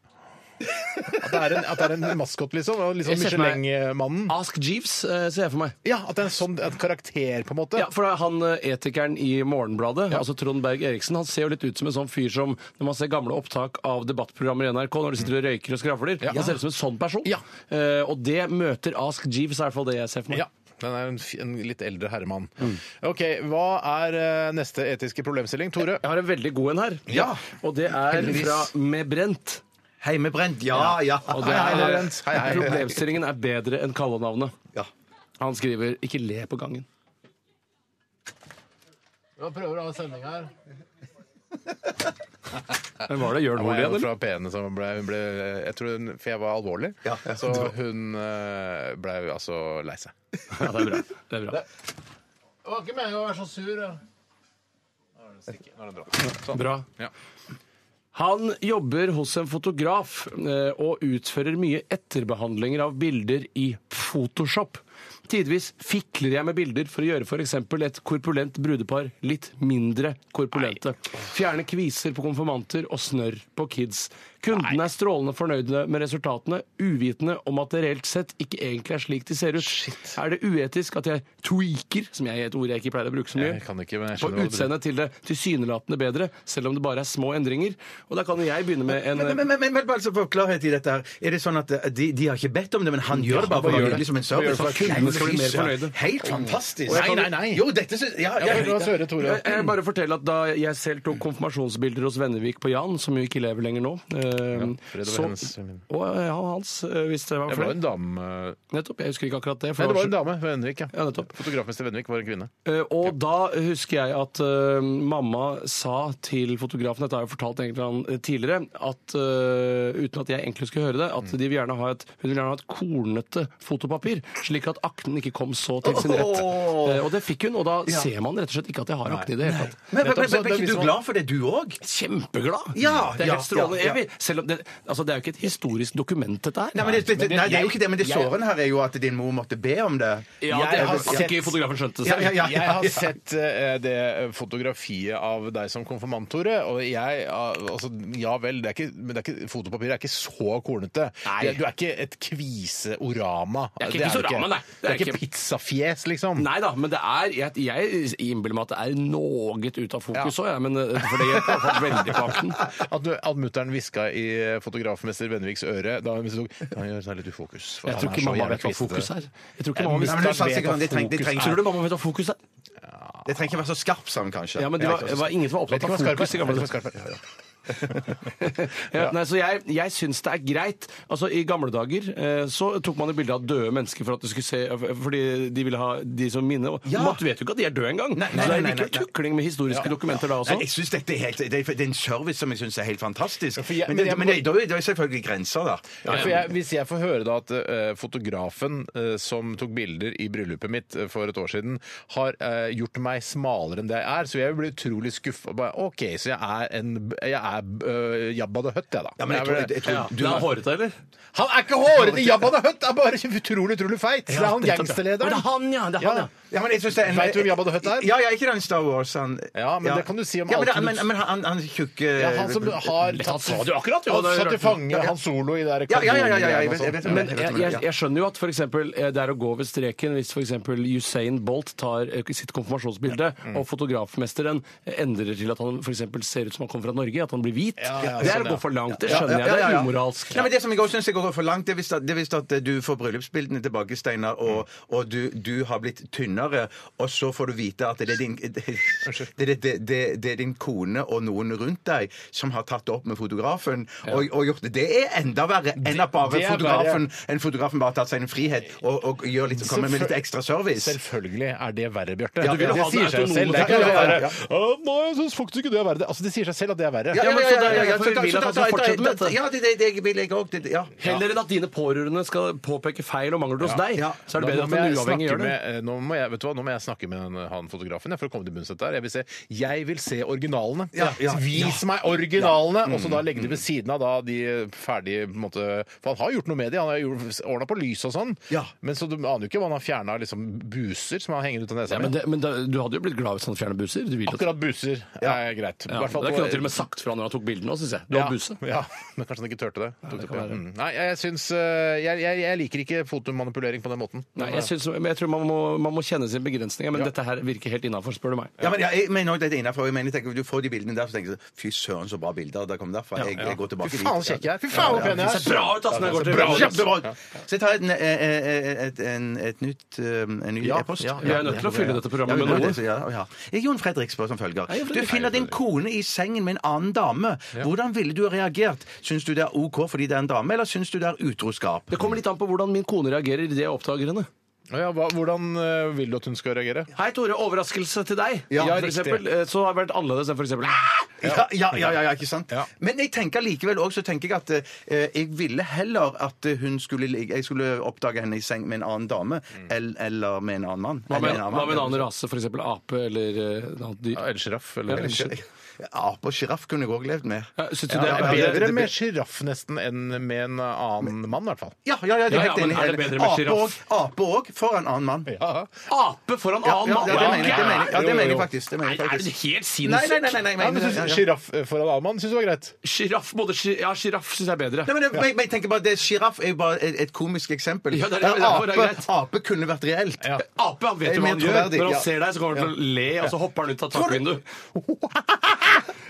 [SPEAKER 1] at det er en, at det er en maskot, liksom. og Litt sånn
[SPEAKER 2] Jeg ser for meg-
[SPEAKER 1] Michelin-mannen.
[SPEAKER 2] Ask Jeeves, eh, ser jeg for meg.
[SPEAKER 1] Ja, At det er en sånn en karakter, på en måte.
[SPEAKER 2] Ja, for da er han eh, etikeren i Morgenbladet, altså Trond Berg Eriksen, han ser jo litt ut som en sånn fyr som når man ser gamle opptak av debattprogrammer i NRK, når de sitter og røyker og skravler, han ser ut som en sånn person.
[SPEAKER 1] Ja.
[SPEAKER 2] Eh, og det møter Ask Jeeves, er i hvert fall det jeg ser for meg.
[SPEAKER 1] Ja. Den er en, fi- en litt eldre herremann. OK, hva er eh, neste etiske problemstilling, Tore?
[SPEAKER 2] Jeg har en veldig god en her,
[SPEAKER 3] Ja.
[SPEAKER 2] og det er
[SPEAKER 3] Heldigvis.
[SPEAKER 2] fra Mebrent.
[SPEAKER 3] Heimebrent, ja, ja.
[SPEAKER 2] Og det
[SPEAKER 1] Hei, hei,
[SPEAKER 2] er,
[SPEAKER 1] Mebrent. Hei, hei, hei.
[SPEAKER 2] problemstillingen er bedre enn kallenavnet.
[SPEAKER 3] Ja.
[SPEAKER 2] Han skriver 'ikke le på gangen'.
[SPEAKER 1] Vi prøver å ha sending her.
[SPEAKER 2] Men var det Jørn Hoel
[SPEAKER 1] igjen,
[SPEAKER 2] igjen,
[SPEAKER 1] Fra
[SPEAKER 2] eller?
[SPEAKER 1] P-ene som ble, hun ble jeg tror hun, For jeg var alvorlig. Så hun eh, ble altså lei seg.
[SPEAKER 2] Ja, det er bra. Det er bra.
[SPEAKER 1] Det var ikke meningen å være så sur. Da.
[SPEAKER 2] Bra. Han jobber hos en fotograf eh, og utfører mye etterbehandlinger av bilder i Photoshop. Tidvis fikler jeg med bilder for å gjøre f.eks. et korpulent brudepar litt mindre korpulente. Fjerne kviser på konfirmanter og snørr på kids. Kundene er strålende fornøyde med resultatene, uvitende om at det reelt sett ikke egentlig er slik de ser ut. Er det uetisk at jeg tweaker, som jeg er et ord jeg ikke pleier å bruke så mye,
[SPEAKER 1] Jeg kan ikke, men jeg
[SPEAKER 2] på
[SPEAKER 1] skjønner hva du
[SPEAKER 2] utseendet til det tilsynelatende bedre, selv om det bare er små endringer. Og da kan jo jeg begynne med en
[SPEAKER 3] Men, men, men, men, bare så for klarhet i dette her. Er det sånn at eh, de, de har ikke bedt om det, men han gjør det bare
[SPEAKER 2] bare
[SPEAKER 3] for å
[SPEAKER 2] gjør
[SPEAKER 3] gjøre
[SPEAKER 2] det.
[SPEAKER 3] liksom en
[SPEAKER 2] Bare gjør
[SPEAKER 3] service?
[SPEAKER 2] det for
[SPEAKER 3] sånn
[SPEAKER 2] at kundene skal bli mer fornøyde.
[SPEAKER 3] Helt fantastisk!
[SPEAKER 2] Og jeg kan-
[SPEAKER 3] Jo, dette syns ja, ja,
[SPEAKER 2] jeg, jeg, jeg bare forteller at Da jeg selv tok konfirmasjonsbilder hos Vennevik på Jan, som jo ikke lever lenger nå eh,
[SPEAKER 1] Fred og hennes-
[SPEAKER 2] Å, ja, hans, eh, hvis det var
[SPEAKER 1] Det var
[SPEAKER 2] flere.
[SPEAKER 1] en dame eh,
[SPEAKER 2] Nettopp. Jeg husker ikke akkurat det. for
[SPEAKER 1] Nei, det
[SPEAKER 2] det
[SPEAKER 1] var
[SPEAKER 2] var
[SPEAKER 1] en dame. Vennvik, ja.
[SPEAKER 2] Ja, nettopp.
[SPEAKER 1] Fotografmester Vennvik var en kvinne.
[SPEAKER 2] Eh, Og da husker jeg at eh, mamma sa til fotografen, dette har jeg fortalt egentlig han tidligere, at eh, uten at jeg egentlig skulle høre det,
[SPEAKER 3] Mm.
[SPEAKER 2] at de vil gjerne ha et, hun vil gjerne ha et kornete fotopapir, slik at akten ikke kom så til sin rett.
[SPEAKER 3] Åh!
[SPEAKER 2] Eh, og det fikk hun, og da
[SPEAKER 3] Ja.
[SPEAKER 2] ser man rett og slett ikke at jeg har akne i det hele tatt.
[SPEAKER 3] Men, men,
[SPEAKER 2] Nettopp, så
[SPEAKER 3] men, men,
[SPEAKER 2] det
[SPEAKER 3] er ikke
[SPEAKER 2] viser
[SPEAKER 3] du
[SPEAKER 2] man-
[SPEAKER 3] glad for det, du òg?
[SPEAKER 2] Kjempeglad!
[SPEAKER 3] Ja,
[SPEAKER 2] det er
[SPEAKER 3] ja,
[SPEAKER 2] helt strålende.
[SPEAKER 3] ja, ja.
[SPEAKER 2] Jeg vil- Selv om det, altså, det er jo ikke et historisk dokument, dette her.
[SPEAKER 3] Nei, men det, det, nei, det er jo ikke det, men det
[SPEAKER 2] jeg-
[SPEAKER 3] sårende her er jo at din mor måtte be om det.
[SPEAKER 2] Ja,
[SPEAKER 3] Jeg
[SPEAKER 2] det
[SPEAKER 3] har
[SPEAKER 2] har
[SPEAKER 3] sett-
[SPEAKER 2] ikke fotografen skjønt det
[SPEAKER 3] Ja,
[SPEAKER 2] selv.
[SPEAKER 3] ja, ja, ja.
[SPEAKER 1] Jeg har sett eh, det fotografiet av deg som konfirmant, Tore. Og jeg ah, altså, Ja vel, det er ikke, men det er ikke, fotopapiret er ikke så kornete.
[SPEAKER 2] Nei.
[SPEAKER 1] Du er ikke et kviseorama.
[SPEAKER 2] Det er ikke
[SPEAKER 1] du
[SPEAKER 2] kviseorama, nei.
[SPEAKER 1] Det er ikke pizzafjes, liksom.
[SPEAKER 2] Nei da, men det er Jeg, jeg innbiller meg at det er noe ut av
[SPEAKER 1] Ja.
[SPEAKER 2] fokus òg, jeg. Men eh, for det hjelper i hvert fall veldig på akten.
[SPEAKER 1] At, du- at mutter'n hviska i eh, fotografmester Venneviks øre da hun tok Han gjør seg litt i fokus. for
[SPEAKER 2] Jeg
[SPEAKER 1] han
[SPEAKER 2] tror
[SPEAKER 1] er
[SPEAKER 2] ikke
[SPEAKER 1] så
[SPEAKER 2] mamma
[SPEAKER 1] jævla
[SPEAKER 2] vet hva
[SPEAKER 1] kvistete.
[SPEAKER 2] fokus er. Jeg tror
[SPEAKER 1] Eh,
[SPEAKER 2] ikke mamma
[SPEAKER 3] Nei, men
[SPEAKER 2] vet
[SPEAKER 3] hun sa sikkert at de trengte- de trengte-
[SPEAKER 2] Tror du mamma vet hva fokus er?
[SPEAKER 3] Det trenger ikke være så skarp sånn, kanskje.
[SPEAKER 2] Ja, men det var, det var ingen som var
[SPEAKER 1] Vet ikke hva
[SPEAKER 2] opptatt av
[SPEAKER 1] skarp
[SPEAKER 2] fokus i
[SPEAKER 1] er.
[SPEAKER 2] gamle
[SPEAKER 1] Vet
[SPEAKER 2] dager.
[SPEAKER 1] ikke hva skarp er.
[SPEAKER 2] Ja, nei, så jeg, jeg syns det er greit. Altså, I gamle dager eh, så tok man jo bilde av døde mennesker for at du skulle se Fordi de ville ha de som minne. Og
[SPEAKER 3] Ja.
[SPEAKER 2] Matt vet jo ikke at de er døde engang!
[SPEAKER 3] Nei,
[SPEAKER 2] Så det
[SPEAKER 3] nei,
[SPEAKER 2] er
[SPEAKER 3] nei, nei,
[SPEAKER 2] likevel
[SPEAKER 3] nei.
[SPEAKER 2] tukling med historiske dokumenter da også.
[SPEAKER 3] Nei, jeg synes dette er helt, det, er, det er en service som jeg syns er helt fantastisk.
[SPEAKER 1] for jeg-
[SPEAKER 3] men
[SPEAKER 1] men
[SPEAKER 3] det,
[SPEAKER 1] jeg
[SPEAKER 3] men
[SPEAKER 1] må-
[SPEAKER 3] det, det er jo selvfølgelig grenser, da.
[SPEAKER 1] Ja, for jeg, hvis jeg får høre da at eh, fotografen eh, som tok bilder i bryllupet mitt eh, for et år siden, har eh, gjort meg smalere enn det jeg er, så jeg blir utrolig skuffa. OK, så jeg er en Jeg er eh, Jabba the Hutt, jeg, da.
[SPEAKER 3] Ja, men jeg tror, jeg, tror,
[SPEAKER 2] Ja.
[SPEAKER 3] du,
[SPEAKER 2] Det er hårete, eller?
[SPEAKER 1] Han er ikke hårete! Jabba the Hutt er bare utrolig, utrolig feit! det er han
[SPEAKER 2] nettopp, ja. Å,
[SPEAKER 1] gangsterlederen.
[SPEAKER 2] Det er han, ja! Det er han, ja.
[SPEAKER 3] ja, men jeg synes det er en,
[SPEAKER 1] Vet du hvem Jabba the Hutt er?
[SPEAKER 3] Ja, ja, ikke den Star Wars, han
[SPEAKER 1] Ja, men det kan du si om
[SPEAKER 3] ja, men,
[SPEAKER 1] alt
[SPEAKER 3] men, men han, han tjukke
[SPEAKER 1] Ja, han
[SPEAKER 3] Eh,
[SPEAKER 1] som har tatt,
[SPEAKER 2] sa det jo akkurat, jo.
[SPEAKER 1] Han
[SPEAKER 2] Det er
[SPEAKER 1] satt
[SPEAKER 2] rart.
[SPEAKER 1] til fange Han Solo i det der
[SPEAKER 3] Ja, ja, ja, ja, ja,
[SPEAKER 1] kardongreiene
[SPEAKER 3] jeg
[SPEAKER 1] og
[SPEAKER 3] vet- jeg vet-
[SPEAKER 1] sånt.
[SPEAKER 2] Men
[SPEAKER 3] vet
[SPEAKER 2] jeg,
[SPEAKER 3] om det,
[SPEAKER 2] jeg,
[SPEAKER 3] ja.
[SPEAKER 2] jeg skjønner jo at for eksempel, eh, det er å gå ved streken hvis f.eks. Usain Bolt tar eh, sitt konfirmasjonsbilde, og fotografmesteren endrer til at han for eksempel ser ut som han kommer fra Norge, at han blir hvit.
[SPEAKER 1] Ja, ja,
[SPEAKER 2] det er
[SPEAKER 1] sånn,
[SPEAKER 2] å gå for langt. Det skjønner jeg. Det er umoralsk.
[SPEAKER 3] Nei, men Det som jeg også syns går for langt, det er hvis at, det er hvis at eh, du får bryllupsbildene tilbake, Steinar, og,
[SPEAKER 2] Mm.
[SPEAKER 3] og du, du har blitt tynnere, og så får du vite at det er din, det, det, det, det, det er din kone og noen rundt deg som har tatt det opp med fotografen og, og gjort det. Det er enda verre enn at bare
[SPEAKER 1] det er
[SPEAKER 3] fotografen, en fotografen bare har tatt seg en frihet og, og gjør litt, kommer med litt ekstra service.
[SPEAKER 1] Selvfølgelig er det verre, Bjarte.
[SPEAKER 3] Ja, du vil jo
[SPEAKER 1] det
[SPEAKER 3] ha den
[SPEAKER 1] sier seg jo
[SPEAKER 3] autonome
[SPEAKER 1] selv. Det er
[SPEAKER 3] tanken.
[SPEAKER 1] ikke det
[SPEAKER 3] Ja,
[SPEAKER 1] verre.
[SPEAKER 3] ja, ja.
[SPEAKER 1] «Å, Nei, jeg syns faktisk ikke det er verre. Det- Altså, det sier seg selv at det er verre.
[SPEAKER 2] ja, men så da-
[SPEAKER 3] ja,
[SPEAKER 2] for
[SPEAKER 3] så
[SPEAKER 2] vi
[SPEAKER 3] da-
[SPEAKER 2] vil at
[SPEAKER 3] så
[SPEAKER 2] han
[SPEAKER 3] da-
[SPEAKER 2] skal fortsette med dette.
[SPEAKER 3] Ja, det, det, det vil jeg òg. Ja.
[SPEAKER 2] Heller enn at dine pårørende skal påpeke feil og mangler hos
[SPEAKER 1] Ja.
[SPEAKER 2] deg,
[SPEAKER 3] Ja.
[SPEAKER 2] så er
[SPEAKER 1] Nå
[SPEAKER 2] det bedre
[SPEAKER 1] må
[SPEAKER 2] at en
[SPEAKER 1] jeg snakke
[SPEAKER 2] uavhengig gjør det.
[SPEAKER 1] med- eh, Nå må jeg, vet du hva, nå må jeg snakke med den- han fotografen jeg, for å komme til bunns i dette. her. Jeg vil se, jeg vil se originalene.
[SPEAKER 3] Ja, ja,
[SPEAKER 1] Vis meg originalene! Og så da legge de ved siden av da, de ferdige på en måte, For han har gjort noe med de, han har ordna på lys og sånn.
[SPEAKER 3] Ja.
[SPEAKER 1] Men så du aner jo ikke om han har fjerna liksom, buser som han henger ut av nesa.
[SPEAKER 2] Ja, men det, men da, du hadde jo blitt glad hvis han fjernet buser. Du vil jo at-
[SPEAKER 1] Akkurat buser er greit. I
[SPEAKER 2] ja,
[SPEAKER 1] hvert fall
[SPEAKER 2] det
[SPEAKER 1] på-
[SPEAKER 2] kunne han til og med sagt fra når han tok bildene òg, syns jeg. Du har buse.
[SPEAKER 1] Ja, men kanskje han ikke turte det. Tok det
[SPEAKER 2] kan
[SPEAKER 1] på.
[SPEAKER 2] være.
[SPEAKER 1] Mm. Nei, jeg, syns, eh, jeg, jeg, jeg liker ikke fotomanipulering på den måten.
[SPEAKER 2] Nei, jeg, synes, men jeg tror man må, man må kjenne sine begrensninger, men dette her virker helt innafor, spør du meg.
[SPEAKER 3] Ja, men jeg mener også dette innenfor. Jeg mener, tenker, du får de bildene der, så tenker du fy søren, så bra bilder. Der kom derfra. Jeg, jeg går tilbake
[SPEAKER 1] Fy faen, så kjekk jeg er! Fy faen, så pen
[SPEAKER 2] Det
[SPEAKER 1] jeg
[SPEAKER 2] ser
[SPEAKER 1] er!
[SPEAKER 2] bra ut, ass! når jeg går til-
[SPEAKER 3] Bra, kjempebra! Så jeg tar eh, et, et, et, en, et nytt um, en ny
[SPEAKER 1] Ja,
[SPEAKER 3] e-post.
[SPEAKER 1] ja,
[SPEAKER 2] Vi er nødt til å fylle dette programmet med
[SPEAKER 3] Ja, vi må
[SPEAKER 2] noe.
[SPEAKER 3] det, så ja, ja. Jon Fredrik spør som følger.
[SPEAKER 2] Jon
[SPEAKER 3] Du
[SPEAKER 2] Fredrik.
[SPEAKER 3] finner din kone i sengen med en annen dame. Hvordan ville du ha reagert? Syns du det er OK fordi det er en dame, eller syns du det er utroskap?
[SPEAKER 2] Det kommer litt an på hvordan min kone reagerer idet jeg oppdager henne.
[SPEAKER 1] Å Ja, hva, hvordan eh, vil du at hun skal reagere?
[SPEAKER 2] Hei, Tore. Overraskelse til deg.
[SPEAKER 1] Ja,
[SPEAKER 2] Ja, for
[SPEAKER 1] riktig.
[SPEAKER 2] eksempel, eh, så har det vært annerledes enn for eksempel «Ah!»
[SPEAKER 3] Ja, ja, ja, ja, ja, ikke sant? Men jeg tenker likevel også, så tenker jeg at eh, jeg ville heller at hun skulle, ligge- jeg skulle oppdage henne i seng med en annen dame el- eller med en annen mann.
[SPEAKER 2] Mm. Hva med,
[SPEAKER 3] Eller
[SPEAKER 2] hva med en annen rase? For eksempel ape eller eh, et annet dyr?
[SPEAKER 1] En sjiraff
[SPEAKER 3] Ja, en sjiraff. Ape og sjiraff kunne jeg òg levd med.
[SPEAKER 2] Ja, synes
[SPEAKER 1] du det er
[SPEAKER 3] ja,
[SPEAKER 1] bedre
[SPEAKER 3] det-
[SPEAKER 1] med sjiraff nesten enn med en annen mann, i hvert fall?
[SPEAKER 3] Ja, ja, ja, jeg er
[SPEAKER 1] Ja, ja,
[SPEAKER 3] helt
[SPEAKER 1] men
[SPEAKER 3] enig.
[SPEAKER 1] er det
[SPEAKER 3] helt enig.
[SPEAKER 1] bedre med
[SPEAKER 3] Ape
[SPEAKER 1] giraff?
[SPEAKER 3] og- Ape òg, for en annen mann.
[SPEAKER 2] Ape foran
[SPEAKER 3] Ja,
[SPEAKER 2] annen
[SPEAKER 3] ja,
[SPEAKER 2] mann?
[SPEAKER 3] ja, det mener jeg, det mener jeg. Ja,
[SPEAKER 2] Jo,
[SPEAKER 3] det
[SPEAKER 2] jo,
[SPEAKER 3] mener jeg
[SPEAKER 2] jo.
[SPEAKER 3] faktisk. Det mener jeg
[SPEAKER 2] Nei,
[SPEAKER 3] faktisk.
[SPEAKER 2] Er det helt
[SPEAKER 3] Nei, nei,
[SPEAKER 2] sinnssykt?
[SPEAKER 3] nei, nei, nei,
[SPEAKER 1] Ja, men synes, Sjiraff eh, foran annen mann syns jeg var greit.
[SPEAKER 2] Sjiraff både gi- Ja, sjiraff syns jeg er bedre.
[SPEAKER 3] Nei, men, det- men, men jeg tenker bare, det Sjiraff er jo bare et, et komisk eksempel.
[SPEAKER 2] Ja, det er- det er- det er
[SPEAKER 3] ape,
[SPEAKER 2] greit.
[SPEAKER 3] ape kunne vært reelt.
[SPEAKER 2] Ape han vet jo hva han
[SPEAKER 3] Mer
[SPEAKER 2] gjør.
[SPEAKER 3] troverdig,
[SPEAKER 2] Når
[SPEAKER 3] ja.
[SPEAKER 2] han ser deg, så kommer han til å le, og så hopper han ut av takvinduet.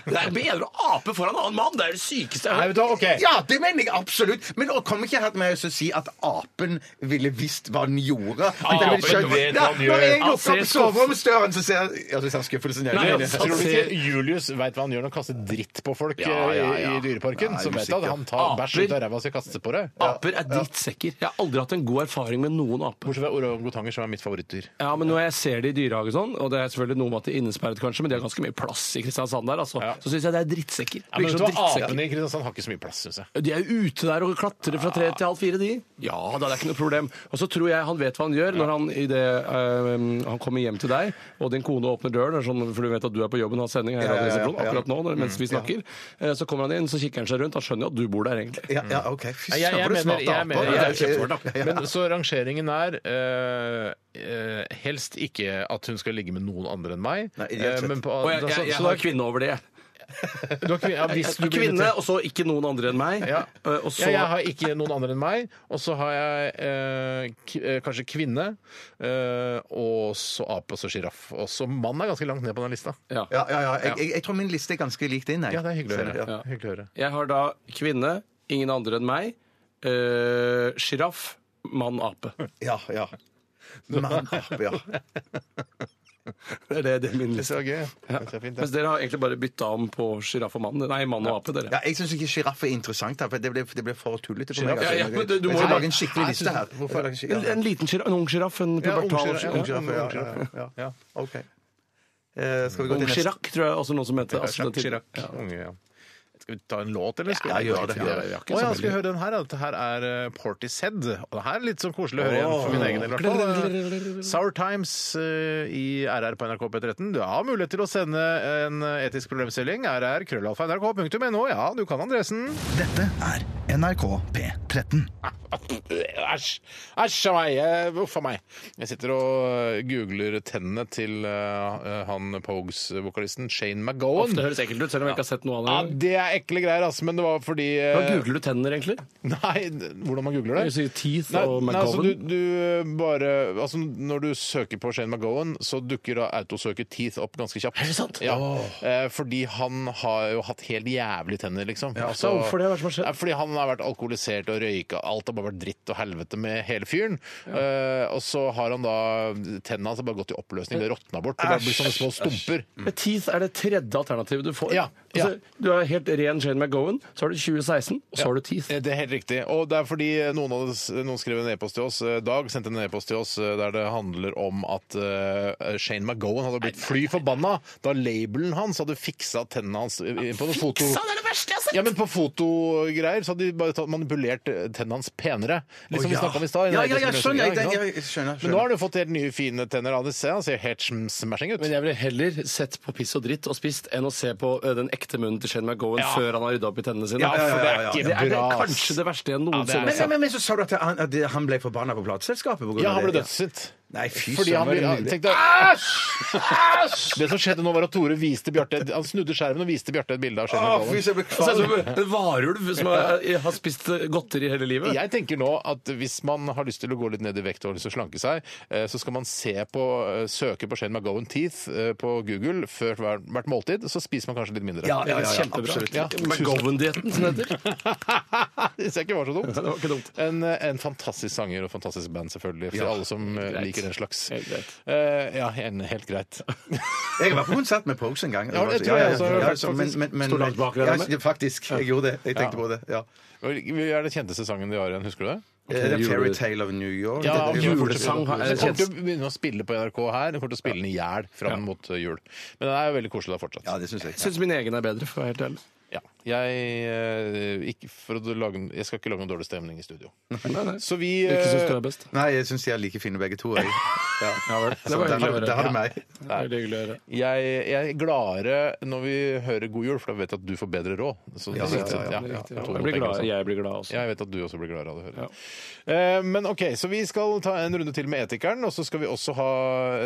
[SPEAKER 2] Det er bedre å ape foran annen mann! Det er det sykeste jeg har hørt.
[SPEAKER 3] Ja, det mener jeg absolutt. Men å komme ikke her med å si at apen ville visst hva den gjorde. At den ville
[SPEAKER 2] Apen
[SPEAKER 3] skjønt-
[SPEAKER 2] vet hva
[SPEAKER 3] Ja,
[SPEAKER 2] den
[SPEAKER 3] Når
[SPEAKER 2] gjør.
[SPEAKER 3] jeg
[SPEAKER 2] Han
[SPEAKER 3] lukker
[SPEAKER 2] ser
[SPEAKER 3] opp
[SPEAKER 2] skuff-
[SPEAKER 3] soveromsdøren, så ser jeg ja, så ser han skuffelsen i
[SPEAKER 1] Nei,
[SPEAKER 3] øynene.
[SPEAKER 1] tror du ikke Julius veit hva han gjør når han kaster dritt på folk
[SPEAKER 2] Ja,
[SPEAKER 1] eh,
[SPEAKER 2] ja, ja.
[SPEAKER 1] i i Dyreparken?
[SPEAKER 2] Nei,
[SPEAKER 1] Så vet
[SPEAKER 2] usikker.
[SPEAKER 1] at han tar bæsj ut av
[SPEAKER 2] Aper.
[SPEAKER 1] ræva si og kaster på det?
[SPEAKER 2] Aper er drittsekker. Jeg har aldri hatt en god erfaring med noen ape.
[SPEAKER 1] Bortsett fra orangotanger, som er mitt favorittdyr.
[SPEAKER 2] Ja, men Når jeg ser det i dyrehage, og sånn, og det er selvfølgelig noe med at det er innesperret, kanskje, men de har ganske mye plass i Kristiansand der, altså, så syns jeg det er drittsekker.
[SPEAKER 1] Ja, men vet
[SPEAKER 2] Virker som
[SPEAKER 1] du hva,
[SPEAKER 2] drittsekker.
[SPEAKER 1] Apene i Kristiansand har ikke så mye plass, syns jeg.
[SPEAKER 2] De er jo ute der og klatrer fra tre til halv fire, de. Ja, da, det er ikke noe problem. Og så tror jeg han vet hva han gjør når han, i det, eh, han kommer hjem til deg, og din kone åpner døren, det er sånn, for du vet at du er på jobben og har sending her i
[SPEAKER 3] Ja, ja, ja,
[SPEAKER 2] Radioresepsjonen
[SPEAKER 3] ja.
[SPEAKER 2] akkurat nå når- mens
[SPEAKER 1] Mm.
[SPEAKER 2] vi snakker. Eh, Så kommer han inn, så kikker han seg rundt, han skjønner jo at du bor der egentlig.
[SPEAKER 3] Ja, ja, OK. Fy
[SPEAKER 1] Jeg, jeg,
[SPEAKER 3] søren, for
[SPEAKER 1] mener,
[SPEAKER 3] smarte
[SPEAKER 1] jeg
[SPEAKER 3] aper.
[SPEAKER 1] mener,
[SPEAKER 3] Ja,
[SPEAKER 1] det er jo
[SPEAKER 3] ja,
[SPEAKER 1] kjempesmart,
[SPEAKER 3] ja,
[SPEAKER 1] da.
[SPEAKER 3] ja.
[SPEAKER 1] Men så rangeringen er eh, eh, helst ikke at hun skal ligge med noen andre enn meg.
[SPEAKER 3] Nei, ideelt
[SPEAKER 1] Eh, men
[SPEAKER 3] sett.
[SPEAKER 1] på,
[SPEAKER 2] Og jeg, jeg, jeg,
[SPEAKER 1] så
[SPEAKER 2] har
[SPEAKER 1] da-
[SPEAKER 2] kvinne over det.
[SPEAKER 1] du har kvinne, ja,
[SPEAKER 2] Jeg
[SPEAKER 1] hvis du
[SPEAKER 2] er
[SPEAKER 1] blir
[SPEAKER 2] kvinne,
[SPEAKER 1] invitert.
[SPEAKER 2] og så ikke noen andre enn meg.
[SPEAKER 1] Ja.
[SPEAKER 2] Eh, Og
[SPEAKER 1] ja,
[SPEAKER 2] så
[SPEAKER 1] jeg har ikke noen andre enn meg, og så har jeg eh, k eh, kanskje kvinne, eh, og så ape og så sjiraff. Og så mann er ganske langt ned på den lista.
[SPEAKER 2] Ja.
[SPEAKER 3] Ja, ja, ja. Jeg, jeg, jeg tror min liste er ganske lik din. jeg.
[SPEAKER 1] Ja, det er hyggelig å høre.
[SPEAKER 3] Ja.
[SPEAKER 1] Hyggelig å høre.
[SPEAKER 2] Jeg har da kvinne, ingen andre enn meg, Eh, sjiraff, mann, ape.
[SPEAKER 3] Ja, ja. Mann, ape, ja.
[SPEAKER 2] Det er det, det er min
[SPEAKER 1] Det
[SPEAKER 2] liste.
[SPEAKER 1] var gøy. Det var fint,
[SPEAKER 2] Mens dere har egentlig bare bytta om på sjiraff og mann. Nei, mann og ape, dere.
[SPEAKER 3] Ja, jeg syns ikke sjiraff er interessant, her, for det ble, det ble for tullete for meg. Altså,
[SPEAKER 2] Giraff, ja, ja, men du- du
[SPEAKER 3] jeg
[SPEAKER 2] må
[SPEAKER 3] skal
[SPEAKER 2] jo-
[SPEAKER 3] lage en skikkelig
[SPEAKER 2] Nei,
[SPEAKER 3] liste her.
[SPEAKER 1] hvorfor-
[SPEAKER 3] Jeg skal
[SPEAKER 2] En,
[SPEAKER 3] lage en skikkelig-
[SPEAKER 2] en liten sjiraff, en ung sjiraff, en
[SPEAKER 1] Ja, ung
[SPEAKER 2] pubertal
[SPEAKER 1] sjiraff, ja,
[SPEAKER 3] Ja,
[SPEAKER 1] ung
[SPEAKER 2] sjiraff.
[SPEAKER 3] ung sjiraff, ja, ja, ja, ja. OK. Eh, Skal vi gå
[SPEAKER 2] Ung
[SPEAKER 3] til neste?
[SPEAKER 2] Chirac, tror jeg også noen som heter. Altså,
[SPEAKER 1] Jacques
[SPEAKER 2] den
[SPEAKER 1] Chirac.
[SPEAKER 2] tiden. Ja.
[SPEAKER 1] Unge, ja. Skal vi ta en låt, eller? Skal
[SPEAKER 3] Ja,
[SPEAKER 1] vi-
[SPEAKER 3] gjør det. Ja, ja, ja.
[SPEAKER 1] Å ja, skal vi høre den her? da? Dette her er eh, Portishead. Og det her er litt sånn koselig å høre igjen for min egen del, i hvert fall. Sour Times eh, i RR på NRK P13. Du har mulighet til å sende en etisk problemstilling. RR, krøllalfa, nrk.no. Ja, du kan adressen.
[SPEAKER 4] Dette er NRK P13.
[SPEAKER 1] Æsj! Æsj a meg! Eh, Uff a meg. Jeg sitter og eh, googler tennene til eh, han Pogues-vokalisten Shane McGowan.
[SPEAKER 2] Ofte høres ekkelt ut, selv om jeg ikke har sett noe
[SPEAKER 1] Ja,
[SPEAKER 2] av det.
[SPEAKER 1] det er ekle greier, altså, men det var fordi eh,
[SPEAKER 2] Hva googler Mm. du tenner, egentlig?
[SPEAKER 1] Nei, d- hvordan man googler
[SPEAKER 2] Jeg
[SPEAKER 1] det?
[SPEAKER 2] sier teeth
[SPEAKER 1] Nei,
[SPEAKER 2] og
[SPEAKER 1] nei, altså, du,
[SPEAKER 2] McGowan.
[SPEAKER 1] du eh, bare, altså, når du søker på Shane McGowan, så dukker da autosøker Teeth opp ganske kjapt.
[SPEAKER 2] det sant?
[SPEAKER 1] Ja. Eh, fordi han har jo hatt helt jævlig tenner, liksom. Altså,
[SPEAKER 2] så hvorfor det? Hva er det som har skjedd?
[SPEAKER 1] Nei, fordi han har vært alkoholisert og røyka. Alt har bare vært dritt og helvete med hele fyren. Eh, og så har han da tennene hans har bare gått i oppløsning.
[SPEAKER 2] Eh,
[SPEAKER 1] Det råtna bort. Det bare blir sånne små stumper.
[SPEAKER 2] Men teeth er det tredje alternativet du får.
[SPEAKER 1] Ja, ja.
[SPEAKER 2] Altså, du har helt ren Shane McGowan, så har du 2016, og så har du teeth.
[SPEAKER 1] Eh, Det er helt riktig. Og det er fordi noen, av oss, noen skrev en e-post til oss. eh, Dag sendte en e-post til oss eh, der det handler om at eh, Shane McGowan hadde blitt fly forbanna da labelen hans hadde fiksa tennene hans eh, på noen foto...
[SPEAKER 2] det er det verste jeg har
[SPEAKER 1] Ja, men på fotogreier så hadde de bare tatt, manipulert eh, tennene hans penere. Litt som
[SPEAKER 3] Å, ja.
[SPEAKER 1] vi snakka om i stad. i den
[SPEAKER 3] Ja, ja, ja,
[SPEAKER 1] etiske
[SPEAKER 3] skjønner, jeg,
[SPEAKER 1] undersøkelsen,
[SPEAKER 3] jeg-
[SPEAKER 1] ikke
[SPEAKER 3] jeg- jeg skjønner,
[SPEAKER 1] sant? Men nå har du fått helt nye, fine tenner. av det. Se, Han ser helt sm- smashing ut.
[SPEAKER 2] Men jeg ville heller sett på piss og dritt og spist enn å se på ø, den ekte munnen til Shane McGowan før han har rydda opp i tennene sine.
[SPEAKER 1] Ja, for det er ikke
[SPEAKER 2] Det er det
[SPEAKER 1] bra, ass.
[SPEAKER 2] kanskje det verste jeg
[SPEAKER 1] det er
[SPEAKER 2] noensinne har
[SPEAKER 3] Men,
[SPEAKER 2] sett.
[SPEAKER 3] men, men, men så sa du at han, at han ble forbanna på plateselskapet? på grunn
[SPEAKER 1] Altså- Ja,
[SPEAKER 3] av
[SPEAKER 1] han ble
[SPEAKER 3] det,
[SPEAKER 1] dødssynt.
[SPEAKER 3] Nei, fy
[SPEAKER 1] Fordi
[SPEAKER 3] søren,
[SPEAKER 1] han
[SPEAKER 3] var det
[SPEAKER 1] ville-
[SPEAKER 3] nydelig.
[SPEAKER 1] tenkte Æsj! Æsj! Det som skjedde nå, var at Tore viste Bjarte Han snudde skjermen og viste Bjarte et bilde av
[SPEAKER 3] Å,
[SPEAKER 2] Ah,
[SPEAKER 1] skjermen.
[SPEAKER 3] fy søren, jeg ble
[SPEAKER 2] Det ser ut
[SPEAKER 3] kvalm.
[SPEAKER 2] som en varulv som har, eh, har spist godteri hele livet.
[SPEAKER 1] Jeg tenker nå at hvis man har lyst til å gå litt ned i vekt og har lyst til å slanke seg, eh, så skal man se på, eh, søke på Shane McGowan Teeth eh, på Google før hver- hvert måltid, så spiser man kanskje litt mindre.
[SPEAKER 3] Ja, ja, ja, ja,
[SPEAKER 2] Kjempebra.
[SPEAKER 3] absolutt.
[SPEAKER 1] Ja.
[SPEAKER 2] McGowan-dietten, som det heter.
[SPEAKER 1] det ser ikke var så dumt.
[SPEAKER 2] det var ikke dumt.
[SPEAKER 1] En, eh, en fantastisk sanger og fantastisk band, selvfølgelig, for
[SPEAKER 3] Ja,
[SPEAKER 1] alle som eh,
[SPEAKER 2] greit.
[SPEAKER 1] liker den slags.
[SPEAKER 2] Helt greit.
[SPEAKER 1] Eh, ja, en, helt greit.
[SPEAKER 3] Jeg var på konsert med Pogues en gang.
[SPEAKER 1] Ja, det tror jeg også.
[SPEAKER 3] ja, så- men- men- men-
[SPEAKER 2] Sto langt bak deg,
[SPEAKER 3] Ja,
[SPEAKER 2] eller?
[SPEAKER 3] faktisk. Jeg gjorde det. Jeg tenkte på det. ja.
[SPEAKER 1] Hva er den kjenteste sangen de har igjen, husker du det?
[SPEAKER 3] Eh, Det er
[SPEAKER 2] Jule-
[SPEAKER 3] Fairytale of New York.
[SPEAKER 1] Ja,
[SPEAKER 3] Det er-
[SPEAKER 1] julesang.
[SPEAKER 3] Det er-
[SPEAKER 1] Jeg kommer til å begynne å spille på NRK her. Jeg kommer til å spille den i hjel fram mot eh, jul. Men det er jo veldig koselig da fortsatt.
[SPEAKER 3] Ja, det synes jeg.
[SPEAKER 2] Jeg syns min egen er bedre, for å være helt ærlig.
[SPEAKER 1] Ja. Jeg, eh, ikke, for å lage, jeg skal ikke lage noen dårlig stemning i studio. Så vi
[SPEAKER 3] Hvilke
[SPEAKER 1] eh,
[SPEAKER 3] synes du er best? Nei, jeg syns de er like fine begge to. Jeg. Ja. Så
[SPEAKER 1] Det var
[SPEAKER 3] der,
[SPEAKER 1] hyggelig å høre.
[SPEAKER 3] der har du
[SPEAKER 1] Ja.
[SPEAKER 3] meg.
[SPEAKER 1] eh, Jeg, jeg er gladere når vi hører God jul, for da vet jeg at du får bedre råd. Så,
[SPEAKER 2] Ja,
[SPEAKER 1] så-
[SPEAKER 2] ja, ja,
[SPEAKER 1] ja,
[SPEAKER 2] det er riktig.
[SPEAKER 1] ja,
[SPEAKER 2] Jeg blir
[SPEAKER 1] tenker
[SPEAKER 2] glad-
[SPEAKER 1] også.
[SPEAKER 2] jeg blir glad også.
[SPEAKER 1] Ja, jeg vet at du også blir gladere av det. Hører. Eh, men ok, så vi skal ta en runde til med Etikeren, og så skal vi også ha,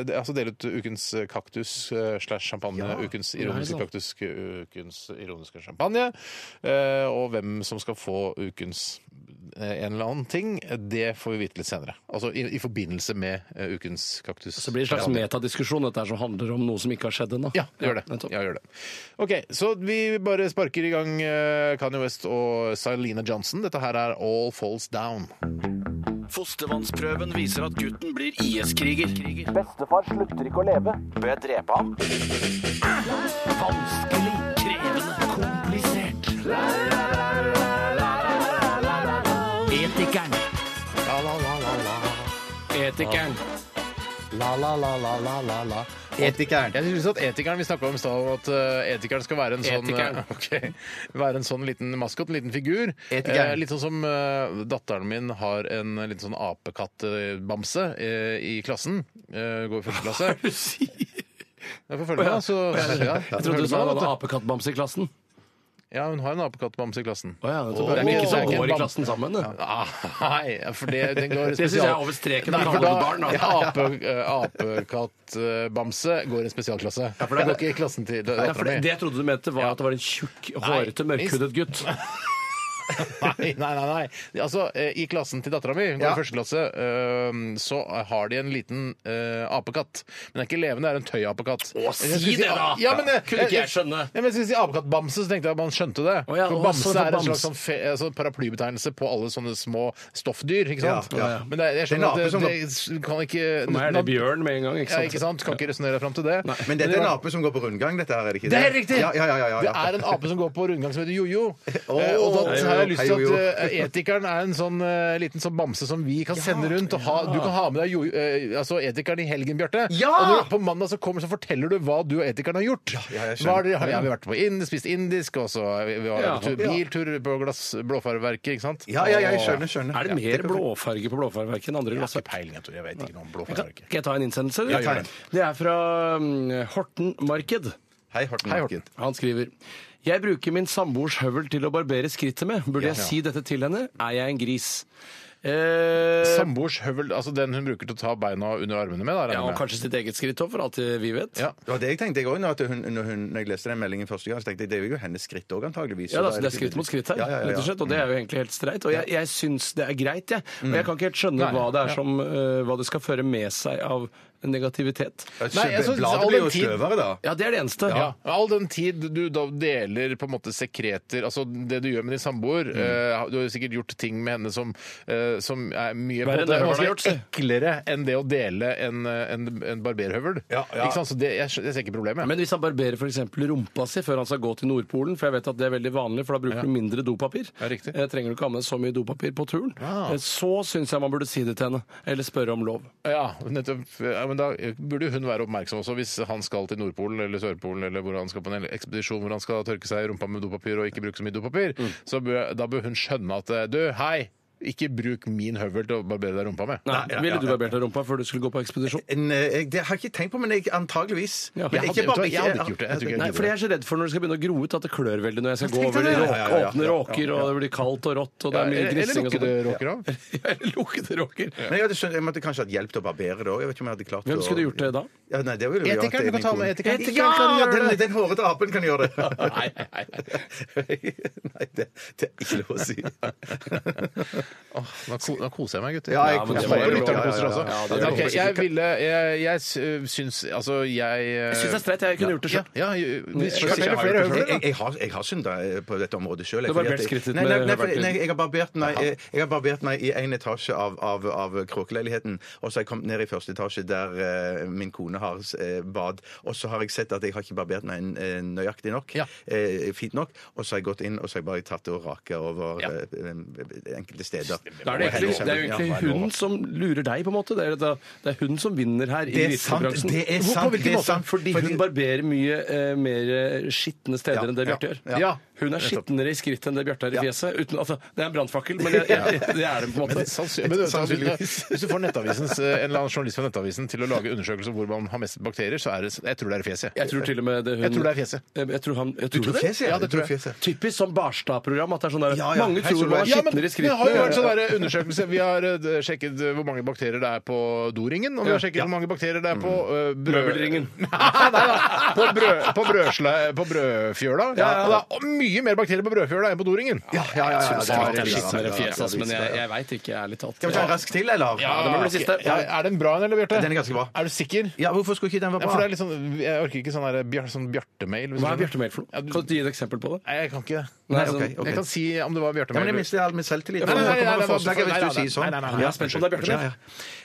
[SPEAKER 1] altså dele ut ukens kaktus eh, slash champagne. Ukens ironiske
[SPEAKER 2] Nei da.
[SPEAKER 1] kaktus, ukens ironiske champagne. Eh, og hvem som skal få ukens eh, en eller annen ting, det får vi vite litt senere. Altså i, i forbindelse med eh, ukens kaktus.
[SPEAKER 2] Så det Altså, blir en slags
[SPEAKER 1] champagne.
[SPEAKER 2] metadiskusjon, dette her som handler om noe som ikke har skjedd ennå.
[SPEAKER 1] Ja, gjør det. Ja, gjør det. Ok, så vi bare sparker i gang eh, Kanye West og Silena Johnson. Dette her er All Falls Down.
[SPEAKER 9] Fostervannsprøven viser at gutten blir IS-kriger.
[SPEAKER 10] Bestefar slutter ikke å leve. Bør jeg drepe ham?
[SPEAKER 9] Vanskelig, krevende, komplisert. Etikeren.
[SPEAKER 2] Etikeren.
[SPEAKER 1] La, la, la, la, la, la, la.
[SPEAKER 3] Etikeren.
[SPEAKER 1] Jeg synes at etikeren vi snakka om i stad, at eh, etikeren skal være en sånn
[SPEAKER 2] Etikeren.
[SPEAKER 1] ok, være en sånn liten maskot, en liten figur.
[SPEAKER 2] Etikeren.
[SPEAKER 1] Eh, litt sånn som eh, datteren min har en liten sånn apekattbamse eh, i klassen. Eh, går i første klasse. Hva er det du sier? Jeg får følge med, da. Så, ja,
[SPEAKER 2] Jeg trodde du sa det var en apekattbamse i klassen.
[SPEAKER 1] Ja, hun har en apekattbamse i klassen.
[SPEAKER 2] det tror jeg. Det er ikke som
[SPEAKER 1] sånn
[SPEAKER 2] går i klassen sammen, det.
[SPEAKER 1] Ah, Nei, for det, den går
[SPEAKER 2] Det synes jeg er over streken å
[SPEAKER 1] Nei,
[SPEAKER 2] kalle
[SPEAKER 1] for da-
[SPEAKER 2] det barn, da.
[SPEAKER 1] ja, ape, eh, Apekattbamse går i en spesialklasse. Ja,
[SPEAKER 2] for det-
[SPEAKER 1] går ikke i klassen til
[SPEAKER 2] Nei, for det,
[SPEAKER 1] datteren min.
[SPEAKER 2] det jeg trodde du mente, var at det var en tjukk, hårete,
[SPEAKER 1] Nei.
[SPEAKER 2] mørkhudet gutt.
[SPEAKER 1] Nei, nei, nei. nei. Altså, eh, I klassen til dattera mi, hun går i første klasse, eh, så har de en liten eh, apekatt. Men den er ikke levende, det er en tøyapekatt. Å,
[SPEAKER 2] si det da!
[SPEAKER 1] Ja, men, eh,
[SPEAKER 2] Kunne ikke jeg skjønne.
[SPEAKER 1] Ja, men jeg skulle si apekattbamse, så tenkte jeg at man skjønte det.
[SPEAKER 2] Å, ja,
[SPEAKER 1] for
[SPEAKER 2] å, sånn
[SPEAKER 1] bamse er
[SPEAKER 2] for
[SPEAKER 1] en
[SPEAKER 2] bamse.
[SPEAKER 1] slags sånn fe, altså, paraplybetegnelse på alle sånne små stoffdyr, ikke sant?
[SPEAKER 2] Ja, ja, ja.
[SPEAKER 1] Men det, jeg
[SPEAKER 2] Det er en
[SPEAKER 1] skjønner
[SPEAKER 2] ape
[SPEAKER 1] at
[SPEAKER 2] som-
[SPEAKER 1] det, det kan ikke
[SPEAKER 2] For meg er det bjørn med en gang, ikke sant?
[SPEAKER 1] Ja, ikke sant? Kan ikke resonnere deg fram til det.
[SPEAKER 3] Men dette er en ape som går på rundgang, dette her, er det ikke
[SPEAKER 1] Det er helt riktig!
[SPEAKER 3] Ja, ja, ja, ja, ja.
[SPEAKER 1] Det er en ape som går på rundgang som heter jojo.
[SPEAKER 3] Åh,
[SPEAKER 1] Eh, og da har jeg lyst
[SPEAKER 3] hei,
[SPEAKER 1] til
[SPEAKER 3] jojo.
[SPEAKER 1] at eh, etikeren er en sånn eh, liten sånn bamse som vi kan sende rundt. Og ha, du kan ha med deg jojo, eh, altså etikeren i helgen, Bjarte.
[SPEAKER 3] Ja!
[SPEAKER 1] Og når, du- på mandag så kommer så forteller du hva du og etikeren har gjort.
[SPEAKER 3] jeg skjønner.
[SPEAKER 1] Hva er det, har, ja, vi har vært på ind, spist indisk, og så har vi, vi har
[SPEAKER 2] Ja.
[SPEAKER 1] vært på tur-
[SPEAKER 2] Ja.
[SPEAKER 1] biltur på glass, blåfarverket, ikke sant?
[SPEAKER 3] Ja, ja, ja, jeg skjønner, skjønner.
[SPEAKER 2] Er det
[SPEAKER 3] Ja,
[SPEAKER 2] mer blåfarge på blåfarverket enn andre glassverk?
[SPEAKER 1] Peiling, jeg tror. Jeg vet ikke noe om
[SPEAKER 2] Kan,
[SPEAKER 1] blåfarverket.
[SPEAKER 2] kan jeg ta en innsendelse?
[SPEAKER 1] Ja,
[SPEAKER 2] eller?
[SPEAKER 1] gjør det.
[SPEAKER 2] det er fra mm, Horten Marked.
[SPEAKER 3] Hei, Horten
[SPEAKER 2] Hei,
[SPEAKER 3] Marked.
[SPEAKER 2] Han skriver Jeg bruker min samboers høvel til å barbere skrittet med. Burde
[SPEAKER 1] Ja.
[SPEAKER 2] jeg si dette til henne? Er jeg en gris? Eh,
[SPEAKER 1] Samboers høvel, altså den hun bruker til å ta beina under armene med? Da, regner
[SPEAKER 2] ja,
[SPEAKER 1] jeg
[SPEAKER 2] og
[SPEAKER 1] med.
[SPEAKER 2] kanskje sitt eget skritt òg, for alt det vi vet.
[SPEAKER 1] Ja.
[SPEAKER 3] Det var det jeg tenkte jeg også, når, at hun, når, hun, når jeg leste den meldingen første gang, så tenkte jeg det er jo hennes skritt òg, antageligvis.
[SPEAKER 2] Ja,
[SPEAKER 3] Så
[SPEAKER 2] da, så
[SPEAKER 3] da er
[SPEAKER 2] Det er
[SPEAKER 3] det
[SPEAKER 2] skritt mot skritt her,
[SPEAKER 3] Ja, ja, ja, ja.
[SPEAKER 2] rett og slett, og det er jo egentlig helt streit. Og jeg, jeg syns det er greit, jeg.
[SPEAKER 3] Mm.
[SPEAKER 2] Og jeg kan ikke helt skjønne
[SPEAKER 3] Nei,
[SPEAKER 2] hva det
[SPEAKER 3] ja.
[SPEAKER 2] er som eh, hva det skal føre med seg av negativitet.
[SPEAKER 3] Nei, jeg synes bladet all blir den jo tid- sløvere da.
[SPEAKER 2] Ja, det er det eneste.
[SPEAKER 1] Ja. All den tid du da deler på en måte sekreter, altså det du gjør med din samboer
[SPEAKER 2] Mm.
[SPEAKER 1] eh, Du har jo sikkert gjort ting med henne som, eh, som er mye på en
[SPEAKER 2] Verre
[SPEAKER 1] måte,
[SPEAKER 2] enn det hun har
[SPEAKER 1] ganske
[SPEAKER 2] gjort, si.
[SPEAKER 1] eklere enn det å dele en, eh, en, en barberhøvel.
[SPEAKER 2] ja.
[SPEAKER 1] Ikke sant? Så det, jeg, skj- jeg ser ikke problemet.
[SPEAKER 2] Men hvis han barberer f.eks. rumpa si før han skal gå til Nordpolen, for jeg vet at det er veldig vanlig, for da bruker du mindre dopapir, Eh, trenger du ikke ha med så mye dopapir på turen, Eh, så syns jeg man burde si det til henne. Eller spørre om lov.
[SPEAKER 1] Ja, nettopp. Ja, men da burde hun være oppmerksom også hvis han skal til Nordpolen eller Sørpolen eller hvor han skal på en ekspedisjon hvor han skal tørke seg i rumpa med dopapir og ikke bruke så mye dopapir.
[SPEAKER 2] Mm.
[SPEAKER 1] Så bør, da bør hun skjønne at eh, du, hei, ikke bruk min høvel til å barbere deg rumpa med.
[SPEAKER 2] Nei, Ville du barbert deg rumpa før du skulle gå på ekspedisjon?
[SPEAKER 3] En, eh, jeg, det har jeg ikke tenkt på, men jeg, antageligvis.
[SPEAKER 2] Ja.
[SPEAKER 3] Men ikke bare- ikke-
[SPEAKER 2] Nei, for jeg er så redd for når det skal begynne å gro ut, at det klør veldig når jeg skal
[SPEAKER 3] Jeg
[SPEAKER 2] gå
[SPEAKER 3] tenkte
[SPEAKER 2] over de
[SPEAKER 3] det.
[SPEAKER 2] råk,
[SPEAKER 3] Ja, ja, ja, ja.
[SPEAKER 2] åpne
[SPEAKER 3] Ja,
[SPEAKER 2] råker,
[SPEAKER 3] ja.
[SPEAKER 2] og det blir kaldt og rått, og det
[SPEAKER 3] Ja,
[SPEAKER 2] er mye
[SPEAKER 3] eller- eller
[SPEAKER 2] grissing og sånn.
[SPEAKER 3] lukkeråker
[SPEAKER 1] òg.
[SPEAKER 2] Lukkede råker.
[SPEAKER 3] Men jeg, hadde skjønt, jeg måtte kanskje hatt hjelp til å barbere det òg. Jeg vet ikke om jeg hadde klart
[SPEAKER 2] Hvem
[SPEAKER 3] å-
[SPEAKER 2] skulle gjort det da?
[SPEAKER 3] Ja, nei, det ville jo
[SPEAKER 2] Etikeren,
[SPEAKER 3] vært
[SPEAKER 2] du kan
[SPEAKER 3] min
[SPEAKER 2] ta med
[SPEAKER 3] kone.
[SPEAKER 2] etikeren.
[SPEAKER 3] Etikeren kan
[SPEAKER 2] Ja,
[SPEAKER 3] gjøre
[SPEAKER 2] gjør det!
[SPEAKER 3] det! Den hårete apen kan gjøre det.
[SPEAKER 1] Nei, nei,
[SPEAKER 3] nei, det, det er ikke lov å si.
[SPEAKER 1] Åh, nå, ko, nå koser jeg meg, gutter.
[SPEAKER 3] Ja, jeg Ja, men koser det meg. var jo
[SPEAKER 1] Lytterne
[SPEAKER 3] bra.
[SPEAKER 1] koser
[SPEAKER 3] Ja, ja, ja.
[SPEAKER 1] også.
[SPEAKER 3] Ja, det gjør
[SPEAKER 1] Ok,
[SPEAKER 3] det.
[SPEAKER 1] jeg ville Jeg, jeg sy- syns Altså, jeg
[SPEAKER 3] Jeg syns det er streit,
[SPEAKER 2] jeg kunne
[SPEAKER 3] gjort det selv.
[SPEAKER 1] Ja, ja,
[SPEAKER 3] Men
[SPEAKER 1] hvis-
[SPEAKER 3] jeg- jeg-
[SPEAKER 1] flere
[SPEAKER 3] jeg-
[SPEAKER 1] høvler, da.
[SPEAKER 3] jeg- jeg- Jeg har, jeg har synda eh, på dette området sjøl.
[SPEAKER 2] Du har barbert skrittet
[SPEAKER 3] nei, nei,
[SPEAKER 2] med
[SPEAKER 3] nei, for-
[SPEAKER 2] høvelkniv.
[SPEAKER 3] nei, jeg har barbert meg, jeg, jeg har barbert meg i én etasje av, av, av kråkeleiligheten. Og så har jeg kommet ned i første etasje der eh, min kone har eh, bad. Og så har jeg sett at jeg har ikke barbert meg en- eh, nøyaktig nok. Eh, fint nok. Og så har jeg gått inn og så har jeg bare tatt det og raka over eh, eh, enkelte steder. steder.
[SPEAKER 2] Da er det, egentlig, det er jo egentlig hunden som lurer deg, på en måte. Det er, det, det er hun som vinner her. i
[SPEAKER 3] Det er sant,
[SPEAKER 2] vitsebransjen.
[SPEAKER 3] det er
[SPEAKER 2] Hvor-
[SPEAKER 3] sant,
[SPEAKER 2] På hvilken
[SPEAKER 3] det er
[SPEAKER 2] måte?
[SPEAKER 3] sant, fordi
[SPEAKER 2] Fordi
[SPEAKER 3] hun-
[SPEAKER 2] hun barberer mye eh, mer eh, skitne steder
[SPEAKER 3] Ja,
[SPEAKER 2] enn det
[SPEAKER 3] ja,
[SPEAKER 2] Bjarte gjør.
[SPEAKER 3] ja. Ja.
[SPEAKER 2] Hun er
[SPEAKER 3] Nettopp.
[SPEAKER 2] skitnere i skrittet enn det Bjarte er i
[SPEAKER 3] Ja.
[SPEAKER 2] fjeset. Uten, altså, det er en brannfakkel, men jeg, jeg, det er det på en måte.
[SPEAKER 1] Men det, sannsynlig- men det, sannsynligvis. Hvis du får nettavisens, eh, en eller annen journalist fra Nettavisen til å lage undersøkelser om hvor man har mest bakterier, så er det Jeg tror det er i fjeset.
[SPEAKER 2] Jeg tror til og med det hun Eh,
[SPEAKER 1] Jeg tror det er fjeset.
[SPEAKER 2] Jeg, jeg tror han, jeg tror
[SPEAKER 3] tror
[SPEAKER 2] det?
[SPEAKER 3] fjeset, ja.
[SPEAKER 2] Ja, det
[SPEAKER 3] Du tror
[SPEAKER 2] tror jeg.
[SPEAKER 3] fjeset.
[SPEAKER 2] Typisk sånn Barstad-program. At det er sånn der,
[SPEAKER 3] Ja, ja.
[SPEAKER 2] Mange
[SPEAKER 3] Hei,
[SPEAKER 2] tror man
[SPEAKER 3] Solveig.
[SPEAKER 2] er
[SPEAKER 3] Ja,
[SPEAKER 1] men
[SPEAKER 2] skitnere i
[SPEAKER 1] det har jo vært sånn
[SPEAKER 2] skrittet.
[SPEAKER 1] der undersøkelse. Vi har eh, sjekket eh, hvor mange bakterier det er på doringen, og vi har sjekket hvor mange bakterier det er på
[SPEAKER 2] Mm.
[SPEAKER 1] eh, brød...
[SPEAKER 2] Møbelringen.
[SPEAKER 1] Nei da! På, brød, på, brødsle, på brødfjøla.
[SPEAKER 2] Ja, ja.
[SPEAKER 1] Og det er mye mer bakterier på brødfjøla enn på doringen.
[SPEAKER 3] Ja, ja, ja.
[SPEAKER 2] Jeg
[SPEAKER 3] ja, det er
[SPEAKER 2] synes det
[SPEAKER 3] riktig,
[SPEAKER 2] er
[SPEAKER 3] ja,
[SPEAKER 2] skitnere
[SPEAKER 3] ja,
[SPEAKER 2] i
[SPEAKER 3] ja,
[SPEAKER 2] fjeset, altså,
[SPEAKER 3] ja,
[SPEAKER 2] men
[SPEAKER 3] ja,
[SPEAKER 2] jeg,
[SPEAKER 3] ja.
[SPEAKER 2] jeg veit ikke, ærlig talt.
[SPEAKER 3] Skal vi ta en rask til, eller?
[SPEAKER 1] Ja,
[SPEAKER 2] det må bli siste.
[SPEAKER 1] Ja, er den bra, eller, Bjarte?
[SPEAKER 3] Den er ganske bra.
[SPEAKER 1] Er du sikker?
[SPEAKER 3] Ja, hvorfor skulle ikke den være
[SPEAKER 1] Ja, for det
[SPEAKER 3] bra?
[SPEAKER 1] er litt sånn, jeg orker ikke sånn, der bjar, sånn Bjarte-mail. hvis
[SPEAKER 2] Hva er
[SPEAKER 1] du skjønner.
[SPEAKER 2] Bjarte Mail for noe?
[SPEAKER 1] Ja, du-
[SPEAKER 2] Kan du gi et eksempel på det?
[SPEAKER 1] Nei, jeg kan ikke det.
[SPEAKER 3] Nei,
[SPEAKER 2] sånn-
[SPEAKER 3] ok, ok.
[SPEAKER 1] Jeg kan si om det var
[SPEAKER 3] Ja, men
[SPEAKER 1] Bjarte-mail.
[SPEAKER 3] jeg mister all min selvtillit.
[SPEAKER 1] Ja, men-
[SPEAKER 3] Nå kommer
[SPEAKER 1] nei, nei,
[SPEAKER 3] det forslag
[SPEAKER 1] nei, nei,
[SPEAKER 3] hvis du
[SPEAKER 1] nei,
[SPEAKER 3] sier sånn.
[SPEAKER 1] nei, nei, nei,
[SPEAKER 2] Jeg er spent på om det er Bjarte
[SPEAKER 3] Ja,
[SPEAKER 2] Mail.
[SPEAKER 3] ja.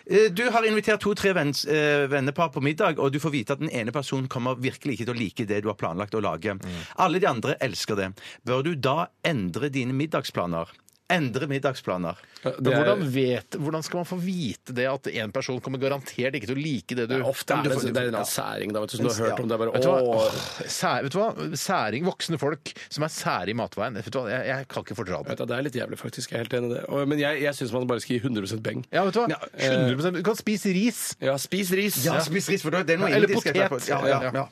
[SPEAKER 3] Eh, Du har invitert to-tre venns- eh, venner på- på middag, og du får vite at den ene personen kommer virkelig ikke til å like det du har planlagt å lage.
[SPEAKER 2] Mm.
[SPEAKER 3] Alle de andre elsker det. Bør du da endre dine middagsplaner? Endre middagsplaner.
[SPEAKER 1] Men hvordan, vet, hvordan skal man få vite det at én person kommer garantert ikke til å like det sånn- du
[SPEAKER 2] Ja, Ofte
[SPEAKER 1] Men
[SPEAKER 2] er
[SPEAKER 1] du
[SPEAKER 2] det,
[SPEAKER 1] får-
[SPEAKER 2] sånn- det er en eller annen særing da, vet du, som du har hørt om. Det er
[SPEAKER 1] Vet
[SPEAKER 2] bare
[SPEAKER 1] du hva?
[SPEAKER 2] åh.
[SPEAKER 1] Åh, Sæ, vet du hva? Særing, voksne folk som er sære i matveien. Vet du hva? Jeg, jeg kan ikke fordra
[SPEAKER 2] Vet
[SPEAKER 1] det.
[SPEAKER 2] du, Det er litt jævlig, faktisk. Jeg er helt enig i det. Og- Men jeg, jeg syns man bare skal gi 100 beng.
[SPEAKER 1] Ja, vet du hva?
[SPEAKER 2] Ja,
[SPEAKER 1] 100 Du kan spise ris.
[SPEAKER 2] Ja, spis ris!
[SPEAKER 3] eh, Ja, spis ris, for det er noe
[SPEAKER 1] Ja, eller
[SPEAKER 3] indisk jeg
[SPEAKER 1] potet.
[SPEAKER 3] tror jeg får. Ja, ja, ja.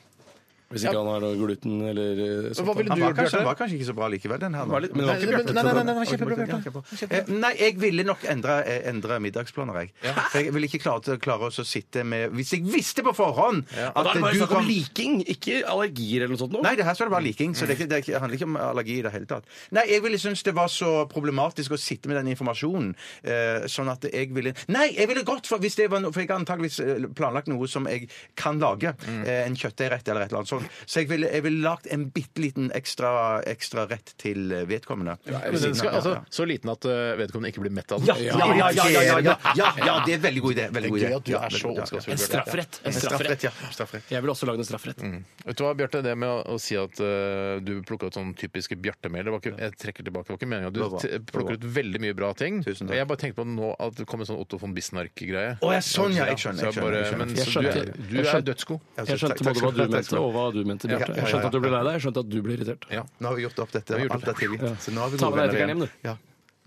[SPEAKER 2] Hvis ikke han har noe gluten eller eh, sånt.
[SPEAKER 1] Hva ville
[SPEAKER 3] Han
[SPEAKER 1] du
[SPEAKER 3] var,
[SPEAKER 1] gjort,
[SPEAKER 3] kanskje, han
[SPEAKER 1] Bjarte?
[SPEAKER 3] var kanskje ikke så bra likevel, den her. nå.
[SPEAKER 2] Var litt- men det var ikke
[SPEAKER 3] Nei,
[SPEAKER 2] Bjarte så
[SPEAKER 3] men-
[SPEAKER 2] bra.
[SPEAKER 3] nei, nei, nei,
[SPEAKER 2] Det
[SPEAKER 3] det var
[SPEAKER 2] var ikke
[SPEAKER 3] kjempebra, Bjarte. Eh, Nei, jeg ville nok endre, eh, endre middagsplaner, jeg. For jeg ville ikke klare, til, klare oss å sitte med Hvis jeg visste på forhånd
[SPEAKER 2] Og da er
[SPEAKER 3] at
[SPEAKER 2] det bare
[SPEAKER 3] du
[SPEAKER 2] snakk om
[SPEAKER 3] kom
[SPEAKER 2] liking, ikke allergier eller noe sånt. nå.
[SPEAKER 3] Nei, det her står det bare liking, så det, er ikke, det er ikke, det handler ikke om allergi i det hele tatt. Nei, jeg ville synes det var så problematisk å sitte med den informasjonen, eh, sånn at jeg ville Nei, jeg ville godt, for, hvis det var no, for jeg har antageligvis eh, planlagt noe som jeg kan lage.
[SPEAKER 1] Mm.
[SPEAKER 3] Eh, en kjøttdeigrett eller et eller annet sånt. Så jeg ville, jeg ville lagd en bitte liten ekstra, ekstra rett til eh, vedkommende.
[SPEAKER 1] Men den skal, altså, så liten at eh, vedkommende ikke blir mett av den.
[SPEAKER 3] ja, ja, ja, ja, ja, ja, ja, ja, ja, det er veldig god idé.
[SPEAKER 1] Det
[SPEAKER 3] Veldig
[SPEAKER 1] er
[SPEAKER 3] god idé.
[SPEAKER 1] gøy at du
[SPEAKER 3] Ja,
[SPEAKER 1] er så
[SPEAKER 3] veldig- ja,
[SPEAKER 1] ondskapsfull.
[SPEAKER 3] ja.
[SPEAKER 2] En straffrett. En
[SPEAKER 3] En
[SPEAKER 2] straffrett.
[SPEAKER 3] straffrett, ja. Straffrett.
[SPEAKER 2] Jeg ville også lagd en
[SPEAKER 3] Mm.
[SPEAKER 2] strafferett.
[SPEAKER 1] Vet du hva, Bjarte, det med å, å si at eh, du plukka ut sånn typiske Bjarte-mail det var ikke- Jeg trekker tilbake, det var ikke meninga. Du
[SPEAKER 3] Det var bra.
[SPEAKER 1] t- plukker
[SPEAKER 3] Det
[SPEAKER 1] ut veldig mye bra ting.
[SPEAKER 3] Tusen
[SPEAKER 1] Og
[SPEAKER 3] takk.
[SPEAKER 1] Jeg bare tenkte på nå at det kom en sånn Otto von Bismarck-greie.
[SPEAKER 3] Å, ja, sånn, ja, jeg skjønner, jeg
[SPEAKER 1] Så jeg bare-
[SPEAKER 3] skjønner, jeg
[SPEAKER 1] men så
[SPEAKER 2] skjønner.
[SPEAKER 1] Du
[SPEAKER 2] Jeg skjønte.
[SPEAKER 1] er, du er
[SPEAKER 2] Jeg skjønte.
[SPEAKER 1] dødsko.
[SPEAKER 2] Jeg skjønte både hva du mente, og hva du mente, Bjarte. Jeg skjønte at du ble lei deg, jeg skjønte at du ble irritert.
[SPEAKER 1] Ja.
[SPEAKER 3] Nå har vi gjort opp dette.
[SPEAKER 1] Vi har gjort
[SPEAKER 3] Alt er
[SPEAKER 1] opp.
[SPEAKER 3] tilgitt. Så nå har vi
[SPEAKER 2] Ta med deg
[SPEAKER 3] gode venner
[SPEAKER 2] etikeren hjem,
[SPEAKER 3] igjen.
[SPEAKER 2] du.
[SPEAKER 3] Ja.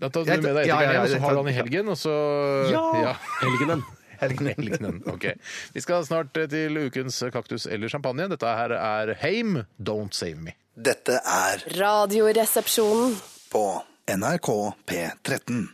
[SPEAKER 1] Da tar du med deg
[SPEAKER 3] Ja, ja,
[SPEAKER 1] etikeren hjem,
[SPEAKER 3] ja,
[SPEAKER 1] og så
[SPEAKER 3] jeg
[SPEAKER 1] har du
[SPEAKER 3] tar-
[SPEAKER 1] han i helgen, og så
[SPEAKER 3] Ja!
[SPEAKER 2] Helgenen.
[SPEAKER 1] Helgenen. Ok. Vi skal snart eh, til ukens kaktus eller champagne. Dette her er Heim, Don't Save Me.
[SPEAKER 4] Dette er
[SPEAKER 12] Radioresepsjonen.
[SPEAKER 4] på NRK P13.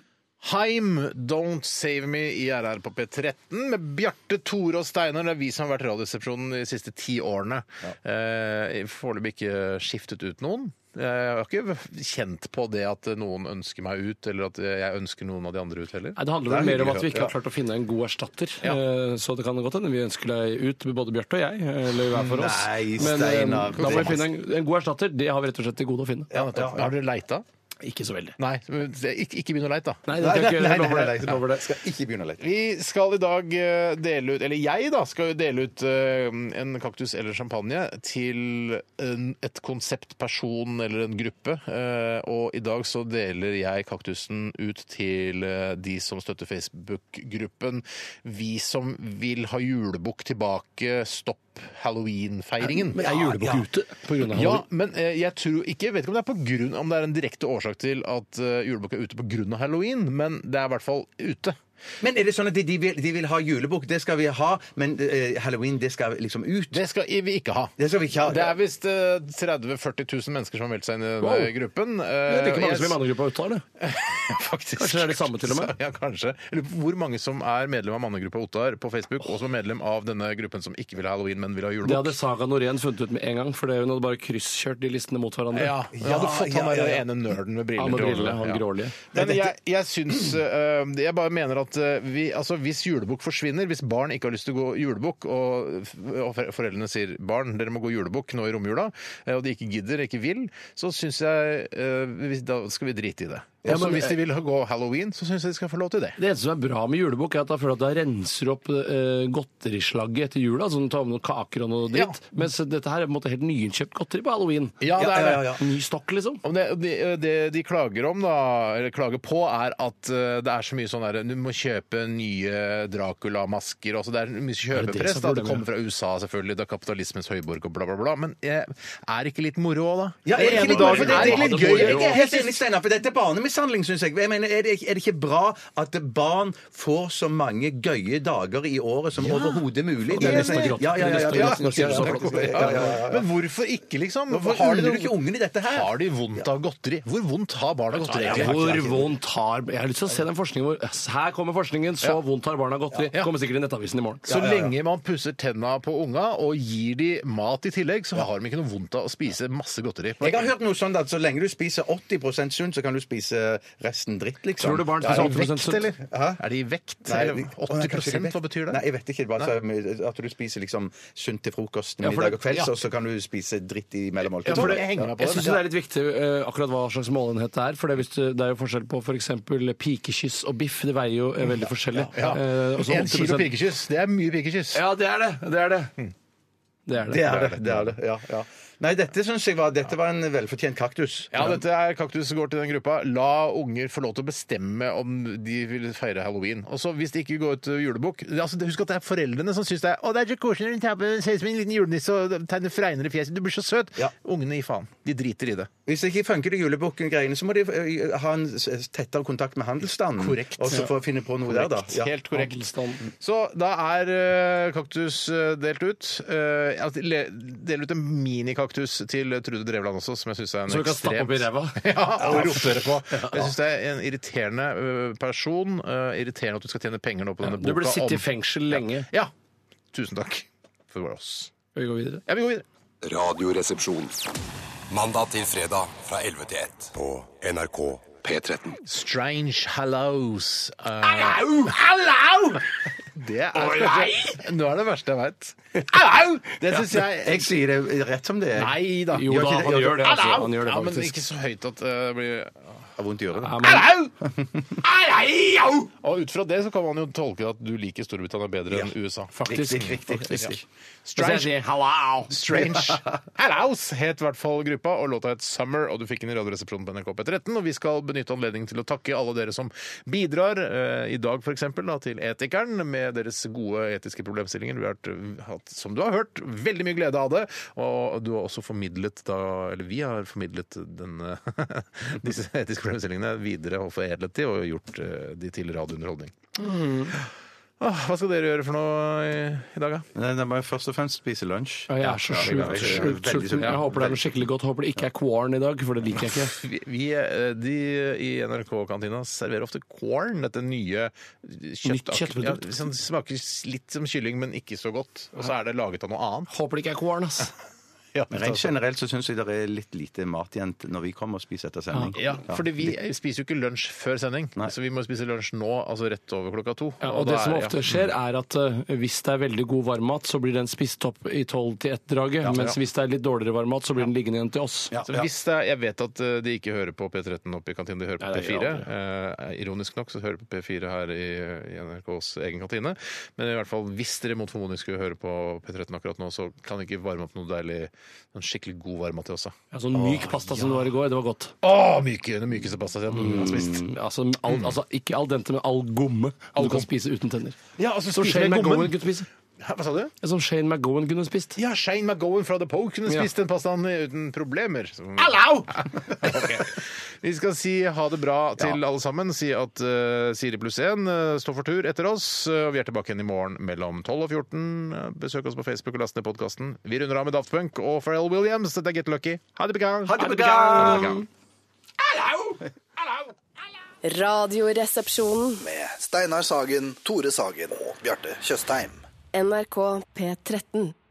[SPEAKER 1] Heim, Don't Save Me i RR på P13 med Bjarte, Tore og Steinar. Det er vi som har vært i Radioresepsjonen de siste ti årene. Eh, Foreløpig ikke skiftet ut noen. Eh, Jeg har ikke kjent på det at noen ønsker meg ut, eller at jeg ønsker noen av de andre ut heller.
[SPEAKER 2] Nei, Det handler vel
[SPEAKER 3] Det er
[SPEAKER 2] mer om
[SPEAKER 3] hyggelig
[SPEAKER 2] at vi ikke har
[SPEAKER 3] hørt,
[SPEAKER 2] klart å finne en god erstatter.
[SPEAKER 1] Ja.
[SPEAKER 2] Eh, Så det kan godt hende vi ønsker deg ut, både Bjarte og jeg. Eller hver for oss.
[SPEAKER 3] Nei,
[SPEAKER 2] Men eh,
[SPEAKER 3] Steinar,
[SPEAKER 2] da må vi
[SPEAKER 3] det-
[SPEAKER 2] finne en, en god erstatter. Det har vi rett og slett til gode å finne.
[SPEAKER 1] Ja, nettopp. Har dere leita?
[SPEAKER 2] Ikke så veldig.
[SPEAKER 1] Nei, men ikke, ikke begynn å leite, da.
[SPEAKER 2] Nei, det
[SPEAKER 3] Nei,
[SPEAKER 2] kan
[SPEAKER 3] nei,
[SPEAKER 2] jeg
[SPEAKER 3] nei,
[SPEAKER 2] ikke
[SPEAKER 3] nei,
[SPEAKER 2] love
[SPEAKER 3] nei,
[SPEAKER 2] det.
[SPEAKER 3] nei.
[SPEAKER 2] Lover det.
[SPEAKER 3] Skal ikke begynne å leke.
[SPEAKER 1] Vi skal i dag eh, dele ut, eller jeg da, skal jo dele ut eh, en kaktus eller champagne til en, et konsept, person eller en gruppe. Eh, Og i dag så deler jeg kaktusen ut til eh, de som støtter Facebook-gruppen. Vi som vil ha julebukk tilbake, stopp Halloween-feiringen.
[SPEAKER 2] Men er julebukk ute på grunn av
[SPEAKER 1] Ja,
[SPEAKER 2] Halloween?
[SPEAKER 1] men eh, jeg tror ikke, jeg vet ikke om det er på grunn Om det er en direkte årsak til at eh, julebukk er ute på grunn av halloween, men det er i hvert fall ute.
[SPEAKER 3] Men er det sånn at de, de, vil, de vil ha julebukk? Det skal vi ha, men eh, halloween, det skal liksom ut?
[SPEAKER 1] Det skal vi ikke ha.
[SPEAKER 3] Det skal vi ikke ha.
[SPEAKER 1] Det er visst eh, 30 000-40 000 mennesker som har meldt seg inn i denne
[SPEAKER 2] Wow.
[SPEAKER 1] gruppen.
[SPEAKER 2] Det er like mange
[SPEAKER 1] Eh,
[SPEAKER 2] som i
[SPEAKER 1] jeg-
[SPEAKER 2] mannegruppa Otta, eller?
[SPEAKER 1] Faktisk.
[SPEAKER 2] Kanskje det er det samme til og med?
[SPEAKER 1] Ja, kanskje. Eller hvor mange som er medlem av mannegruppa Ottar på Facebook, og som er medlem av denne gruppen som ikke vil ha halloween, men vil ha
[SPEAKER 2] Det
[SPEAKER 1] julebukk.
[SPEAKER 2] hadde Saga Norén funnet ut med en gang, for det- hun hadde bare krysskjørt de listene mot hverandre.
[SPEAKER 1] Ja, jeg hadde fått han
[SPEAKER 3] ja, ja,
[SPEAKER 1] der
[SPEAKER 3] ja.
[SPEAKER 1] ene nerden med briller.
[SPEAKER 2] Han med
[SPEAKER 1] til å holde
[SPEAKER 2] brillene,
[SPEAKER 1] det.
[SPEAKER 2] han
[SPEAKER 1] Ja.
[SPEAKER 2] grålige.
[SPEAKER 1] Men jeg, jeg syns eh, Jeg bare mener at eh, vi, altså, hvis julebukk forsvinner, hvis barn ikke har lyst til å gå julebukk, og, og fore- foreldrene sier barn, dere må gå julebukk nå i romjula, eh, og de ikke gidder, ikke vil, så syns jeg eh, vi, da skal vi drite i det.
[SPEAKER 2] Ja,
[SPEAKER 1] Også
[SPEAKER 2] men-
[SPEAKER 1] hvis de vil gå halloween, så syns jeg de skal få lov til det.
[SPEAKER 2] Det eneste som er bra med julebukk, er at da føler jeg at jeg renser opp eh, godterislagget etter jula. Sånn at du tar med noen kaker og noe dritt. Mens dette her er på en måte helt nyinnkjøpt godteri på halloween. Eh,
[SPEAKER 1] Ja, det er det.
[SPEAKER 2] Ny stokk, liksom.
[SPEAKER 1] Om det, det, det de klager om, da, eller klager på, er at eh, det er så mye sånn der Du må kjøpe nye Dracula-masker. Altså det er mye
[SPEAKER 2] Er det det
[SPEAKER 1] kjøpepress.
[SPEAKER 2] som
[SPEAKER 1] da,
[SPEAKER 2] er
[SPEAKER 1] det kommer
[SPEAKER 2] problemet?
[SPEAKER 1] fra USA, selvfølgelig. Det er kapitalismens høyborg og bla, bla, bla. Men eh, er det ikke litt moro òg, da?
[SPEAKER 3] Ja, er det ikke litt,
[SPEAKER 1] Dagen-
[SPEAKER 3] for det,
[SPEAKER 1] er det ikke litt gøy?
[SPEAKER 3] Jeg er helt enig, Steinar, for dette er barnemishandling, syns jeg. jeg mener, er, det, ikke- er det ikke bra at barn får så mange gøye dager i året som overhodet mulig?
[SPEAKER 1] Det er nesten
[SPEAKER 3] Ja,
[SPEAKER 1] grått.
[SPEAKER 3] ja, ja, ja, ja,
[SPEAKER 1] Det er
[SPEAKER 3] ja.
[SPEAKER 1] nesten grått.
[SPEAKER 3] Ja, ja, ja, ja, ja.
[SPEAKER 1] Men hvorfor ikke, liksom?
[SPEAKER 3] sånn. Hvorfor
[SPEAKER 1] Har de
[SPEAKER 3] uler
[SPEAKER 1] noe-
[SPEAKER 3] ikke ungene i dette her?
[SPEAKER 1] Har de vondt av godteri? Hvor vondt har barna godteri?
[SPEAKER 2] Ja, hvor vondt har Jeg har lyst til å se den forskningen hvor Her kommer forskningen. Så vondt har barna godteri.
[SPEAKER 1] Ja.
[SPEAKER 2] Kommer sikkert i Nettavisen i morgen.
[SPEAKER 1] Så lenge man pusser tenna på unga og gir de mat i tillegg, så har de ikke noe vondt av å spise masse godteri.
[SPEAKER 3] Jeg har hørt noe sånn at så lenge du spiser 80 sunt, så kan du spise resten dritt, liksom.
[SPEAKER 2] Tror du barn
[SPEAKER 3] Ja,
[SPEAKER 2] spiser
[SPEAKER 3] er
[SPEAKER 2] 80%
[SPEAKER 3] det vekt,
[SPEAKER 2] sunt?
[SPEAKER 3] eller? Hæ?
[SPEAKER 1] Er de i vekt?
[SPEAKER 3] Nei,
[SPEAKER 1] Eller
[SPEAKER 3] de- Å, nei, kanskje
[SPEAKER 1] 80
[SPEAKER 3] de er
[SPEAKER 1] hva betyr det?
[SPEAKER 3] Nei, jeg vet ikke. Bare så- at du spiser liksom sunt til frokost,
[SPEAKER 2] Ja, for
[SPEAKER 3] middag
[SPEAKER 2] det-
[SPEAKER 3] og kvelds,
[SPEAKER 2] ja.
[SPEAKER 3] og så kan du spise dritt i
[SPEAKER 2] Ja,
[SPEAKER 3] mellommåltidet.
[SPEAKER 2] for det, jeg
[SPEAKER 3] henger meg på
[SPEAKER 2] syns
[SPEAKER 3] den.
[SPEAKER 2] det er litt viktig eh, akkurat hva slags målenhet det er. For det, er hvis du, det er jo forskjell på f.eks. pikekyss og biff. Det veier jo eh, veldig forskjellig.
[SPEAKER 1] Ja.
[SPEAKER 2] Eh, og så
[SPEAKER 1] En kilo
[SPEAKER 2] 80%.
[SPEAKER 1] pikekyss, Mm. det er mye pikekyss.
[SPEAKER 2] Ja, det er det. Det er det. Det er det.
[SPEAKER 3] Det er det. det, er det. Ja, ja. Nei, dette syns jeg var, dette var en velfortjent kaktus.
[SPEAKER 1] Ja, dette er Kaktus går til den gruppa. La unger få lov til å bestemme om de vil feire halloween. Og så Hvis de ikke går ut julebukk altså, Husk at det er foreldrene som syns det er Å, det er så koselig når hun tar på ser ut som en liten julenisse og tegner fregner i fjeset. Du blir så søt.
[SPEAKER 3] Ja.
[SPEAKER 1] Ungene gir faen. De driter i det.
[SPEAKER 3] Hvis det ikke funker, de julebukken-greiene, så må de eh, ha en s- tettere kontakt med handelsstanden.
[SPEAKER 1] Korrekt.
[SPEAKER 3] Og så få finne på noe der, da.
[SPEAKER 1] Korrekt. Helt korrekt. Så da er eh, kaktus eh, delt ut. Eh, altså, le- Del ut en minikaktus til Trude Drevland også, som jeg syns er en
[SPEAKER 2] Så du kan stappe opp i ræva?
[SPEAKER 1] ja, og rotere på. Jeg syns det er en irriterende eh, person. eh, irriterende at du skal tjene penger nå på denne
[SPEAKER 2] Du burde
[SPEAKER 1] boka.
[SPEAKER 2] sitte i
[SPEAKER 1] om-
[SPEAKER 2] fengsel lenge.
[SPEAKER 1] Ja. Tusen takk for oss.
[SPEAKER 2] Skal vi gå videre?
[SPEAKER 1] Ja, vi går videre.
[SPEAKER 5] Radioresepsjon. Mandag til fredag fra 11 til 1 på NRK P13.
[SPEAKER 1] Strange Hallows. eh,
[SPEAKER 11] Hallo!
[SPEAKER 1] det er
[SPEAKER 11] Oi,
[SPEAKER 1] kanskje Nå er det verste jeg veit. Det syns jeg
[SPEAKER 3] Jeg sier det rett som det er.
[SPEAKER 1] Nei da.
[SPEAKER 2] Jo da,
[SPEAKER 3] ikke det,
[SPEAKER 2] han
[SPEAKER 3] gjør
[SPEAKER 2] gjør det. Altså, han gjør det
[SPEAKER 1] Ja, men
[SPEAKER 2] faktisk.
[SPEAKER 1] ikke så høyt at eh, det blir
[SPEAKER 3] Jeg har vondt i øret.
[SPEAKER 2] Ja, men-
[SPEAKER 1] Og ut fra det så kan man jo tolke at du liker Storbritannia bedre enn USA.
[SPEAKER 2] Faktisk.
[SPEAKER 3] Riktig, riktig, riktig.
[SPEAKER 2] Så jeg sier, Hallo!
[SPEAKER 1] Strange Hallows het i hvert fall gruppa, og låta het Summer. Og du fikk den i Radioresepsjonen på NRK P13. Og vi skal benytte anledningen til å takke alle dere som bidrar, eh, i dag f.eks. Da, til Etikeren med deres gode etiske problemstillinger. Vi har hatt- hatt, som du har hørt, veldig mye glede av det. Og du har også formidlet da Eller vi har formidlet denne, disse etiske problemstillingene videre og foredlet de, og gjort eh, de til radiounderholdning. Åh, hva skal dere gjøre for noe i, i dag, da?
[SPEAKER 3] Nei, da må jeg først og fremst spise lunsj.
[SPEAKER 2] Ja, Jeg er så
[SPEAKER 3] Ja,
[SPEAKER 2] sjukt
[SPEAKER 3] jeg er veldig-
[SPEAKER 2] sjukt
[SPEAKER 3] veldig
[SPEAKER 2] sulten.
[SPEAKER 3] sulten.
[SPEAKER 2] Jeg håper det er noe skikkelig godt. Håper det ikke er corn i dag, for det liker jeg ikke.
[SPEAKER 1] Vi, vi, eh, de i NRK-kantina serverer ofte corn, dette nye kjøtt,
[SPEAKER 2] kjøttprodukt.
[SPEAKER 1] Ja, som smaker litt som kylling, men ikke så godt. Og så er det laget av noe annet.
[SPEAKER 2] Håper det ikke er corn, ass.
[SPEAKER 1] Ja,
[SPEAKER 3] Men rent generelt så syns jeg det er litt lite mat igjen når vi kommer og spiser etter sending.
[SPEAKER 1] ja, fordi vi spiser jo ikke lunsj før sending, så vi må spise lunsj nå, altså rett over klokka to.
[SPEAKER 2] Ja, og
[SPEAKER 1] da
[SPEAKER 2] det som
[SPEAKER 1] er-
[SPEAKER 2] ofte
[SPEAKER 1] ja.
[SPEAKER 2] skjer, er at eh, hvis det er veldig god varmmat, så blir den spist opp i tolv til ett-draget. Mens hvis det er litt dårligere varmmat, så blir den liggende igjen til oss.
[SPEAKER 1] Så hvis det er, jeg vet at eh, de ikke hører på P13 oppe i kantina, de hører på
[SPEAKER 2] Nei, det gjør
[SPEAKER 1] P4. Eh, ironisk nok så hører de på P4 her i, i NRKs egen kantine. Men i hvert fall hvis dere mot formodning skulle høre på P13 akkurat nå, så kan dere ikke varme opp noe deilig, en skikkelig god varme til oss. da.
[SPEAKER 2] Ja, sånn myk pasta som det var i går, det var godt.
[SPEAKER 1] Å, myke, den mykeste pastaen jeg noen gang har spist.
[SPEAKER 2] Mm, altså, al, altså ikke al dente, men all gomme du
[SPEAKER 1] gomme.
[SPEAKER 2] kan spise uten tenner.
[SPEAKER 1] Ja, altså,
[SPEAKER 2] Som
[SPEAKER 1] spise
[SPEAKER 2] Shane
[SPEAKER 1] med
[SPEAKER 2] McGowan
[SPEAKER 1] gommen.
[SPEAKER 2] kunne spise.
[SPEAKER 1] Hæ, Hva sa du?
[SPEAKER 2] Ja, Som Shane McGowan kunne spist.
[SPEAKER 1] Ja, Shane McGowan fra The Poe kunne
[SPEAKER 2] Ja.
[SPEAKER 1] spist den pastaen uten problemer.
[SPEAKER 11] Hallo!
[SPEAKER 1] Ok. Vi skal si ha det bra til alle sammen. Si at eh, Siri pluss 1 står for tur etter oss. eh, og vi er tilbake igjen i morgen mellom 12 og 14. Eh, Besøk oss på Facebook og last ned podkasten. Vi runder av med Daft Punk og Pharrell Williams. Dette er Get Lucky. Ha det bra!
[SPEAKER 3] Ha det
[SPEAKER 1] Ha det bra.
[SPEAKER 12] Radioresepsjonen.
[SPEAKER 4] Med Steinar Sagen, Tore Sagen og Bjarte Tjøstheim.
[SPEAKER 12] NRK P13.